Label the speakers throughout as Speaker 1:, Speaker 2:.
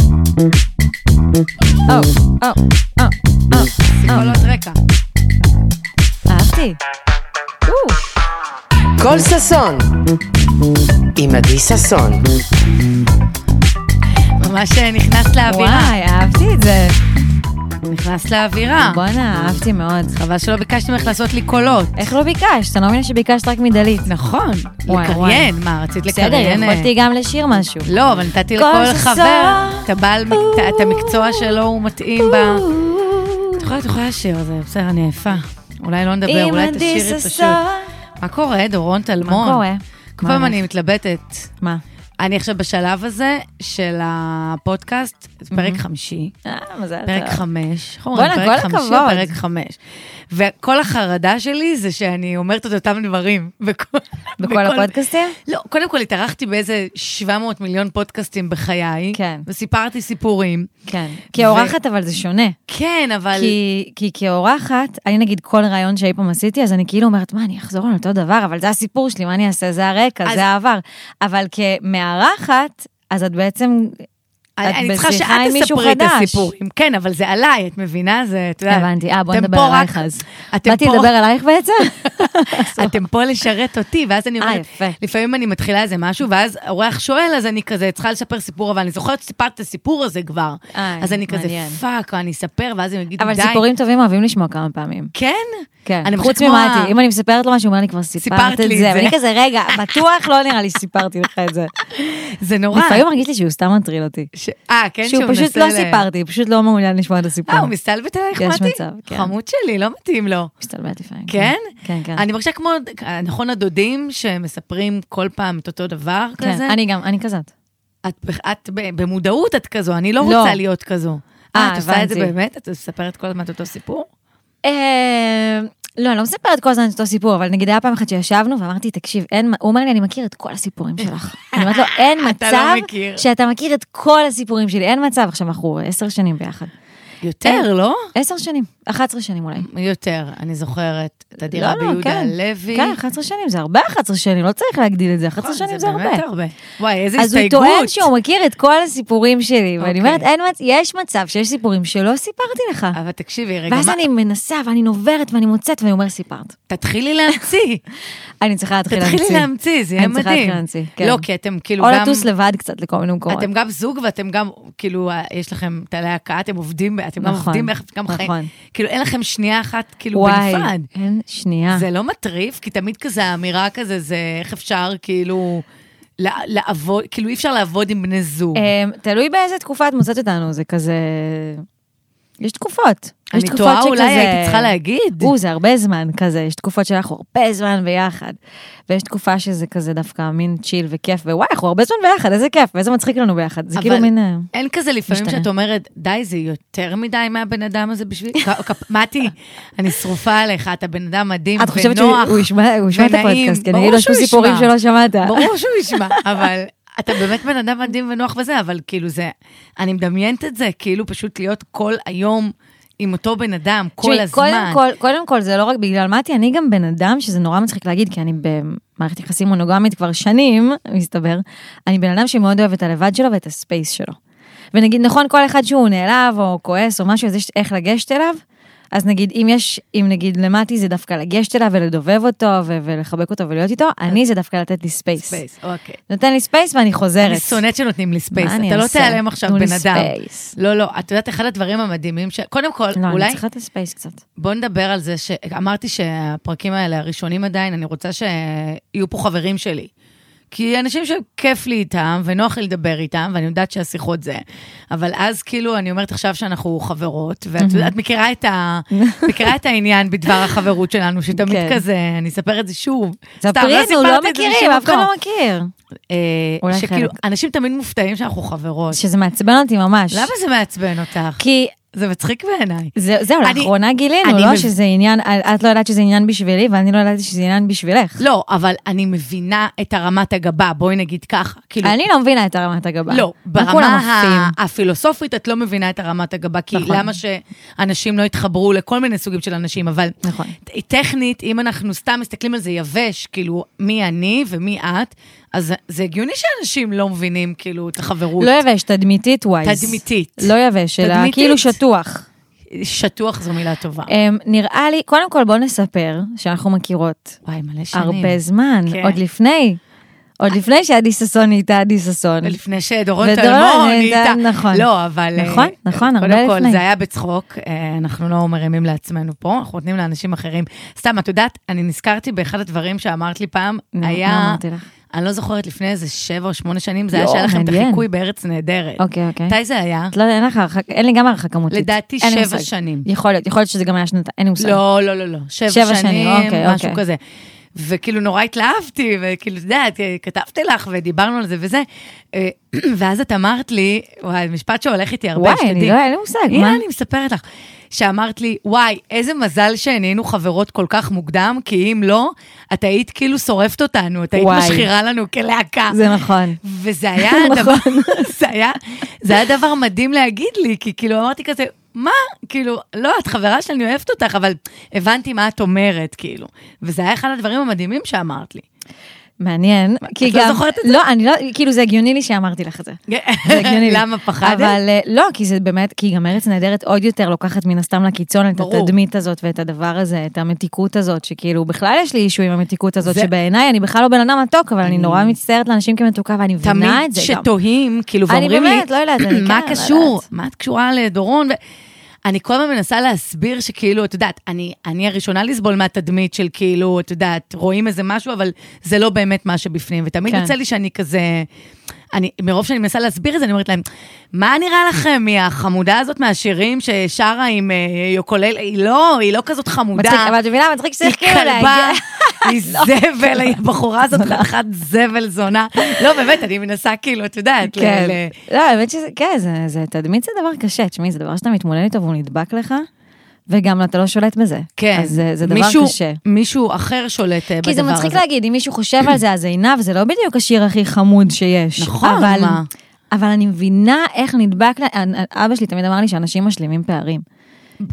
Speaker 1: Oh,
Speaker 2: או, או, או, או, או.
Speaker 1: קולות לא, רקע.
Speaker 2: אהבתי. או,
Speaker 3: כל ששון, עם עדי ששון.
Speaker 1: ממש אה, נכנסת לאווירה.
Speaker 2: וואי, אהבתי את זה.
Speaker 1: נכנסת לאווירה.
Speaker 2: בואנה, אהבתי מאוד.
Speaker 1: חבל שלא ביקשתי ממך לעשות לי קולות.
Speaker 2: איך לא ביקשת? אני לא מבינה שביקשת רק מדלית.
Speaker 1: נכון.
Speaker 2: וואי,
Speaker 1: לקריין, מה, רצית
Speaker 2: בסדר,
Speaker 1: לקריין? אה,
Speaker 2: יכולתי גם לשיר משהו.
Speaker 1: לא, אבל נתתי
Speaker 2: כל
Speaker 1: לכל
Speaker 2: ששון.
Speaker 1: חבר את הבעל,
Speaker 2: או.
Speaker 1: את המקצוע שלו, הוא מתאים ב... את יכולה, את יכולה לשיר, זה בסדר, אני עייפה. אולי לא נדבר,
Speaker 2: עם
Speaker 1: אולי
Speaker 2: עדי
Speaker 1: תשאירי פשוט.
Speaker 2: ששון.
Speaker 1: מה קורה, דורון טלמון?
Speaker 2: מה קורה?
Speaker 1: כל
Speaker 2: מה
Speaker 1: פעם
Speaker 2: הולך?
Speaker 1: אני מתלבטת.
Speaker 2: מה?
Speaker 1: אני עכשיו בשלב הזה של הפודקאסט, זה
Speaker 2: Mm-hmm.
Speaker 1: פרק חמישי,
Speaker 2: אה, מזל טוב.
Speaker 1: פרק חמש. איך
Speaker 2: בואנה,
Speaker 1: אומרים?
Speaker 2: כל
Speaker 1: פרק חמישי
Speaker 2: הכבוד.
Speaker 1: או פרק חמש. וכל החרדה שלי זה שאני אומרת את אותם דברים. בכל,
Speaker 2: בכל הפודקאסטים?
Speaker 1: לא, קודם כל התארחתי באיזה 700 מיליון פודקאסטים בחיי.
Speaker 2: כן.
Speaker 1: וסיפרתי סיפורים.
Speaker 2: כן. כאורחת, אבל זה שונה.
Speaker 1: כן, אבל...
Speaker 2: כי, כי כאורחת, אני נגיד כל ראיון שאי פעם עשיתי, אז אני כאילו אומרת, מה, אני אחזור על אותו דבר, אבל זה הסיפור שלי, מה אני אעשה? זה הרקע,
Speaker 1: אז-
Speaker 2: זה העבר. אבל כמארחת, אז את בעצם...
Speaker 1: אני,
Speaker 2: את
Speaker 1: אני צריכה
Speaker 2: בשיחה
Speaker 1: שאת
Speaker 2: עם מישהו
Speaker 1: תספרי את
Speaker 2: חדש.
Speaker 1: הסיפורים. כן, אבל זה עליי, את מבינה? זה, את יודעת.
Speaker 2: הבנתי, אה, בוא
Speaker 1: אתם
Speaker 2: נדבר
Speaker 1: פה רק-
Speaker 2: עלייך אז.
Speaker 1: אתם
Speaker 2: באתי
Speaker 1: פה-
Speaker 2: לדבר עלייך בעצם?
Speaker 1: אתם פה לשרת אותי, ואז אני
Speaker 2: אה,
Speaker 1: אומרת,
Speaker 2: יפה.
Speaker 1: לפעמים אני מתחילה איזה משהו, ואז אורח שואל, אז אני כזה צריכה לספר סיפור, אבל אני זוכרת שסיפרת את הסיפור הזה כבר.
Speaker 2: אה,
Speaker 1: אז אני כזה,
Speaker 2: מעניין.
Speaker 1: פאק, אני אספר, ואז הם יגידו, די.
Speaker 2: אבל סיפורים טובים אוהבים לשמוע כמה פעמים.
Speaker 1: כן?
Speaker 2: כן,
Speaker 1: אני מרגישה
Speaker 2: חוץ
Speaker 1: כמו ה-
Speaker 2: ממתי, אם אני מספרת לו משהו, הוא אומר לי, כבר סיפרת את
Speaker 1: לי את
Speaker 2: זה.
Speaker 1: זה.
Speaker 2: ואני כזה, רגע, בטוח לא נראה לי שסיפרתי לך את זה.
Speaker 1: זה נורא.
Speaker 2: לפעמים מרגיש לי שהוא סתם מטריל אותי.
Speaker 1: ש- אה, כן,
Speaker 2: שהוא פשוט
Speaker 1: מנסה
Speaker 2: לא
Speaker 1: ל-
Speaker 2: סיפרתי, הוא פשוט לא מעוניין לשמוע את הסיפור.
Speaker 1: אה, הוא מסתלבט עלייך,
Speaker 2: יש
Speaker 1: מתי?
Speaker 2: מצב, כן.
Speaker 1: חמוד שלי, לא מתאים לו.
Speaker 2: מסתלבט לפעמים.
Speaker 1: כן?
Speaker 2: כן, כן.
Speaker 1: אני מרגישה כמו, נכון, הדודים שמספרים כל פעם את אותו דבר
Speaker 2: כן,
Speaker 1: כזה?
Speaker 2: אני גם, אני כזאת.
Speaker 1: את, את ב- במודעות את כזו, אני לא
Speaker 2: לא.
Speaker 1: רוצה להיות כזו.
Speaker 2: אה,
Speaker 1: אה, את עושה את זה
Speaker 2: הבנתי.
Speaker 1: באמת? את מספרת כל הזמן את אותו סיפור?
Speaker 2: אה, לא, אני לא מספרת כל הזמן את אותו סיפור, אבל נגיד היה פעם אחת שישבנו ואמרתי, תקשיב, אין, מ- הוא אומר לי, אני מכיר את כל הסיפורים שלך. אני אומרת לו, אין
Speaker 1: אתה לא
Speaker 2: מצב
Speaker 1: מכיר."
Speaker 2: שאתה מכיר את כל הסיפורים שלי, אין מצב. עכשיו, אנחנו עשר שנים ביחד.
Speaker 1: יותר, לא?
Speaker 2: עשר שנים, 11 שנים אולי.
Speaker 1: יותר, אני זוכרת את הדירה
Speaker 2: לא, לא,
Speaker 1: ביהודה
Speaker 2: כן.
Speaker 1: לוי.
Speaker 2: כן, 11 שנים, זה הרבה 11 שנים, לא צריך להגדיל את נכון, זה, 11 שנים זה הרבה.
Speaker 1: נכון, באמת הרבה. וואי, איזה
Speaker 2: אז הוא
Speaker 1: הסתייגות.
Speaker 2: טוען שהוא מכיר את כל הסיפורים שלי, ואני
Speaker 1: אוקיי.
Speaker 2: אומרת, אין מצ... יש מצב שיש סיפורים שלא סיפרתי לך.
Speaker 1: אבל תקשיבי, רגע,
Speaker 2: ואז
Speaker 1: מה-
Speaker 2: אני מנסה, ואני נוברת, ואני מוצאת, ואני אומרת, סיפרת.
Speaker 1: תתחילי להמציא.
Speaker 2: אני צריכה להתחיל להמציא.
Speaker 1: תתחילי להמציא, זה יהיה
Speaker 2: אני צריכה להתחיל
Speaker 1: מדהים.
Speaker 2: להמציא, כן.
Speaker 1: לא, כי אתם כאילו
Speaker 2: או
Speaker 1: גם...
Speaker 2: לטוס לבד קצת לכל מיני מקומות.
Speaker 1: אתם גם זוג ואתם גם, כאילו, אה, יש לכם תלי הקאה, אתם עובדים, ב- אתם גם
Speaker 2: נכון,
Speaker 1: עובדים, ביחד, גם חיים.
Speaker 2: נכון.
Speaker 1: כאילו, אין לכם שנייה אחת, כאילו,
Speaker 2: וואי,
Speaker 1: בנפרד.
Speaker 2: אין, שנייה.
Speaker 1: זה לא מטריף, כי תמיד כזה, האמירה כזה, זה איך אפשר, כאילו, לע- לעבוד, כאילו, אי אפשר לעבוד עם בני זוג.
Speaker 2: אמ, תלוי באיזה תקופה את מוצאת אותנו, זה כזה... יש תקופות. יש
Speaker 1: אני
Speaker 2: תקופות
Speaker 1: תוהה
Speaker 2: שכזה...
Speaker 1: אולי הייתי צריכה להגיד.
Speaker 2: או, זה הרבה זמן כזה, יש תקופות שאנחנו הרבה זמן ביחד. ויש תקופה שזה כזה דווקא מין צ'יל וכיף, ווואי, אנחנו הרבה זמן ביחד, איזה כיף, ואיזה מצחיק לנו ביחד. זה
Speaker 1: אבל
Speaker 2: כאילו מין... אה,
Speaker 1: אין כזה לפעמים
Speaker 2: משתנה.
Speaker 1: שאת אומרת, די, זה יותר מדי מהבן אדם הזה בשבילי? כ- כ- מתי, אני שרופה עליך, אתה בן אדם מדהים
Speaker 2: את
Speaker 1: ונוח.
Speaker 2: חושבת שהוא הוא ישמע הוא ישמע את
Speaker 1: ונעים.
Speaker 2: הפודקאסט, כי אני אגיד
Speaker 1: ברור
Speaker 2: לו
Speaker 1: שהוא
Speaker 2: שני סיפורים
Speaker 1: ישמע.
Speaker 2: שלא שמעת.
Speaker 1: ברור שהוא ישמע, אבל אתה באמת בן אדם מדהים ונוח וזה, אבל כאילו זה, אני מדמיינת את זה, כאילו פשוט להיות כל היום עם אותו בן אדם, כל
Speaker 2: תשמעי,
Speaker 1: הזמן.
Speaker 2: קודם כל, קודם כל, זה לא רק בגלל מתי, אני גם בן אדם, שזה נורא מצחיק להגיד, כי אני במערכת יחסים מונוגמית כבר שנים, מסתבר, אני בן אדם שמאוד אוהב את הלבד שלו ואת הספייס שלו. ונגיד, נכון, כל אחד שהוא נעלב או כועס או משהו, אז יש איך לגשת אליו. אז נגיד, אם יש, אם נגיד למתי זה דווקא לגשת אליו ולדובב אותו ו- ולחבק אותו ולהיות איתו, אני זה דווקא לתת לי ספייס.
Speaker 1: ספייס, אוקיי.
Speaker 2: נותן לי ספייס ואני חוזרת.
Speaker 1: אני שונאת שנותנים לי ספייס,
Speaker 2: מה אני
Speaker 1: אתה לא
Speaker 2: אעשה?
Speaker 1: תיעלם עכשיו
Speaker 2: תנו לי
Speaker 1: בן אדם.
Speaker 2: ספייס.
Speaker 1: לא, לא, את יודעת, אחד הדברים המדהימים, ש- קודם כל,
Speaker 2: לא, אני
Speaker 1: אולי,
Speaker 2: צריכה את הספייס קצת.
Speaker 1: בוא נדבר על זה, שאמרתי שהפרקים האלה הראשונים עדיין, אני רוצה שיהיו פה חברים שלי. כי אנשים שכיף לי איתם, ונוח לי לדבר איתם, ואני יודעת שהשיחות זה. אבל אז כאילו, אני אומרת עכשיו שאנחנו חברות, ואת יודעת, את מכירה את, ה... מכירה את העניין בדבר החברות שלנו, שתמיד
Speaker 2: כן.
Speaker 1: כזה, אני אספר את זה שוב. סתם,
Speaker 2: ספרי לנו, לא
Speaker 1: סיפרתי את זה
Speaker 2: מכירים,
Speaker 1: לשום
Speaker 2: אף אחד
Speaker 1: מקום.
Speaker 2: לא מכיר.
Speaker 1: אה,
Speaker 2: אולי
Speaker 1: שכאילו,
Speaker 2: חלק.
Speaker 1: אנשים תמיד מופתעים שאנחנו חברות.
Speaker 2: שזה מעצבן אותי ממש.
Speaker 1: למה זה מעצבן אותך?
Speaker 2: כי
Speaker 1: זה מצחיק בעיניי.
Speaker 2: זה, זהו,
Speaker 1: אני-
Speaker 2: לאחרונה גילינו,
Speaker 1: אני
Speaker 2: לא?
Speaker 1: מב-
Speaker 2: שזה עניין, את לא ידעת שזה עניין בשבילי, ואני לא ידעתי שזה עניין בשבילך.
Speaker 1: לא, אבל אני מבינה את הרמת הגבה, בואי נגיד ככה. כאילו,
Speaker 2: אני לא מבינה את הרמת הגבה.
Speaker 1: לא,
Speaker 2: מה כולם
Speaker 1: ברמה ה-
Speaker 2: עפים?
Speaker 1: הפילוסופית את לא מבינה את הרמת הגבה, כי
Speaker 2: נכון.
Speaker 1: למה שאנשים לא יתחברו לכל מיני סוגים של אנשים, אבל
Speaker 2: נכון.
Speaker 1: ט- טכנית, אם אנחנו סתם מסתכלים על זה יבש, כאילו, מי אני ומי את, אז זה- זה הגיוני שאנשים לא מבינים, כאילו, את החברות.
Speaker 2: לא יבש, תדמיתית ווייז.
Speaker 1: תדמיתית.
Speaker 2: לא יבש, אלא
Speaker 1: תדמיתית.
Speaker 2: כאילו שטוח.
Speaker 1: שטוח זו מילה טובה.
Speaker 2: אמ, נראה לי, קודם כל בוא נספר שאנחנו מכירות
Speaker 1: וואי, מלא שנים.
Speaker 2: הרבה זמן,
Speaker 1: כן.
Speaker 2: עוד לפני, עוד לפני שעדי ששון נהייתה עדי ששון.
Speaker 1: לפני שדורון
Speaker 2: נכון. ודורון,
Speaker 1: טלמור
Speaker 2: אה,
Speaker 1: נהייתה.
Speaker 2: נכון.
Speaker 1: לא, אבל... אה,
Speaker 2: נכון, נכון, הרבה
Speaker 1: קודם כל,
Speaker 2: לפני.
Speaker 1: זה היה בצחוק, אה, אנחנו לא מרימים לעצמנו פה, אנחנו נותנים לאנשים אחרים. סתם, את יודעת, אני נזכרתי באחד הדברים שאמרת לי פעם,
Speaker 2: נו, מה
Speaker 1: היה...
Speaker 2: אמרתי לך?
Speaker 1: אני לא זוכרת, לפני איזה שבע או שמונה שנים, זה היה
Speaker 2: יואו,
Speaker 1: שהיה לכם את
Speaker 2: מעניין.
Speaker 1: החיקוי בארץ נהדרת.
Speaker 2: אוקיי, אוקיי.
Speaker 1: מתי זה היה?
Speaker 2: את לא, אין לך הרחק- אין לי גם הרחקה כמותית.
Speaker 1: לדעתי
Speaker 2: אין לי
Speaker 1: שבע
Speaker 2: מושג.
Speaker 1: שנים.
Speaker 2: יכול להיות, יכול להיות שזה גם היה שנתיים, אין לי מושג.
Speaker 1: לא, לא, לא, לא. שבע,
Speaker 2: שבע שנים,
Speaker 1: שנים,
Speaker 2: אוקיי,
Speaker 1: משהו
Speaker 2: אוקיי.
Speaker 1: כזה. וכאילו נורא התלהבתי, וכאילו, את יודעת, כתבתי לך ודיברנו על זה וזה. אה, ואז את אמרת לי, וואי, משפט שהולך איתי הרבה,
Speaker 2: וואי, אני לא, אין לי מושג, מה?
Speaker 1: הנה, אני מספרת לך. שאמרת לי, וואי, איזה מזל שנהיינו חברות כל כך מוקדם, כי אם לא, את היית כאילו שורפת אותנו, את היית
Speaker 2: וואי.
Speaker 1: משחירה לנו כלהקה.
Speaker 2: זה נכון.
Speaker 1: וזה היה הדבר, אה, זה היה, זה היה דבר מדהים להגיד לי, כי כאילו אמרתי כזה, מה? כאילו, לא, את חברה שלי, אני אוהבת אותך, אבל הבנתי מה את אומרת, כאילו. וזה היה אחד הדברים המדהימים שאמרת לי.
Speaker 2: מעניין. כי
Speaker 1: לא
Speaker 2: גם-
Speaker 1: זוכרת את
Speaker 2: לא, אני לא, כאילו זה הגיוני לי שאמרתי לך את זה. כן. זה הגיוני לי.
Speaker 1: למה פחדת?
Speaker 2: אבל אה, לא, כי זה באמת, כי גם ארץ נהדרת עוד יותר לוקחת מן הסתם לקיצון את
Speaker 1: ברור.
Speaker 2: התדמית הזאת ואת הדבר הזה, את המתיקות הזאת, שכאילו בכלל יש לי אישו עם המתיקות הזאת,
Speaker 1: זה-
Speaker 2: שבעיניי אני בכלל לא בן אדם מתוק, אבל אני נורא מצטערת לאנשים כמתוקה ואני
Speaker 1: תמיד
Speaker 2: מבינה את זה גם.
Speaker 1: שתוהים, כאילו,
Speaker 2: אני
Speaker 1: ואומרים לי,
Speaker 2: באמת לא יודעת, אני
Speaker 1: מה
Speaker 2: כן, לא
Speaker 1: קשור?
Speaker 2: יודעת."
Speaker 1: מה את קשורה לדורון? ו... אני כל הזמן מנסה להסביר שכאילו, את יודעת, אני, אני הראשונה לסבול מהתדמית של כאילו, את יודעת, רואים איזה משהו, אבל זה לא באמת מה שבפנים, ותמיד
Speaker 2: כן.
Speaker 1: יוצא לי שאני כזה... אני, מרוב שאני מנסה להסביר את זה, אני אומרת להם, מה נראה לכם מהחמודה הזאת מהשירים ששרה עם אה, יוקולל? היא לא, היא לא כזאת חמודה.
Speaker 2: מצחיק, אבל את מבינה, מצחיק שצריך כאילו
Speaker 1: היא כלבה,
Speaker 2: להגיע. לא.
Speaker 1: היא זבל, היא- הבחורה הזאת חתיכת זבל זונה. לא, באמת, אני מנסה כאילו, את יודעת, ל-
Speaker 2: כן,
Speaker 1: ל-
Speaker 2: לא, האמת שזה, כן, זה- זה תדמית זה דבר קשה, תשמעי, זה דבר שאתה מתמודד איתו והוא נדבק לך, וגם אתה לא שולט בזה.
Speaker 1: כן.
Speaker 2: אז אה, זה- זה דבר
Speaker 1: מישהו-
Speaker 2: קשה.
Speaker 1: מישהו אחר שולט אה, בדבר הזה.
Speaker 2: כי זה מצחיק להגיד, אם מישהו חושב על זה, אז עינב זה לא בדיוק השיר הכי חמוד שיש.
Speaker 1: נכון,
Speaker 2: אבל,
Speaker 1: מה?
Speaker 2: אבל אני מבינה איך נדבק, לה- אנ- אנ- אבא שלי תמיד אמר לי שאנשים משלימים פערים.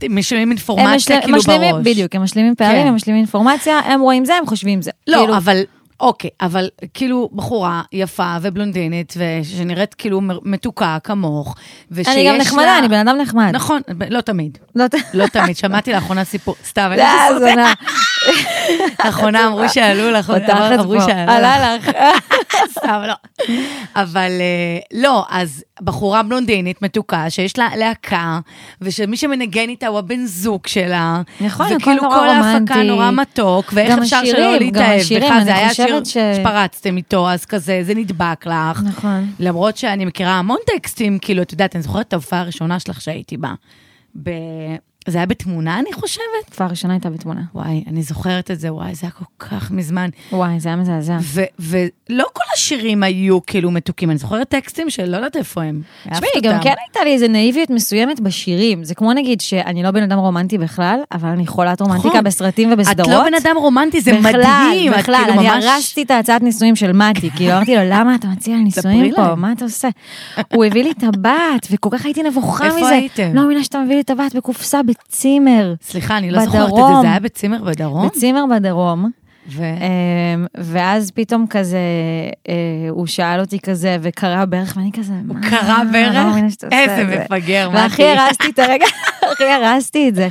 Speaker 1: משלמים
Speaker 2: הם
Speaker 1: אינפורמציה
Speaker 2: משל-
Speaker 1: כאילו
Speaker 2: משלימים-
Speaker 1: בראש.
Speaker 2: בדיוק, הם משלימים פערים,
Speaker 1: כן.
Speaker 2: הם משלימים אינפורמציה, הם רואים זה, הם חושבים זה. כאילו,
Speaker 1: לא, אבל... אוקיי, אבל כאילו בחורה יפה ובלונדינית, ושנראית כאילו מ- מתוקה כמוך, ושיש לה...
Speaker 2: אני גם נחמדה, אני בן אדם נחמד.
Speaker 1: נכון, ב- לא תמיד.
Speaker 2: לא ת-
Speaker 1: לא תמיד. שמעתי לאחרונה סיפור, סתם,
Speaker 2: לא, זונה.
Speaker 1: לאחרונה אמרו שעלו לך,
Speaker 2: אותך את
Speaker 1: אמרו
Speaker 2: פה.
Speaker 1: שעלו לך.
Speaker 2: עלה לך.
Speaker 1: סתם, לא. אבל אה, לא, אז בחורה בלונדינית מתוקה, שיש לה להקה, ושמי שמנגן איתה הוא הבן זוג שלה.
Speaker 2: נכון, הכל
Speaker 1: וכאילו
Speaker 2: נורא
Speaker 1: כל ההפקה
Speaker 2: רומנטי.
Speaker 1: נורא מתוק, ואיך
Speaker 2: גם
Speaker 1: אפשר שלא
Speaker 2: השירים, גם
Speaker 1: להתאהב
Speaker 2: השירים,
Speaker 1: בך,
Speaker 2: אני
Speaker 1: זה היה שיר
Speaker 2: חושבת ש-
Speaker 1: שפרצתם איתו, אז כזה, זה נדבק לך.
Speaker 2: נכון.
Speaker 1: למרות שאני מכירה המון טקסטים, כאילו, את יודעת, אני זוכרת את ההופעה הראשונה שלך שהייתי בה. ב... זה היה בתמונה, אני חושבת?
Speaker 2: כבר הראשונה הייתה בתמונה.
Speaker 1: וואי, אני זוכרת את זה, וואי, זה היה כל כך מזמן.
Speaker 2: וואי, זה היה מזעזע.
Speaker 1: ו- ולא כל השירים היו כאילו מתוקים, אני זוכרת טקסטים שלא יודעת איפה הם. אהבתי
Speaker 2: תשמעי, גם
Speaker 1: אותם.
Speaker 2: כן הייתה לי איזה נאיביות מסוימת בשירים. זה כמו נגיד שאני לא בן אדם רומנטי בכלל, אבל אני חולת רומנטיקה
Speaker 1: נכון.
Speaker 2: בסרטים ובסדרות.
Speaker 1: את לא בן אדם רומנטי, זה
Speaker 2: בכלל,
Speaker 1: מדהים. את
Speaker 2: בכלל,
Speaker 1: כאילו
Speaker 2: אני
Speaker 1: ממש-
Speaker 2: הרסתי את ההצעת נישואים של מתי, כאילו אמרתי לו, למה אתה מציע לי נישואים
Speaker 1: ספרי
Speaker 2: פה?
Speaker 1: להם."
Speaker 2: מה אתה עושה? הוא הביא לי טבעת, וכל כך הייתי נבוכה מזה.
Speaker 1: איפה הייתם?
Speaker 2: לא מאמינה שאתה מביא לי טבעת בקופסה בצימר.
Speaker 1: סליחה, אני לא זוכרת את זה,
Speaker 2: בדרום.
Speaker 1: זה היה בצימר בדרום?
Speaker 2: בצימר בדרום.
Speaker 1: ו-
Speaker 2: אמ, ואז פתאום כזה, אה, הוא שאל אותי כזה, וקרע ברך, ואני כזה, מה?
Speaker 1: קרע
Speaker 2: לא
Speaker 1: ברך?
Speaker 2: מאמינה שאתה עושה
Speaker 1: איזה
Speaker 2: את זה."
Speaker 1: מפגר,
Speaker 2: והכי
Speaker 1: מתי.
Speaker 2: הרסתי את הרגע, הכי הרסתי את זה.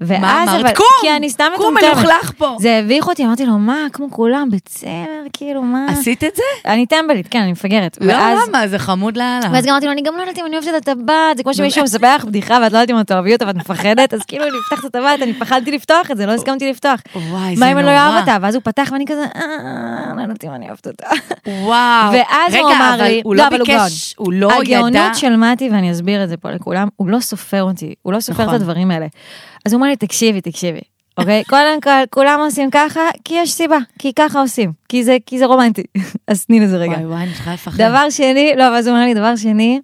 Speaker 2: ואז
Speaker 1: מה
Speaker 2: אה, אבל-
Speaker 1: אמרת? קום!
Speaker 2: כי אני סתם
Speaker 1: קום,
Speaker 2: מטומטמת.
Speaker 1: מלוכלך פה.
Speaker 2: זה הביך אותי, אמרתי לו, מה, כמו כולם, בצמר, כאילו, מה?
Speaker 1: עשית את זה?
Speaker 2: אני טמבלית, כן, אני מפגרת.
Speaker 1: לא,
Speaker 2: ואז-
Speaker 1: למה? זה חמוד לאללה.
Speaker 2: ואז גם אמרתי לו, אני גם לא יודעת אם אני אוהבת את הטבעת, זה כמו שמישהו מספר לך בדיחה ואת לא יודעת אם את אוהבי אותה ואת מפחדת, אז כאילו אני אפתח את הטבעת, אני פחדתי לפתוח את זה, לא הסכמתי לפתוח.
Speaker 1: וואי, זה
Speaker 2: מה אם אני לא
Speaker 1: נורא.
Speaker 2: אוהב אותה? ואז הוא פתח ואני כזה, "אה, לא יודעת אם אני אוהבת אותה.
Speaker 1: וואו.
Speaker 2: ואז הוא
Speaker 1: אה, רגע,
Speaker 2: אמר
Speaker 1: אבל
Speaker 2: לי,
Speaker 1: הוא לא
Speaker 2: גאון.
Speaker 1: ביקש, הוא לא ידע.
Speaker 2: הגאונות של מתי, ואני אסביר את זה פה לכולם, הוא לא סופר אותי, הוא לא סופר את
Speaker 1: נכון.
Speaker 2: הדברים האלה. אז הוא אמר לי, תקשיבי, תקשיבי. אוקיי? קודם כל, כולם עושים ככה, כי יש סיבה, כי ככה עושים, כי זה, כי זה רומנטי. אז תני לזה רגע.
Speaker 1: וואי, וואי, אני צריכה לפחד.
Speaker 2: דבר שני, לא, ואז הוא אמר לי, דבר שני,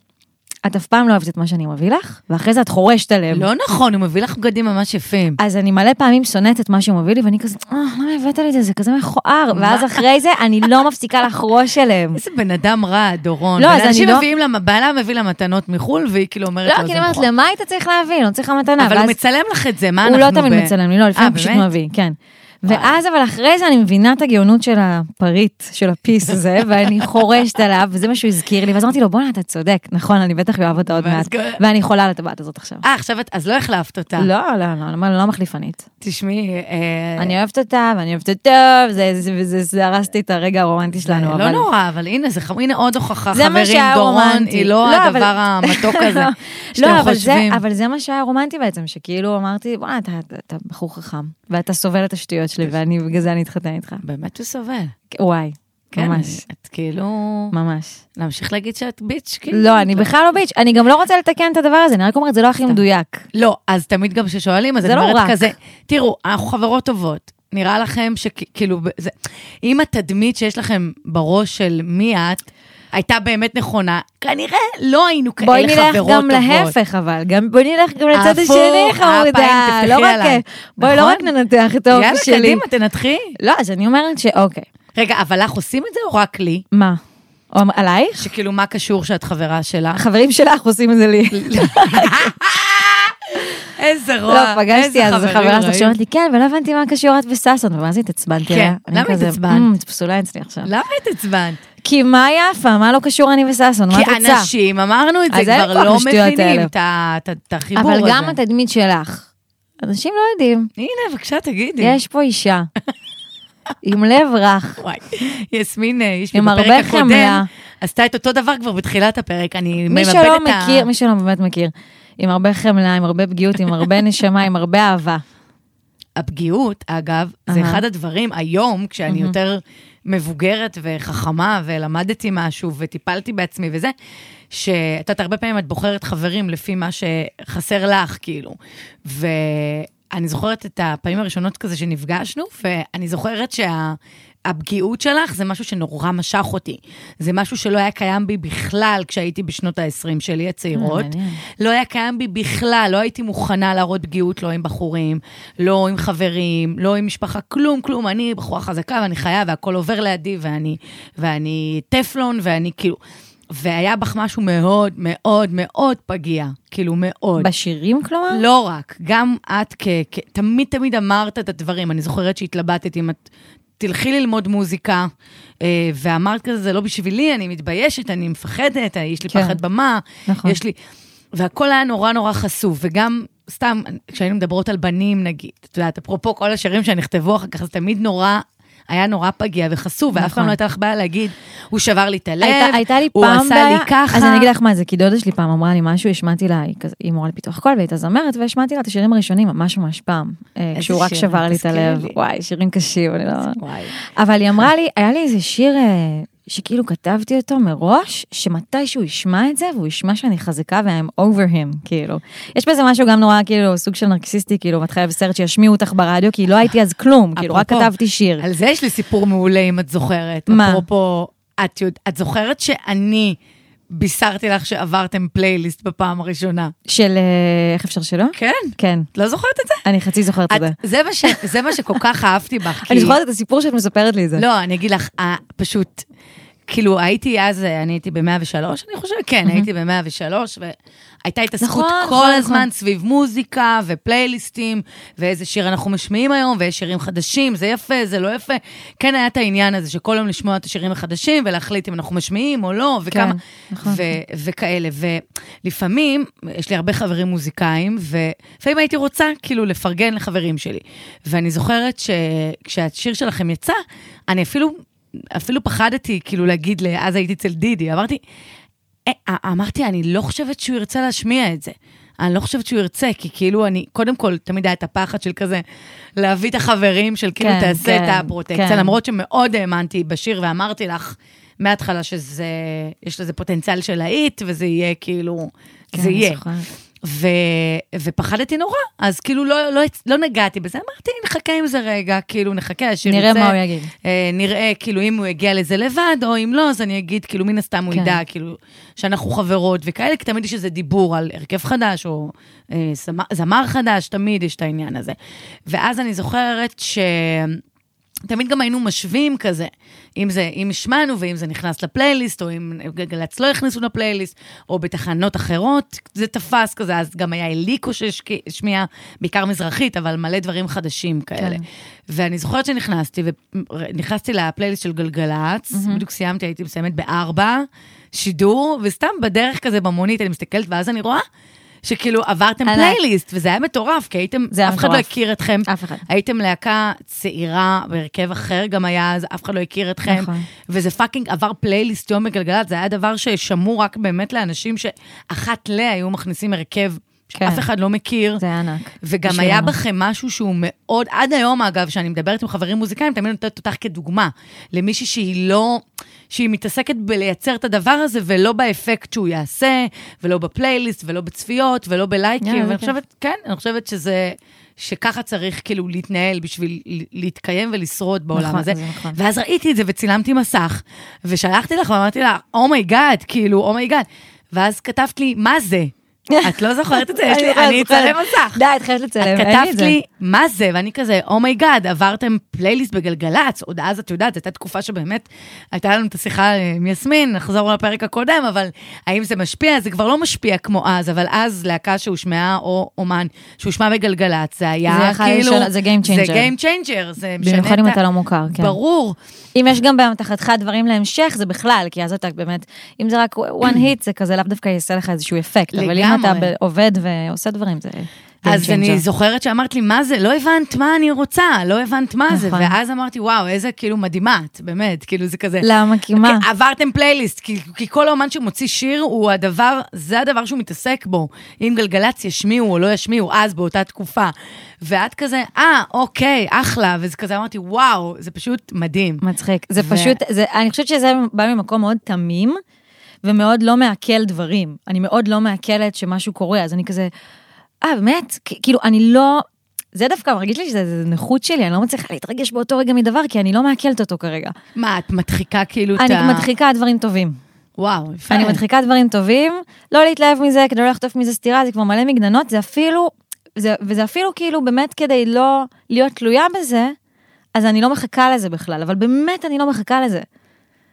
Speaker 2: את אף פעם לא אוהבת את מה שאני מביא לך, ואחרי זה את חורשת עליהם.
Speaker 1: לא נכון, הוא מביא לך בגדים ממש יפים.
Speaker 2: אז אני מלא פעמים שונאת את מה שהוא מביא לי, ואני כזה, אה, למה הבאת לי את זה? זה כזה מכוער. ואז אחרי זה, אני לא מפסיקה לחרוש עליהם.
Speaker 1: איזה בן אדם רע, דורון.
Speaker 2: לא,
Speaker 1: בן
Speaker 2: אז אני
Speaker 1: אנשים
Speaker 2: לא-
Speaker 1: מביאים לה, בעלה מביא לה מתנות מחו"ל, והיא כאילו אומרת
Speaker 2: לא,
Speaker 1: לו,
Speaker 2: כי
Speaker 1: "זה
Speaker 2: אני אומרת,
Speaker 1: מכוער".
Speaker 2: למה היית צריך להביא? לא צריך לך מתנה.
Speaker 1: אבל הוא
Speaker 2: ואז-
Speaker 1: מצלם לך את זה, מה
Speaker 2: הוא
Speaker 1: אנחנו
Speaker 2: לא תמיד
Speaker 1: ב-
Speaker 2: מצלם לי, לא,
Speaker 1: אה,
Speaker 2: לפעמים הוא פשוט
Speaker 1: באמת?
Speaker 2: מביא, כן. ואז, אבל אחרי זה אני מבינה את הגאונות של הפריט, של הפיס הזה, ואני חורשת עליו, וזה מה שהוא הזכיר לי, ואז אמרתי לו, בואנה, אתה צודק, נכון, אני בטח אוהב אותה עוד
Speaker 1: ואז
Speaker 2: מעט,
Speaker 1: גם-
Speaker 2: ואני חולה על הטבעת הזאת עכשיו.
Speaker 1: אה, עכשיו את, אז לא החלפת אותה.
Speaker 2: לא, לא, לא, לא, לא מחליפנית.
Speaker 1: תשמעי, אה,
Speaker 2: אני אוהבת אותה, ואני אוהבת אותה, וזה- זה- וזה זה הרס לי את הרגע הרומנטי שלנו,
Speaker 1: לא
Speaker 2: אבל...
Speaker 1: נורא, אבל הנה, זה חמור, הנה עוד הוכחה,
Speaker 2: זה מה
Speaker 1: חברים,
Speaker 2: שהיה
Speaker 1: דורון
Speaker 2: רומנטי.
Speaker 1: היא לא
Speaker 2: לא, אבל-
Speaker 1: הדבר המתוק הזה.
Speaker 2: לא,
Speaker 1: שאתם
Speaker 2: אבל זה,
Speaker 1: חושבים.
Speaker 2: אבל זה מה שהיה רומנטי בעצם, שכאילו אמרתי, בואנה, אתה, אתה, אתה בחור חכם, ואתה סובל את השטויות שלי,
Speaker 1: כן.
Speaker 2: ואני בגלל זה אני אתחתן איתך.
Speaker 1: באמת הוא סובל.
Speaker 2: וואי,
Speaker 1: כן,
Speaker 2: ממש,
Speaker 1: את כאילו...
Speaker 2: ממש.
Speaker 1: להמשיך להגיד שאת ביץ', כאילו?
Speaker 2: לא, אני בכלל לא ביץ', אני גם לא רוצה לתקן את הדבר הזה, אני רק אומרת, זה לא הכי מדויק.
Speaker 1: לא, אז תמיד גם כששואלים, אז
Speaker 2: זה
Speaker 1: אני
Speaker 2: לא
Speaker 1: אומרת
Speaker 2: רק.
Speaker 1: כזה, תראו, אנחנו חברות טובות. נראה לכם שכאילו, זה... אם התדמית שיש לכם בראש של מי את, הייתה באמת נכונה, כנראה לא היינו כאלה
Speaker 2: בואי
Speaker 1: חברות טובות.
Speaker 2: נלך גם להפך, אבל, גם, בואי נלך גם לצד
Speaker 1: הפוך,
Speaker 2: השני, חמודה,
Speaker 1: הפעם
Speaker 2: לא
Speaker 1: תפתחי
Speaker 2: רק,
Speaker 1: עליי.
Speaker 2: בואי לא
Speaker 1: נכון?
Speaker 2: רק ננתח את האופי
Speaker 1: יאללה,
Speaker 2: שלי.
Speaker 1: קדימה, תנתחי.
Speaker 2: לא, אז אני אומרת שאוקיי,
Speaker 1: רגע, אבל לך עושים את זה או רק לי?
Speaker 2: מה? או- עלייך?
Speaker 1: שכאילו, מה קשור שאת חברה שלך?
Speaker 2: החברים שלך עושים את זה לי.
Speaker 1: איזה רוע,
Speaker 2: לא, פגשתי אז חברה שלך שאומרת לי, כן, ולא הבנתי מה קשור את וששון, ומה זה התעצבנתי
Speaker 1: כן,
Speaker 2: עליה. אני
Speaker 1: למה
Speaker 2: כזה,
Speaker 1: התעצבנת?
Speaker 2: "מ, את פסולה אצלי עכשיו.
Speaker 1: למה התעצבנת?
Speaker 2: כי מה יפה, מה לא קשור אני וששון, מה את
Speaker 1: כי
Speaker 2: רוצה?
Speaker 1: אנשים, אמרנו את זה,
Speaker 2: אז אין
Speaker 1: כבר
Speaker 2: כוח
Speaker 1: לא
Speaker 2: לשטויות
Speaker 1: מבינים
Speaker 2: האלה.
Speaker 1: את ה- את ה- את החיבור
Speaker 2: אבל
Speaker 1: הזה.
Speaker 2: גם התדמית שלך. אנשים לא יודעים,
Speaker 1: הנה, בבקשה, תגידי.
Speaker 2: יש פה אישה. עם לב רך.
Speaker 1: וואי, יסמין, אה, יש לי
Speaker 2: עם
Speaker 1: בפרק
Speaker 2: הרבה
Speaker 1: הקודם,
Speaker 2: חמלה.
Speaker 1: עשתה את אותו דבר כבר בתחילת הפרק, אני
Speaker 2: מי
Speaker 1: ממפדת את ה...
Speaker 2: שלא מכיר, מי שלא באמת מכיר, עם הרבה חמלה, עם הרבה פגיעות, עם הרבה נשמה, עם הרבה אהבה.
Speaker 1: הפגיעות, אגב, זה
Speaker 2: אהה.
Speaker 1: אחד הדברים היום, כשאני יותר מבוגרת וחכמה, ולמדתי משהו, וטיפלתי בעצמי וזה, שאת יודעת, הרבה פעמים את בוחרת חברים לפי מה שחסר לך, כאילו. ואני זוכרת את הפעמים הראשונות כזה שנפגשנו, ואני זוכרת שה... הפגיעות שלך זה משהו שנורא משך אותי. זה משהו שלא היה קיים בי בכלל כשהייתי בשנות ה-20 שלי, הצעירות.
Speaker 2: אה, מעניין.
Speaker 1: לא היה קיים בי בכלל, לא הייתי מוכנה להראות פגיעות, לא עם בחורים, לא עם חברים, לא עם משפחה, כלום, כלום. אני בחורה חזקה ואני חיה והכל עובר לידי ואני, ואני טפלון ואני כאילו... והיה בך משהו מאוד מאוד מאוד פגיע, כאילו מאוד.
Speaker 2: בשירים כלומר?
Speaker 1: לא רק, גם את כ... כ... תמיד תמיד אמרת את הדברים, אני זוכרת שהתלבטת אם את... תלכי ללמוד מוזיקה, אה, ואמרת כזה, זה לא בשבילי, אני מתביישת, אני מפחדת, אה, יש לי
Speaker 2: כן.
Speaker 1: פחד במה,
Speaker 2: נכון.
Speaker 1: יש לי... והכל היה נורא נורא חשוף, וגם סתם, כשהיינו מדברות על בנים נגיד, את יודעת, אפרופו כל השירים שנכתבו אחר כך, זה תמיד נורא... היה נורא פגיע וחשוף, ואף פעם
Speaker 2: נכון.
Speaker 1: לא הייתה לך בעיה להגיד, הוא שבר לי את הלב,
Speaker 2: הייתה- הייתה לי
Speaker 1: הוא
Speaker 2: פעם
Speaker 1: עשה
Speaker 2: בעיה,
Speaker 1: לי ככה.
Speaker 2: אז אני אגיד לך מה זה, כי דודה שלי פעם אמרה לי משהו, השמעתי לה, היא כזה- היא מורה לפיתוח קול והייתה זמרת, והשמעתי לה את השירים הראשונים ממש ממש פעם. אה, כשהוא רק
Speaker 1: שירים?
Speaker 2: שבר לי את
Speaker 1: תזכירי
Speaker 2: הלב,
Speaker 1: לי.
Speaker 2: וואי, שירים קשים, אני לא...
Speaker 1: וואי.
Speaker 2: אבל היא אמרה לי, היה לי איזה שיר אה, שכאילו כתבתי אותו מראש, שמתי שהוא ישמע את זה, והוא ישמע שאני חזקה והם over him, כאילו. יש בזה משהו גם נורא, כאילו, סוג של נרקסיסטי, כאילו, מתחילה בסרט שישמיעו אותך ברדיו, כי לא הייתי אז כלום, כאילו, רק
Speaker 1: אפרופו,
Speaker 2: כתבתי שיר.
Speaker 1: על זה יש לי סיפור מעולה, אם את זוכרת.
Speaker 2: מה?
Speaker 1: אפרופו, את, יודע, את זוכרת שאני בישרתי לך שעברתם פלייליסט בפעם הראשונה.
Speaker 2: של אה, איך אפשר שלא?
Speaker 1: כן?
Speaker 2: כן,
Speaker 1: את לא זוכרת את זה?
Speaker 2: אני חצי זוכרת את זה.
Speaker 1: את, זה, מה ש, זה מה שכל כך אהבתי בך. כי-
Speaker 2: אני זוכרת את הסיפור שאת מספרת לי את זה.
Speaker 1: לא, אני אגיד לך, אה, פשוט, כאילו, הייתי אז, אה, אני הייתי ב-103, אני חושבת, כן, הייתי ב-103, והייתה התעסקות
Speaker 2: נכון,
Speaker 1: כל
Speaker 2: נכון,
Speaker 1: הזמן
Speaker 2: נכון.
Speaker 1: סביב מוזיקה ופלייליסטים, ואיזה שיר אנחנו משמיעים היום, ויש שירים חדשים, זה יפה, זה לא יפה. כן, היה את העניין הזה שכל יום לשמוע את השירים החדשים, ולהחליט אם אנחנו משמיעים או לא, וכמה,
Speaker 2: כן, נכון.
Speaker 1: ו- וכאלה. ולפעמים, יש לי הרבה חברים מוזיקאים, ולפעמים הייתי רוצה כאילו לפרגן לחברים שלי. ואני זוכרת שכשהשיר שלכם יצא, אני אפילו, אפילו פחדתי כאילו להגיד, ל- אז הייתי אצל דידי, אמרתי, אה, אמרתי, אני לא חושבת שהוא ירצה להשמיע את זה. אני לא חושבת שהוא ירצה, כי כאילו אני, קודם כל, תמיד היה את הפחד של כזה, להביא את החברים של כאילו
Speaker 2: כן,
Speaker 1: תעשה
Speaker 2: כן,
Speaker 1: את הפרוטקציה,
Speaker 2: כן.
Speaker 1: למרות שמאוד האמנתי בשיר ואמרתי לך מההתחלה שזה, יש לזה פוטנציאל של להיט, וזה יהיה כאילו,
Speaker 2: כן,
Speaker 1: זה
Speaker 2: אני
Speaker 1: יהיה.
Speaker 2: זוכרת.
Speaker 1: ו, ופחדתי נורא, אז כאילו לא, לא, הצ- לא נגעתי בזה, אמרתי, נחכה עם זה רגע, כאילו נחכה, השיר
Speaker 2: נראה
Speaker 1: יצא.
Speaker 2: מה הוא יגיד.
Speaker 1: אה, נראה, כאילו, אם הוא יגיע לזה לבד, או אם לא, אז אני אגיד, כאילו, מן הסתם הוא
Speaker 2: כן.
Speaker 1: ידע, כאילו, שאנחנו חברות וכאלה, כי תמיד יש איזה דיבור על הרכב חדש, או אה, זמר- זמר חדש, תמיד יש את העניין הזה. ואז אני זוכרת ש... תמיד גם היינו משווים כזה, אם זה, אם השמענו ואם זה נכנס לפלייליסט, או אם גלגלצ לא הכניסו לפלייליסט, או בתחנות אחרות, זה תפס כזה, אז גם היה אליקו שהשמיע, בעיקר מזרחית, אבל מלא דברים חדשים כאלה.
Speaker 2: כן.
Speaker 1: ואני זוכרת שנכנסתי, ונכנסתי לפלייליסט של גלגלצ,
Speaker 2: מהמם.
Speaker 1: בדיוק סיימתי, הייתי מסיימת בארבע, שידור, וסתם בדרך כזה במונית, אני מסתכלת, ואז אני רואה שכאילו עברתם
Speaker 2: ענק.
Speaker 1: פלייליסט, וזה היה מטורף, כי הייתם,
Speaker 2: זה היה
Speaker 1: אף אחד לא
Speaker 2: מטורף.
Speaker 1: הכיר אתכם.
Speaker 2: אף אחד.
Speaker 1: הייתם להקה צעירה בהרכב אחר גם היה, אז אף אחד לא הכיר אתכם.
Speaker 2: נכון.
Speaker 1: וזה פאקינג עבר פלייליסט יום בגלגלצ, זה היה דבר ששמעו רק באמת לאנשים שאחת ל היו מכניסים הרכב
Speaker 2: כן.
Speaker 1: שאף אחד לא מכיר.
Speaker 2: זה היה ענק.
Speaker 1: וגם
Speaker 2: בשבילנו.
Speaker 1: היה בכם משהו שהוא מאוד, עד היום אגב, שאני מדברת עם חברים מוזיקאים, תמיד נותנת אותך כדוגמה, למישהי שהיא לא, שהיא מתעסקת בלייצר את הדבר הזה, ולא באפקט שהוא יעשה, ולא בפלייליסט, ולא בצפיות, ולא
Speaker 2: יאללה,
Speaker 1: בלייקים,
Speaker 2: זה
Speaker 1: ואני
Speaker 2: כיף.
Speaker 1: חושבת, כן, אני חושבת שזה, שככה צריך כאילו להתנהל בשביל ל- להתקיים ולשרוד בעולם
Speaker 2: נכון,
Speaker 1: הזה.
Speaker 2: זה נכון.
Speaker 1: ואז ראיתי את זה וצילמתי מסך, ושלחתי לך ואמרתי לה, אומייגאד, כאילו, אומייגאד. ואז כתבת לי, מה זה? את לא זוכרת את זה? יש לי,
Speaker 2: זוכרת,
Speaker 1: אני
Speaker 2: זוכרת.
Speaker 1: אצלם מסך.
Speaker 2: די, את חייבת לצלם, אין
Speaker 1: את
Speaker 2: לי את
Speaker 1: כתבת
Speaker 2: זה.
Speaker 1: לי, מה זה? ואני כזה, אומייגאד, עברתם פלייליסט בגלגלצ, עוד אז את יודעת, זו הייתה תקופה שבאמת, הייתה לנו את השיחה אה, עם יסמין, נחזור לפרק הקודם, אבל האם זה משפיע? זה כבר לא משפיע כמו אז, אבל אז להקה שהושמעה, או אומן שהושמע בגלגלצ, זה היה
Speaker 2: זה יכול
Speaker 1: כאילו...
Speaker 2: לשנות, זה game changer.
Speaker 1: זה Game Changer, זה משנה
Speaker 2: במיוחד
Speaker 1: את
Speaker 2: אם
Speaker 1: ה-
Speaker 2: אתה לא מוכר, כן.
Speaker 1: ברור.
Speaker 2: אם יש גם באמתחתך דברים להמשך, זה בכלל, כי אז אתה באמת, אם זה רק one hit, זה כזה לאו דווקא יעשה לך איזשהו אפקט, אבל אם אתה
Speaker 1: לגמרי.
Speaker 2: ב- עובד ועושה דברים, זה...
Speaker 1: אז
Speaker 2: game changer.
Speaker 1: אני זוכרת שאמרת לי, מה זה? לא הבנת מה אני רוצה, לא הבנת מה זה.
Speaker 2: נכון.
Speaker 1: ואז אמרתי, וואו, איזה כאילו מדהימה את, באמת, כאילו זה כזה...
Speaker 2: למה? כי מה?
Speaker 1: כי עברתם פלייליסט, כי, כי כל אומן שמוציא שיר הוא הדבר, זה הדבר שהוא מתעסק בו. אם גלגלצ ישמיעו או לא ישמיעו, אז באותה תקופה. ואת כזה, אה, אוקיי, אחלה, וזה כזה אמרתי, וואו, זה פשוט מדהים.
Speaker 2: מצחיק. זה
Speaker 1: ו-
Speaker 2: פשוט, זה- אני חושבת שזה בא ממקום מאוד תמים, ומאוד לא מעכל דברים. אני מאוד לא מעכלת שמשהו קורה, אז אני כזה, אה, באמת? כ- כאילו, אני לא... זה דווקא מרגיש לי שזה זה נכות שלי, אני לא מצליחה להתרגש באותו רגע מדבר, כי אני לא מעכלת אותו כרגע.
Speaker 1: מה, את מדחיקה כאילו את
Speaker 2: אני
Speaker 1: ה...
Speaker 2: מדחיקה דברים טובים.
Speaker 1: וואו, יפה.
Speaker 2: אני מדחיקה דברים טובים, לא להתלהב מזה, כדי לא לחטוף מזה סטירה, זה כבר מלא מגננות, זה אפילו, זה, וזה אפילו כאילו באמת כדי לא להיות תלויה בזה, אז אני לא מחכה לזה בכלל, אבל באמת אני לא מחכה לזה.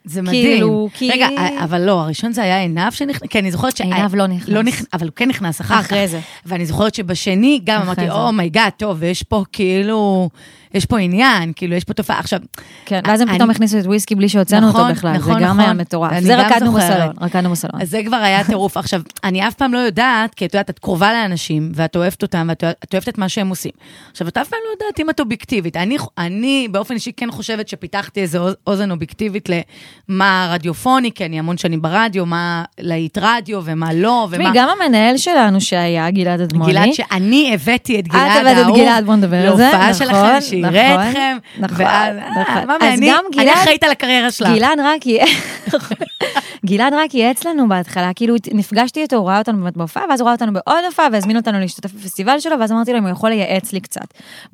Speaker 1: זה מדהים.
Speaker 2: כאילו, כי-
Speaker 1: רגע, אבל לא, הראשון זה היה עינב שנכנס, כי אני זוכרת ש...
Speaker 2: עינב לא נכנס.
Speaker 1: לא נכנס, אבל הוא כן נכנס אחר כך.
Speaker 2: אחרי זה.
Speaker 1: ואני זוכרת שבשני גם
Speaker 2: אחרי
Speaker 1: אמרתי,
Speaker 2: זה.
Speaker 1: אומייגאד, טוב, יש פה כאילו, יש פה עניין, כאילו, יש פה תופעה. עכשיו,
Speaker 2: כן, ואז הם
Speaker 1: אני-
Speaker 2: פתאום הכניסו את וויסקי בלי שהוצאנו
Speaker 1: נכון,
Speaker 2: אותו בכלל, זה
Speaker 1: נכון,
Speaker 2: גם
Speaker 1: נכון.
Speaker 2: היה מטורף.
Speaker 1: אני
Speaker 2: זה
Speaker 1: גם
Speaker 2: רקדנו
Speaker 1: זוכרת.
Speaker 2: בסלון, רקדנו בסלון.
Speaker 1: אז זה כבר היה טירוף. עכשיו, אני אף פעם לא יודעת, כי את יודעת, את קרובה לאנשים, ואת אוהבת אותם, ואת את אוהבת את מה שהם עושים. עכשיו, את אף פעם לא יודעת אם את אובייקטיבית. אני, אני באופן אישי כן חושבת שפיתחתי איזו אוז- אוזן אובייקטיבית למה רדיופוני, כי אני המון שנים ברדיו, מה להיט רדיו ומה לא,
Speaker 2: תשמעי,
Speaker 1: ומה...
Speaker 2: גם המנהל שלנו שהיה, גלעד אדמוני,
Speaker 1: גלעד, שאני הבאתי את גלעד
Speaker 2: את
Speaker 1: האהוב.
Speaker 2: הבאת את גלעד, בוא נדבר על זה.
Speaker 1: להופעה
Speaker 2: נכון,
Speaker 1: שלכם, שיראה
Speaker 2: נכון,
Speaker 1: אתכם.
Speaker 2: נכון,
Speaker 1: ואז,
Speaker 2: נכון.
Speaker 1: אה, מה
Speaker 2: אז
Speaker 1: מעניין?
Speaker 2: גם
Speaker 1: אני
Speaker 2: גלעד-
Speaker 1: אחראית על הקריירה שלך.
Speaker 2: גלעד רק י- גלעד רק ייעץ לנו בהתחלה, כאילו נפגשתי איתו, הוא ראה אותנו באמת בהופעה, ואז הוא ראה אותנו בעוד הופעה, והזמין אותנו להשתתף בפסטיבל שלו, ואז אמרתי לו אם הוא יכול לייעץ לי קצת.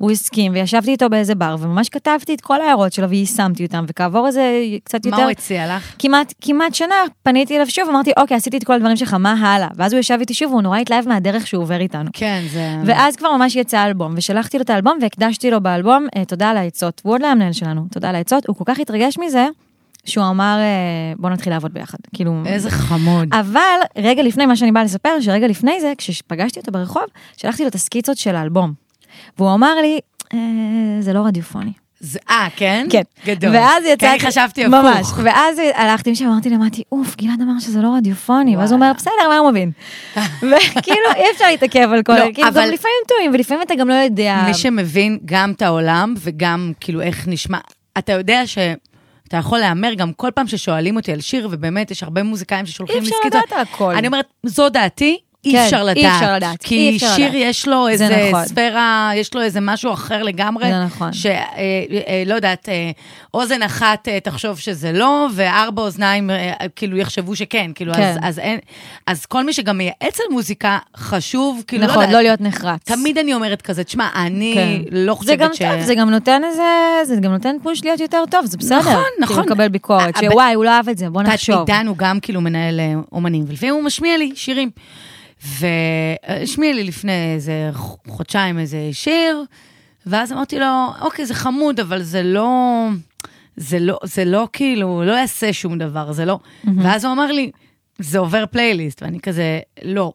Speaker 2: והוא הסכים, וישבתי איתו באיזה בר, וממש כתבתי את כל ההערות שלו, ויישמתי אותן, וכעבור איזה קצת יותר...
Speaker 1: מה הוא הציע לך?
Speaker 2: כמעט, כמעט שנה פניתי אליו שוב, אמרתי, אוקיי, עשיתי את כל הדברים שלך, מה הלאה? ואז הוא ישב איתי שוב, והוא נורא התלהב מהדרך שהוא עובר איתנו.
Speaker 1: כן, זה...
Speaker 2: ואז כבר ממש יצא אלבום, ושלחתי לו את האלבום והקדשתי לו באלבום, אה, תודה על העצות. הוא עוד לא היה המנהל שלנו, תודה על העצות. הוא כל כך התרגש מזה, שהוא אמר, אה, בוא נתחיל לעבוד ביחד. כאילו...
Speaker 1: איזה חמוד.
Speaker 2: אבל רגע לפני, מה שאני באה לספר, שרגע לפני זה, כשפגשתי אותו ברחוב, שלחתי לו את הסקיצות של האלבום. והוא אמר לי, "אה, זה לא רדיופוני.
Speaker 1: זה- אה, כן?
Speaker 2: כן.
Speaker 1: גדול.
Speaker 2: ואז יצאתי...
Speaker 1: כי אני חשבתי הפוך.
Speaker 2: ממש. ואז הלכתי משם, אמרתי להם, אמרתי, אוף, גלעד אמר שזה לא רדיופוני. ואז הוא אומר,
Speaker 1: וואלה.
Speaker 2: בסדר, מה הוא מבין? וכאילו, אי אפשר להתעכב על כל...
Speaker 1: לא,
Speaker 2: כאילו,
Speaker 1: אבל-
Speaker 2: גם לפעמים טועים, ולפעמים אתה גם לא יודע.
Speaker 1: מי שמבין גם את העולם וגם כאילו איך נשמע, אתה יודע ש... אתה יכול להמר גם כל פעם ששואלים אותי על שיר, ובאמת יש הרבה מוזיקאים ששולחים
Speaker 2: אי
Speaker 1: לי
Speaker 2: אפשר
Speaker 1: סקיצות.
Speaker 2: לדעת על הכל.
Speaker 1: אני אומרת, זו דעתי, אי
Speaker 2: כן,
Speaker 1: אפשר לדעת.
Speaker 2: אי אפשר לדעת, אי
Speaker 1: כי
Speaker 2: אפשר
Speaker 1: שיר
Speaker 2: לדעת.
Speaker 1: יש לו
Speaker 2: זה
Speaker 1: איזה
Speaker 2: נכון.
Speaker 1: ספירה, יש לו איזה משהו אחר לגמרי.
Speaker 2: זה נכון.
Speaker 1: שלא אה, אה, לא יודעת, אה, אוזן אחת אה, תחשוב שזה לא, וארבע אוזניים אה, אה, כאילו יחשבו שכן. כאילו,
Speaker 2: כן.
Speaker 1: אז, אז, אין, אז כל מי שגם מייעץ על מוזיקה, חשוב, כאילו,
Speaker 2: נכון,
Speaker 1: יודעת.
Speaker 2: לא להיות נחרץ.
Speaker 1: תמיד אני אומרת כזה, תשמע, אני
Speaker 2: כן.
Speaker 1: לא
Speaker 2: זה גם
Speaker 1: חושבת ש...
Speaker 2: טוב, זה גם נותן איזה, זה גם נותן פוש להיות יותר טוב, זה בסדר.
Speaker 1: נכון, נכון.
Speaker 2: כאילו לקבל ביקורת,
Speaker 1: ה-
Speaker 2: שוואי, הוא לא אהב את זה, בוא נחשוב.
Speaker 1: תת-עידן הוא גם כאילו מנהל אה, אומנים, ולפעמים הוא משמיע לי שירים. אה, והשמיע לי לפני איזה ח- חודשיים איזה שיר, ואז אמרתי לו, אוקיי, זה חמוד, אבל זה לא... זה לא, זה לא כאילו, לא יעשה שום דבר, זה לא... Mm-hmm. ואז הוא אמר לי, זה עובר פלייליסט, ואני כזה, לא.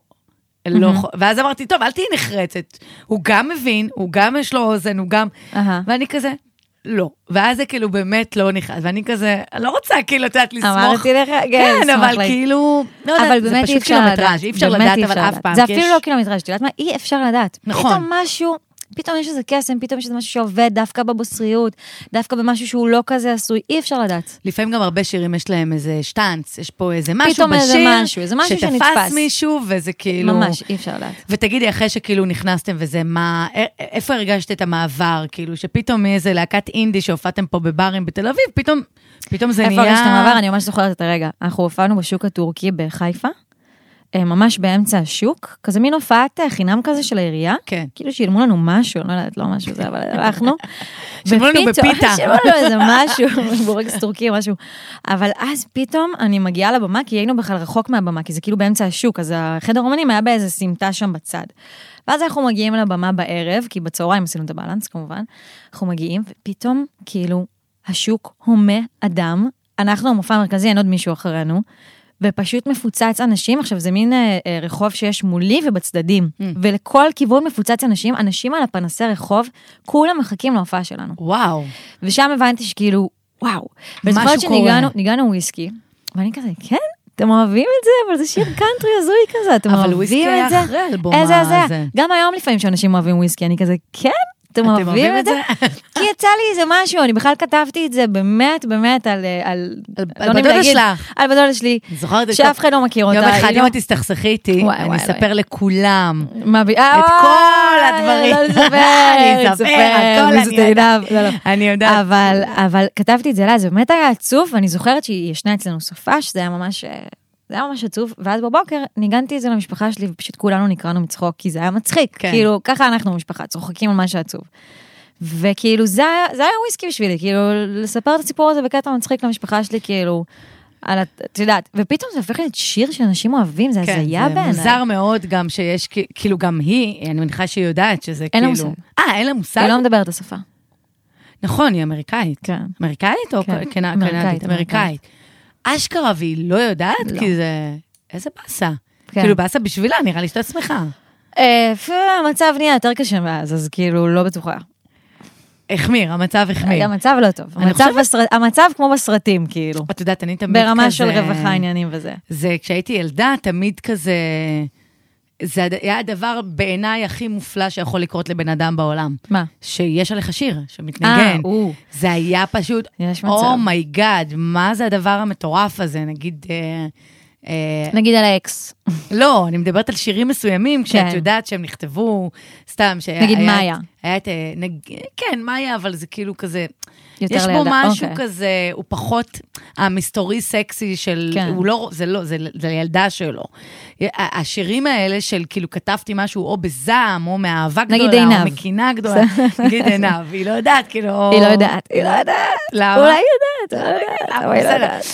Speaker 1: לא, יכול." ואז אמרתי, טוב, אל תהיי נחרצת. הוא גם מבין, הוא גם יש לו אוזן, הוא גם...
Speaker 2: אהה.
Speaker 1: ואני כזה, לא. ואז זה כאילו באמת לא נכנס, ואני כזה, אני לא רוצה כאילו, את יודעת, לסמוך.
Speaker 2: אמרתי לך, כן,
Speaker 1: כן,
Speaker 2: לסמוך
Speaker 1: אבל
Speaker 2: לי.
Speaker 1: כאילו, לא
Speaker 2: אבל
Speaker 1: יודעת, זה
Speaker 2: באמת אי
Speaker 1: פשוט
Speaker 2: אפשר לדעת.
Speaker 1: קילומטראז', אי אפשר
Speaker 2: באמת
Speaker 1: לדעת,
Speaker 2: אי
Speaker 1: אבל
Speaker 2: אפשר
Speaker 1: אף
Speaker 2: לדעת.
Speaker 1: פעם,
Speaker 2: זה
Speaker 1: כי
Speaker 2: אפילו
Speaker 1: יש-
Speaker 2: לא קילומטראז', את יודעת מה? אי אפשר לדעת.
Speaker 1: נכון.
Speaker 2: פתאום משהו, פתאום יש איזה קסם, פתאום יש איזה משהו שעובד דווקא בבוסריות, דווקא במשהו שהוא לא כזה עשוי, אי אפשר לדעת.
Speaker 1: לפעמים גם הרבה שירים יש להם איזה שטאנץ, יש פה איזה משהו
Speaker 2: פתאום
Speaker 1: בשיר,
Speaker 2: איזה משהו, איזה משהו
Speaker 1: שתפס
Speaker 2: שנתפס.
Speaker 1: מישהו, וזה כאילו...
Speaker 2: ממש, אי אפשר לדעת.
Speaker 1: ותגידי, אחרי שכאילו נכנסתם וזה, מה, א- א- איפה הרגשת את המעבר? כאילו, שפתאום מאיזה להקת אינדי שהופעתם פה בברים בתל אביב, פתאום, פתאום זה נהיה...
Speaker 2: איפה הרגשת מעבר? אני ממש זוכרת את הרגע. אנחנו הופענו בשוק הטורקי בחיפה, אה, ממש באמצע השוק, כזה מין הופעת אה, חינם כזה של העירייה.
Speaker 1: כן.
Speaker 2: כאילו שילמו לנו משהו, לא יודעת, לא משהו זה, אבל הלכנו.
Speaker 1: שילמו לנו
Speaker 2: ופתאום-
Speaker 1: בפיתה.
Speaker 2: שילמו לנו איזה משהו, בורגס טורקי או משהו. אבל אז פתאום אני מגיעה לבמה, כי היינו בכלל רחוק מהבמה, כי זה כאילו באמצע השוק, אז החדר אומנים היה באיזה סמטה שם בצד. ואז אנחנו מגיעים לבמה בערב, כי בצהריים עשינו את הבלנס כמובן, אנחנו מגיעים, ופתאום, כאילו, השוק הומה אדם, אנחנו המופע המרכזי, אין עוד מישהו אחרינו, ופשוט מפוצץ אנשים. עכשיו, זה מין אה, אה, רחוב שיש מולי ובצדדים, mm. ולכל כיוון מפוצץ אנשים, אנשים על הפנסי רחוב, כולם מחכים להופעה שלנו.
Speaker 1: וואו.
Speaker 2: ושם הבנתי שכאילו, וואו.
Speaker 1: משהו
Speaker 2: וזוכרת
Speaker 1: קורה.
Speaker 2: שניגענו וויסקי, ואני כזה, כן? אתם אוהבים את זה? אבל זה שיר קאנטרי הזוי כזה, אתם
Speaker 1: אבל
Speaker 2: אוהבים את זה?
Speaker 1: וויסקי היה אחרי האלבום
Speaker 2: איזה
Speaker 1: הזה.
Speaker 2: הזיה. גם היום לפעמים שאנשים אוהבים וויסקי, אני כזה, כן? אתם אוהבים את זה? כי יצא לי איזה משהו, אני בכלל כתבתי את זה באמת, באמת, על... אה, על
Speaker 1: על-
Speaker 2: לא
Speaker 1: על
Speaker 2: נעים
Speaker 1: בדודה
Speaker 2: להגיד,
Speaker 1: שלך.
Speaker 2: על בדודה שלי,
Speaker 1: זוכרת את
Speaker 2: שאף אחד לא מכיר אותה.
Speaker 1: יום אחד,
Speaker 2: היא
Speaker 1: אם
Speaker 2: לא-
Speaker 1: את תסתכסכי איתי,
Speaker 2: וואי,
Speaker 1: אני
Speaker 2: וואי,
Speaker 1: אספר לכולם.
Speaker 2: מה, ב- אה,
Speaker 1: את
Speaker 2: אוי,
Speaker 1: כל הדברים.
Speaker 2: לא לספר,
Speaker 1: אני אספר,
Speaker 2: לספר,
Speaker 1: הכל אני
Speaker 2: זאת
Speaker 1: יודעת.
Speaker 2: עינב, לא, לא.
Speaker 1: אני יודעת.
Speaker 2: אבל, אבל כתבתי את זה לה, זה באמת היה עצוב, ואני זוכרת שהיא ישנה אצלנו סופה, שזה היה ממש... אה, זה היה ממש עצוב, ואז בבוקר ניגנתי את זה למשפחה שלי, ופשוט כולנו נקרענו מצחוק, כי זה היה מצחיק.
Speaker 1: כן.
Speaker 2: כן. כאילו, ככה אנחנו במשפחה, צוחקים על מה שעצוב. וכאילו, זה, היה- זה היה וויסקי בשבילי, כאילו, לספר את הסיפור הזה בקטע מצחיק למשפחה שלי, כאילו, על, ה- את יודעת, ופתאום זה הופך להיות שיר שאנשים אוהבים, זה הזיה
Speaker 1: כן, זה
Speaker 2: בעיניי.
Speaker 1: מוזר מאוד גם שיש, כ- כאילו גם היא, אני מניחה שהיא יודעת שזה
Speaker 2: אין
Speaker 1: כאילו...
Speaker 2: לה מושג.
Speaker 1: אה, אין לה
Speaker 2: היא
Speaker 1: מושג?
Speaker 2: לא מדברת את השפה.
Speaker 1: נכון, היא אמריקאית.
Speaker 2: כן.
Speaker 1: אמריקאית או
Speaker 2: כן,
Speaker 1: כן, כן,
Speaker 2: אמריקאית,
Speaker 1: אמריקאית? אמריקאית.
Speaker 2: אמריקאית.
Speaker 1: אשכרה והיא לא יודעת?
Speaker 2: לא.
Speaker 1: כי זה... איזה באסה.
Speaker 2: כן.
Speaker 1: כאילו באסה בשבילה, נראה לי שאתה שמחה.
Speaker 2: אה, פ- המצב נהיה יותר קשה מאז, אז כאילו, לא בטוחה.
Speaker 1: החמיר, המצב החמיר.
Speaker 2: המצב לא טוב.
Speaker 1: אני
Speaker 2: המצב
Speaker 1: חושבת-
Speaker 2: בסרט- המצב כמו בסרטים, כאילו.
Speaker 1: את יודעת, אני תמיד כזה...
Speaker 2: ברמה של רווחה עניינים וזה.
Speaker 1: זה כשהייתי ילדה, תמיד כזה... זה הד- היה הדבר בעיניי הכי מופלא שיכול לקרות לבן אדם בעולם.
Speaker 2: מה?
Speaker 1: שיש עליך שיר
Speaker 2: אה,
Speaker 1: שמתנגן.
Speaker 2: או.
Speaker 1: זה היה פשוט,
Speaker 2: יש מצב.
Speaker 1: אומייגאד, מה זה הדבר המטורף הזה? נגיד, אה, אה,
Speaker 2: נגיד על האקס.
Speaker 1: לא, אני מדברת על שירים מסוימים, כשאת
Speaker 2: כן.
Speaker 1: יודעת שהם נכתבו, סתם, שהיה...
Speaker 2: נגיד
Speaker 1: היה-
Speaker 2: מאיה.
Speaker 1: היה את... אה, נג- כן, מאיה, אבל זה כאילו כזה...
Speaker 2: יותר
Speaker 1: יש בו
Speaker 2: לילדה,
Speaker 1: משהו
Speaker 2: אוקיי.
Speaker 1: כזה, הוא פחות המסתורי סקסי של...
Speaker 2: כן.
Speaker 1: הוא לא... זה לא, זה זה לילדה שלו. ה- השירים האלה של כאילו כתבתי משהו או בזעם, או מאהבה
Speaker 2: נגיד
Speaker 1: גדולה, או
Speaker 2: עינב.
Speaker 1: מקינה גדולה, נגיד עינב, היא לא יודעת, כאילו...
Speaker 2: היא לא יודעת, היא לא יודעת.
Speaker 1: למה?
Speaker 2: אולי היא יודעת, אולי היא יודעת,
Speaker 1: אבל
Speaker 2: אבל היא לא
Speaker 1: בסדר.
Speaker 2: יודעת.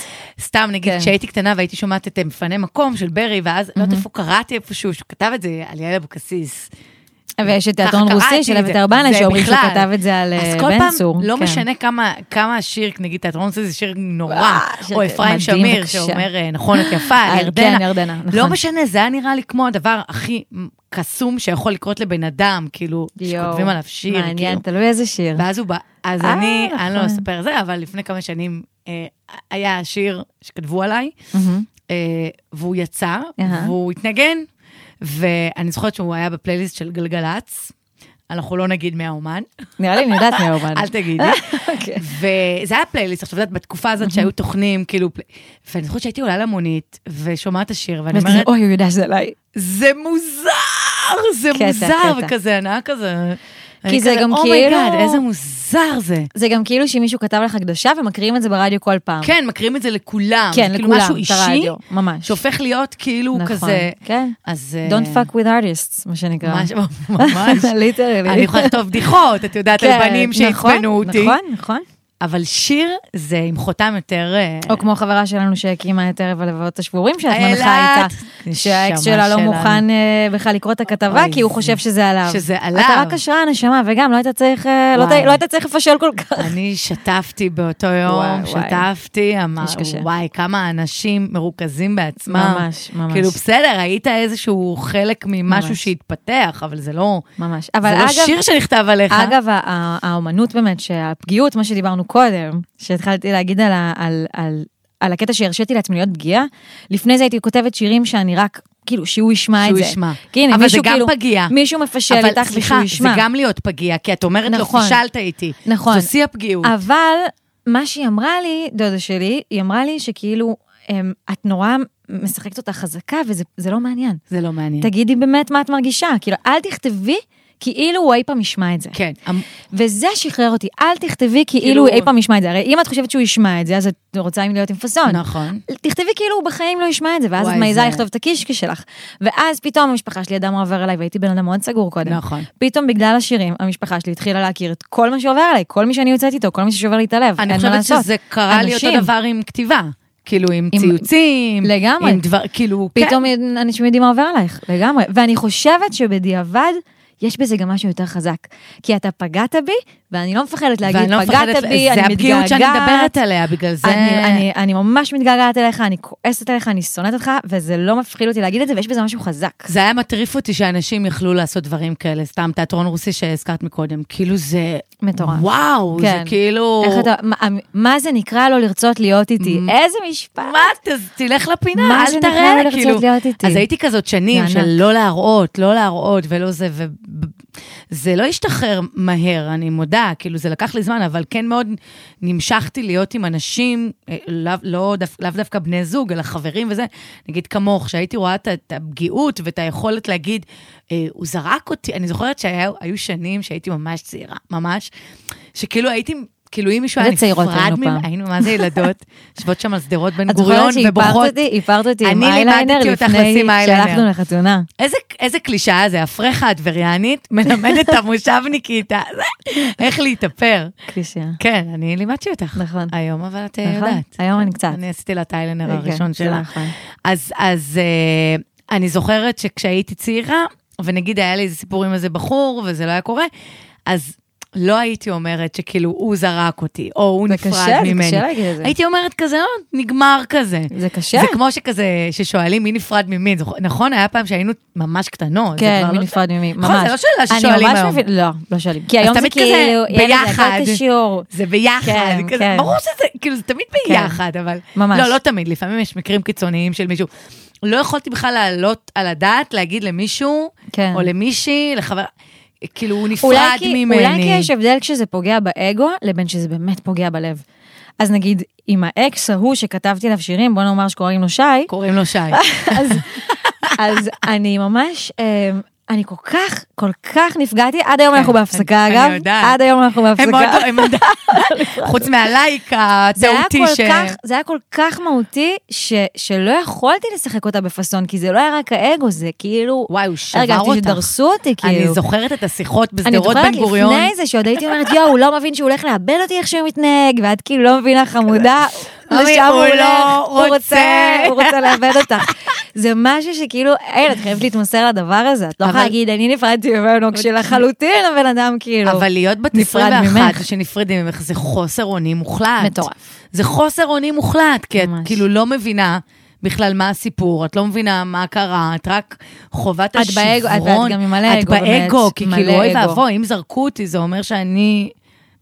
Speaker 1: סתם, נגיד,
Speaker 2: כן.
Speaker 1: כשהייתי קטנה והייתי שומעת את אה, מפנה מקום של ברי, ואז לא יודעת איפה קראתי איפשהו, שהוא כתב את זה על יעל אבוקסיס.
Speaker 2: ויש את
Speaker 1: ככה
Speaker 2: תיאטרון
Speaker 1: קראתי
Speaker 2: רוסי של
Speaker 1: את
Speaker 2: אביתר
Speaker 1: זה.
Speaker 2: בנה,
Speaker 1: זה
Speaker 2: שאומרים שהוא
Speaker 1: בכלל.
Speaker 2: כתב את זה על
Speaker 1: אז
Speaker 2: אה,
Speaker 1: כל
Speaker 2: בן
Speaker 1: פעם,
Speaker 2: צור.
Speaker 1: לא
Speaker 2: כן.
Speaker 1: משנה כמה- כמה השיר, נגיד, תיאטרון רוסי זה שיר נורא,
Speaker 2: וואו,
Speaker 1: או
Speaker 2: שיר
Speaker 1: אפרים
Speaker 2: מדהים
Speaker 1: שמיר,
Speaker 2: וקשה.
Speaker 1: שאומר, אה, נכון, את יפה,
Speaker 2: אה,
Speaker 1: ירדנה.
Speaker 2: כן, ירדנה, נכון.
Speaker 1: לא משנה, זה היה נראה לי כמו הדבר הכי קסום שיכול לקרות לבן אדם, כאילו,
Speaker 2: יואו,
Speaker 1: שכותבים עליו שיר, כאילו.
Speaker 2: מעניין, תלוי איזה שיר.
Speaker 1: ואז הוא בא, אז
Speaker 2: אה,
Speaker 1: אני, אני לא
Speaker 2: נכון.
Speaker 1: אספר את זה, אבל לפני כמה שנים אה, היה שיר שכתבו עליי,
Speaker 2: מהמם.
Speaker 1: אה, והוא יצא,
Speaker 2: אהה.
Speaker 1: והוא התנגן, ואני זוכרת שהוא היה בפלייליסט של גלגלצ, אנחנו לא נגיד מהאומן,
Speaker 2: נראה לי אני יודעת מי האומן.
Speaker 1: אל תגידי.
Speaker 2: אוקיי.
Speaker 1: וזה היה פלייליסט, עכשיו, את יודעת, בתקופה הזאת שהיו תוכנים, כאילו, פלי- ואני זוכרת שהייתי עולה למונית, ושומעת את השיר, ואני
Speaker 2: ואת כזה,
Speaker 1: אומרת,
Speaker 2: אוי, הוא יודע שזה עליי.
Speaker 1: זה מוזר, זה
Speaker 2: קטע,
Speaker 1: מוזר,
Speaker 2: קטע.
Speaker 1: וכזה, הנאה כזה. אני
Speaker 2: זה
Speaker 1: כזה,
Speaker 2: גם
Speaker 1: אומייגאד,
Speaker 2: כאילו-
Speaker 1: איזה מוזר זה.
Speaker 2: זה גם כאילו שמישהו כתב לך הקדשה ומקריאים את זה ברדיו כל פעם.
Speaker 1: כן, מקריאים את זה לכולם.
Speaker 2: אה. כן,
Speaker 1: זה
Speaker 2: לכולם,
Speaker 1: כאילו משהו
Speaker 2: את
Speaker 1: אישי,
Speaker 2: הרדיו, ממש.
Speaker 1: שהופך להיות כאילו
Speaker 2: נכון,
Speaker 1: כזה...
Speaker 2: כן.
Speaker 1: אז... אה,
Speaker 2: Don't fuck with artists, מה שנקרא.
Speaker 1: ממש, ממש.
Speaker 2: ליטרלי.
Speaker 1: אני יכולה לכתוב בדיחות, את יודעת, על
Speaker 2: כן,
Speaker 1: בנים
Speaker 2: נכון,
Speaker 1: שעצבנו אותי.
Speaker 2: נכון, נכון.
Speaker 1: אבל שיר זה עם חותם יותר... אה,
Speaker 2: או כמו החברה שלנו שהקימה את ערב הלבבות השבורים, שאת
Speaker 1: אילת.
Speaker 2: מנחה איתה,
Speaker 1: נשמה
Speaker 2: שהאקס שלה לא
Speaker 1: שלנו.
Speaker 2: מוכן אה, בכלל לקרוא את הכתבה,
Speaker 1: אוי,
Speaker 2: כי הוא
Speaker 1: זה-
Speaker 2: חושב שזה עליו.
Speaker 1: שזה עליו.
Speaker 2: אתה רק השראה, נשמה, וגם לא היית צריך, אה, לא
Speaker 1: וואי.
Speaker 2: היית- לא היית צריך לפשל כל כך.
Speaker 1: אני שטפתי באותו יום,
Speaker 2: וואי, וואי.
Speaker 1: שטפתי, אמר,
Speaker 2: ממש קשה.
Speaker 1: וואי, כמה אנשים מרוכזים בעצמם.
Speaker 2: ממש, ממש.
Speaker 1: כאילו, בסדר, היית איזשהו חלק ממשהו
Speaker 2: ממש.
Speaker 1: שהתפתח, אבל זה לא...
Speaker 2: ממש.
Speaker 1: אבל
Speaker 2: אבל
Speaker 1: זה לא
Speaker 2: אגב,
Speaker 1: שיר שנכתב עליך.
Speaker 2: אגב, ה- ה- האומנות באמת, שהפגיעות, מה שדיברנו קודם, שהתחלתי להגיד על, ה- על, על, על הקטע שהרשיתי לעצמי להיות פגיעה, לפני זה הייתי כותבת שירים שאני רק, כאילו, שהוא ישמע
Speaker 1: שהוא
Speaker 2: את זה.
Speaker 1: ישמע.
Speaker 2: כי הנה,
Speaker 1: אבל זה
Speaker 2: מישהו
Speaker 1: גם
Speaker 2: כאילו,
Speaker 1: פגיעה.
Speaker 2: מישהו מפשל
Speaker 1: אבל
Speaker 2: איתך
Speaker 1: סליחה,
Speaker 2: ושהוא ישמע.
Speaker 1: זה גם להיות פגיע, כי את אומרת
Speaker 2: נכון.
Speaker 1: לו, פישלת איתי.
Speaker 2: נכון.
Speaker 1: זו שיא הפגיעות.
Speaker 2: אבל מה שהיא אמרה לי, דודה שלי, היא אמרה לי שכאילו, אמ, את נורא משחקת אותה חזקה וזה זה לא מעניין.
Speaker 1: זה לא מעניין.
Speaker 2: תגידי באמת מה את מרגישה, כאילו, אל תכתבי כאילו הוא אי פעם ישמע את זה.
Speaker 1: כן. אמ-
Speaker 2: וזה שחרר אותי, אל תכתבי
Speaker 1: כאילו-
Speaker 2: כאילו הוא אי פעם ישמע את זה. הרי אם את חושבת שהוא ישמע את זה, אז את רוצה עם להיות עם פאסון.
Speaker 1: נכון.
Speaker 2: תכתבי כאילו הוא בחיים לא ישמע את זה, ואז את
Speaker 1: וואי,
Speaker 2: מעיזה
Speaker 1: זה-
Speaker 2: לכתוב את הקישקע שלך. ואז פתאום המשפחה שלי אדם עובר עליי, והייתי בן אדם מאוד סגור קודם.
Speaker 1: נכון.
Speaker 2: פתאום בגלל השירים, המשפחה שלי התחילה להכיר את כל מה שעובר עליי, כל מי שאני יוצאת איתו, כל מי ששובר לי את הלב, אין
Speaker 1: אני
Speaker 2: מה
Speaker 1: חושבת
Speaker 2: לעשות.
Speaker 1: שזה קרה לי אותו
Speaker 2: אנשים.
Speaker 1: דבר עם כתיבה. כאילו, עם
Speaker 2: עם-
Speaker 1: ציוצים.
Speaker 2: לגמרי.
Speaker 1: עם דבר, כאילו, כן.
Speaker 2: פתאום אנשים יודעים מה עובר עלייך, לגמרי. ואני חושבת שבדיעבד, יש בזה גם משהו יותר חזק. כי אתה פגעת בי, ואני לא מפחדת להגיד,
Speaker 1: ואני לא
Speaker 2: פגעת
Speaker 1: מפחדת-
Speaker 2: בי, אני מתגעגעת.
Speaker 1: זה הפגיעות שאני מדברת עליה, בגלל זה...
Speaker 2: אני, אני, אני ממש מתגעגעת אליך, אני כועסת עליך, אני שונאת אותך, וזה לא מפחיד אותי להגיד את זה, ויש בזה משהו חזק.
Speaker 1: זה היה מטריף אותי שאנשים יכלו לעשות דברים כאלה, סתם תיאטרון רוסי שהזכרת מקודם, כאילו זה...
Speaker 2: מטורף.
Speaker 1: וואו, זה
Speaker 2: כן.
Speaker 1: כאילו...
Speaker 2: איך אתה, מה, אמ, מה זה נקרא לא לרצות להיות איתי? איזה משפט.
Speaker 1: מה, ת- תלך לפינה,
Speaker 2: מה
Speaker 1: אל
Speaker 2: זה
Speaker 1: תראה, כאילו.
Speaker 2: נקרא לא לרצות להיות איתי?
Speaker 1: אז הייתי כזאת שנים
Speaker 2: זה
Speaker 1: של
Speaker 2: ענק.
Speaker 1: לא להראות, לא להראות ולא זה, וזה לא השתחרר מהר, אני מודה, כאילו זה לקח לי זמן, אבל כן מאוד נמשכתי להיות עם אנשים, אה, לאו לא דו- לאו דווקא בני זוג, אלא חברים וזה, נגיד כמוך, שהייתי רואה את ה- את הפגיעות ואת היכולת להגיד, אה, הוא זרק אותי, אני זוכרת שהיו היו שנים שהייתי ממש צעירה, ממש, שכאילו הייתי... כאילו אם מישהו היה
Speaker 2: איזה צעירות
Speaker 1: נפרד
Speaker 2: היינו
Speaker 1: ממ-
Speaker 2: פעם.
Speaker 1: היינו, מה זה ילדות? יושבות שם על שדרות בן
Speaker 2: את
Speaker 1: גוריון
Speaker 2: זוכרת שהיפרת
Speaker 1: ובוכות.
Speaker 2: אותי, היפרת אותי עם
Speaker 1: אני
Speaker 2: אייליינר
Speaker 1: לימדתי אותך
Speaker 2: לפני
Speaker 1: לשים אייליינר.
Speaker 2: שהלכנו לחתונה.
Speaker 1: איזה, איזה קלישאה זה, הפרחה הטבריאנית מלמדת את המושבניקית ה- איך להתאפר.
Speaker 2: קלישאה.
Speaker 1: כן, אני לימדתי אותך.
Speaker 2: נכון.
Speaker 1: היום אבל את אה,
Speaker 2: נכון.
Speaker 1: יודעת.
Speaker 2: היום אני קצת.
Speaker 1: אני עשיתי לה את האיילנר
Speaker 2: כן,
Speaker 1: הראשון
Speaker 2: זה
Speaker 1: שלה.
Speaker 2: נכון.
Speaker 1: אז, אז אה, אני זוכרת שכשהייתי צעירה, ונגיד היה לי איזה סיפור עם איזה בחור, וזה לא היה קורה, אז לא הייתי אומרת שכאילו הוא זרק אותי, או הוא
Speaker 2: זה
Speaker 1: נפרד
Speaker 2: קשה, זה קשה
Speaker 1: ממני.
Speaker 2: להגיד את זה.
Speaker 1: הייתי אומרת כזה, לא, נגמר כזה.
Speaker 2: זה קשה.
Speaker 1: זה כמו שכזה, ששואלים מי נפרד ממי, זוכ- נכון? היה פעם שהיינו ממש קטנות. זה
Speaker 2: כן,
Speaker 1: כבר
Speaker 2: מי
Speaker 1: לא-
Speaker 2: נפרד ממי, ממש.
Speaker 1: נכון, זה לא שאלה
Speaker 2: אני
Speaker 1: ששואלים
Speaker 2: ממש
Speaker 1: היום.
Speaker 2: מבין- לא, לא שואלים. כי
Speaker 1: אז
Speaker 2: היום זה
Speaker 1: תמיד כזה,
Speaker 2: כאילו, ילד,
Speaker 1: ביחד.
Speaker 2: הכל קשור.
Speaker 1: זה ביחד,
Speaker 2: כן,
Speaker 1: כזה,
Speaker 2: כן.
Speaker 1: ברור שזה, כאילו זה תמיד ביחד, אבל...
Speaker 2: ממש.
Speaker 1: לא, לא תמיד, לפעמים יש מקרים קיצוניים של מישהו. לא יכולתי בכלל לעלות על הדעת, להגיד למישהו,
Speaker 2: כן.
Speaker 1: או למישהי, לחבר... כאילו, הוא
Speaker 2: אולי
Speaker 1: נפרד
Speaker 2: כי-
Speaker 1: ממני.
Speaker 2: אולי כי יש הבדל כשזה פוגע באגו, לבין שזה באמת פוגע בלב. אז נגיד, עם האקס ההוא שכתבתי עליו שירים, בוא נאמר שקוראים לו שי,
Speaker 1: קוראים לו שי.
Speaker 2: אז, אז אני ממש, אמ, אני כל כך, כל כך נפגעתי, עד היום אנחנו בהפסקה
Speaker 1: כן, אני-
Speaker 2: אגב,
Speaker 1: אני יודעת.
Speaker 2: עד היום אנחנו
Speaker 1: הם עוד
Speaker 2: בהפסקה.
Speaker 1: לא, הם עוד... חוץ מהלייק
Speaker 2: זה היה,
Speaker 1: התאותי
Speaker 2: כל
Speaker 1: ש...
Speaker 2: כך, זה היה כל כך מהותי, ש, שלא יכולתי לשחק אותה בפאסון, כי זה לא היה רק האגו, זה כאילו...
Speaker 1: וואי, הוא שבר
Speaker 2: הרגשתי
Speaker 1: אותך.
Speaker 2: שדרסו אותי, כאילו.
Speaker 1: אני זוכרת את השיחות
Speaker 2: אני
Speaker 1: בשדרות
Speaker 2: זוכרת
Speaker 1: בן גוריון.
Speaker 2: לפני זה שעוד הייתי אומרת, יואו, הוא לא מבין שהוא הולך לאבד אותי איך שהוא מתנהג, ואת כאילו לא מבינה חמודה,
Speaker 1: אוי,
Speaker 2: לשם
Speaker 1: הוא
Speaker 2: הוא הולך,
Speaker 1: לא
Speaker 2: הוא
Speaker 1: רוצה.
Speaker 2: רוצה, הוא רוצה לאבד אותך. זה משהו שכאילו, אין, את חייבת להתמסר לדבר הזה, את לא יכולה
Speaker 1: אבל-
Speaker 2: להגיד, אני נפרדתי ממנו כשלחלוטין הבן אדם כאילו.
Speaker 1: אבל להיות בת
Speaker 2: נפרד
Speaker 1: 21
Speaker 2: ממך.
Speaker 1: שנפרדים ממך זה חוסר אונים מוחלט.
Speaker 2: מטורף.
Speaker 1: זה חוסר אונים מוחלט, כי את
Speaker 2: ממש.
Speaker 1: כאילו לא מבינה בכלל מה הסיפור, את לא מבינה מה קרה, את רק חובת
Speaker 2: את
Speaker 1: השברון.
Speaker 2: באגו, את- ואת גם עם מלא אגו,
Speaker 1: את באגו,
Speaker 2: באמת,
Speaker 1: כי
Speaker 2: מלא
Speaker 1: כאילו אוי
Speaker 2: אגו.
Speaker 1: ואבוי, אם זרקו אותי זה אומר שאני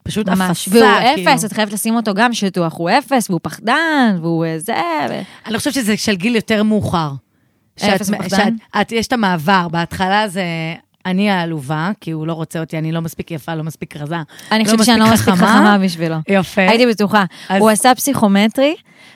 Speaker 1: פשוט
Speaker 2: ממש,
Speaker 1: אפסה.
Speaker 2: והוא
Speaker 1: כאילו.
Speaker 2: אפס, את חייבת לשים אותו גם שטוח, הוא אפס, והוא פחדן, והוא אה, זה, ו-
Speaker 1: אני לא חושבת שזה של גיל יותר מאוחר.
Speaker 2: אפס
Speaker 1: שאת-
Speaker 2: פחדן?
Speaker 1: שאת- את- יש את המעבר, בהתחלה זה... אני העלובה, כי הוא לא רוצה אותי, אני לא מספיק יפה, לא מספיק רזה.
Speaker 2: אני חושבת שאני לא מספיק לא חכמה בשבילו.
Speaker 1: יפה.
Speaker 2: הייתי בטוחה.
Speaker 1: אז-
Speaker 2: הוא עשה פסיכומטרי,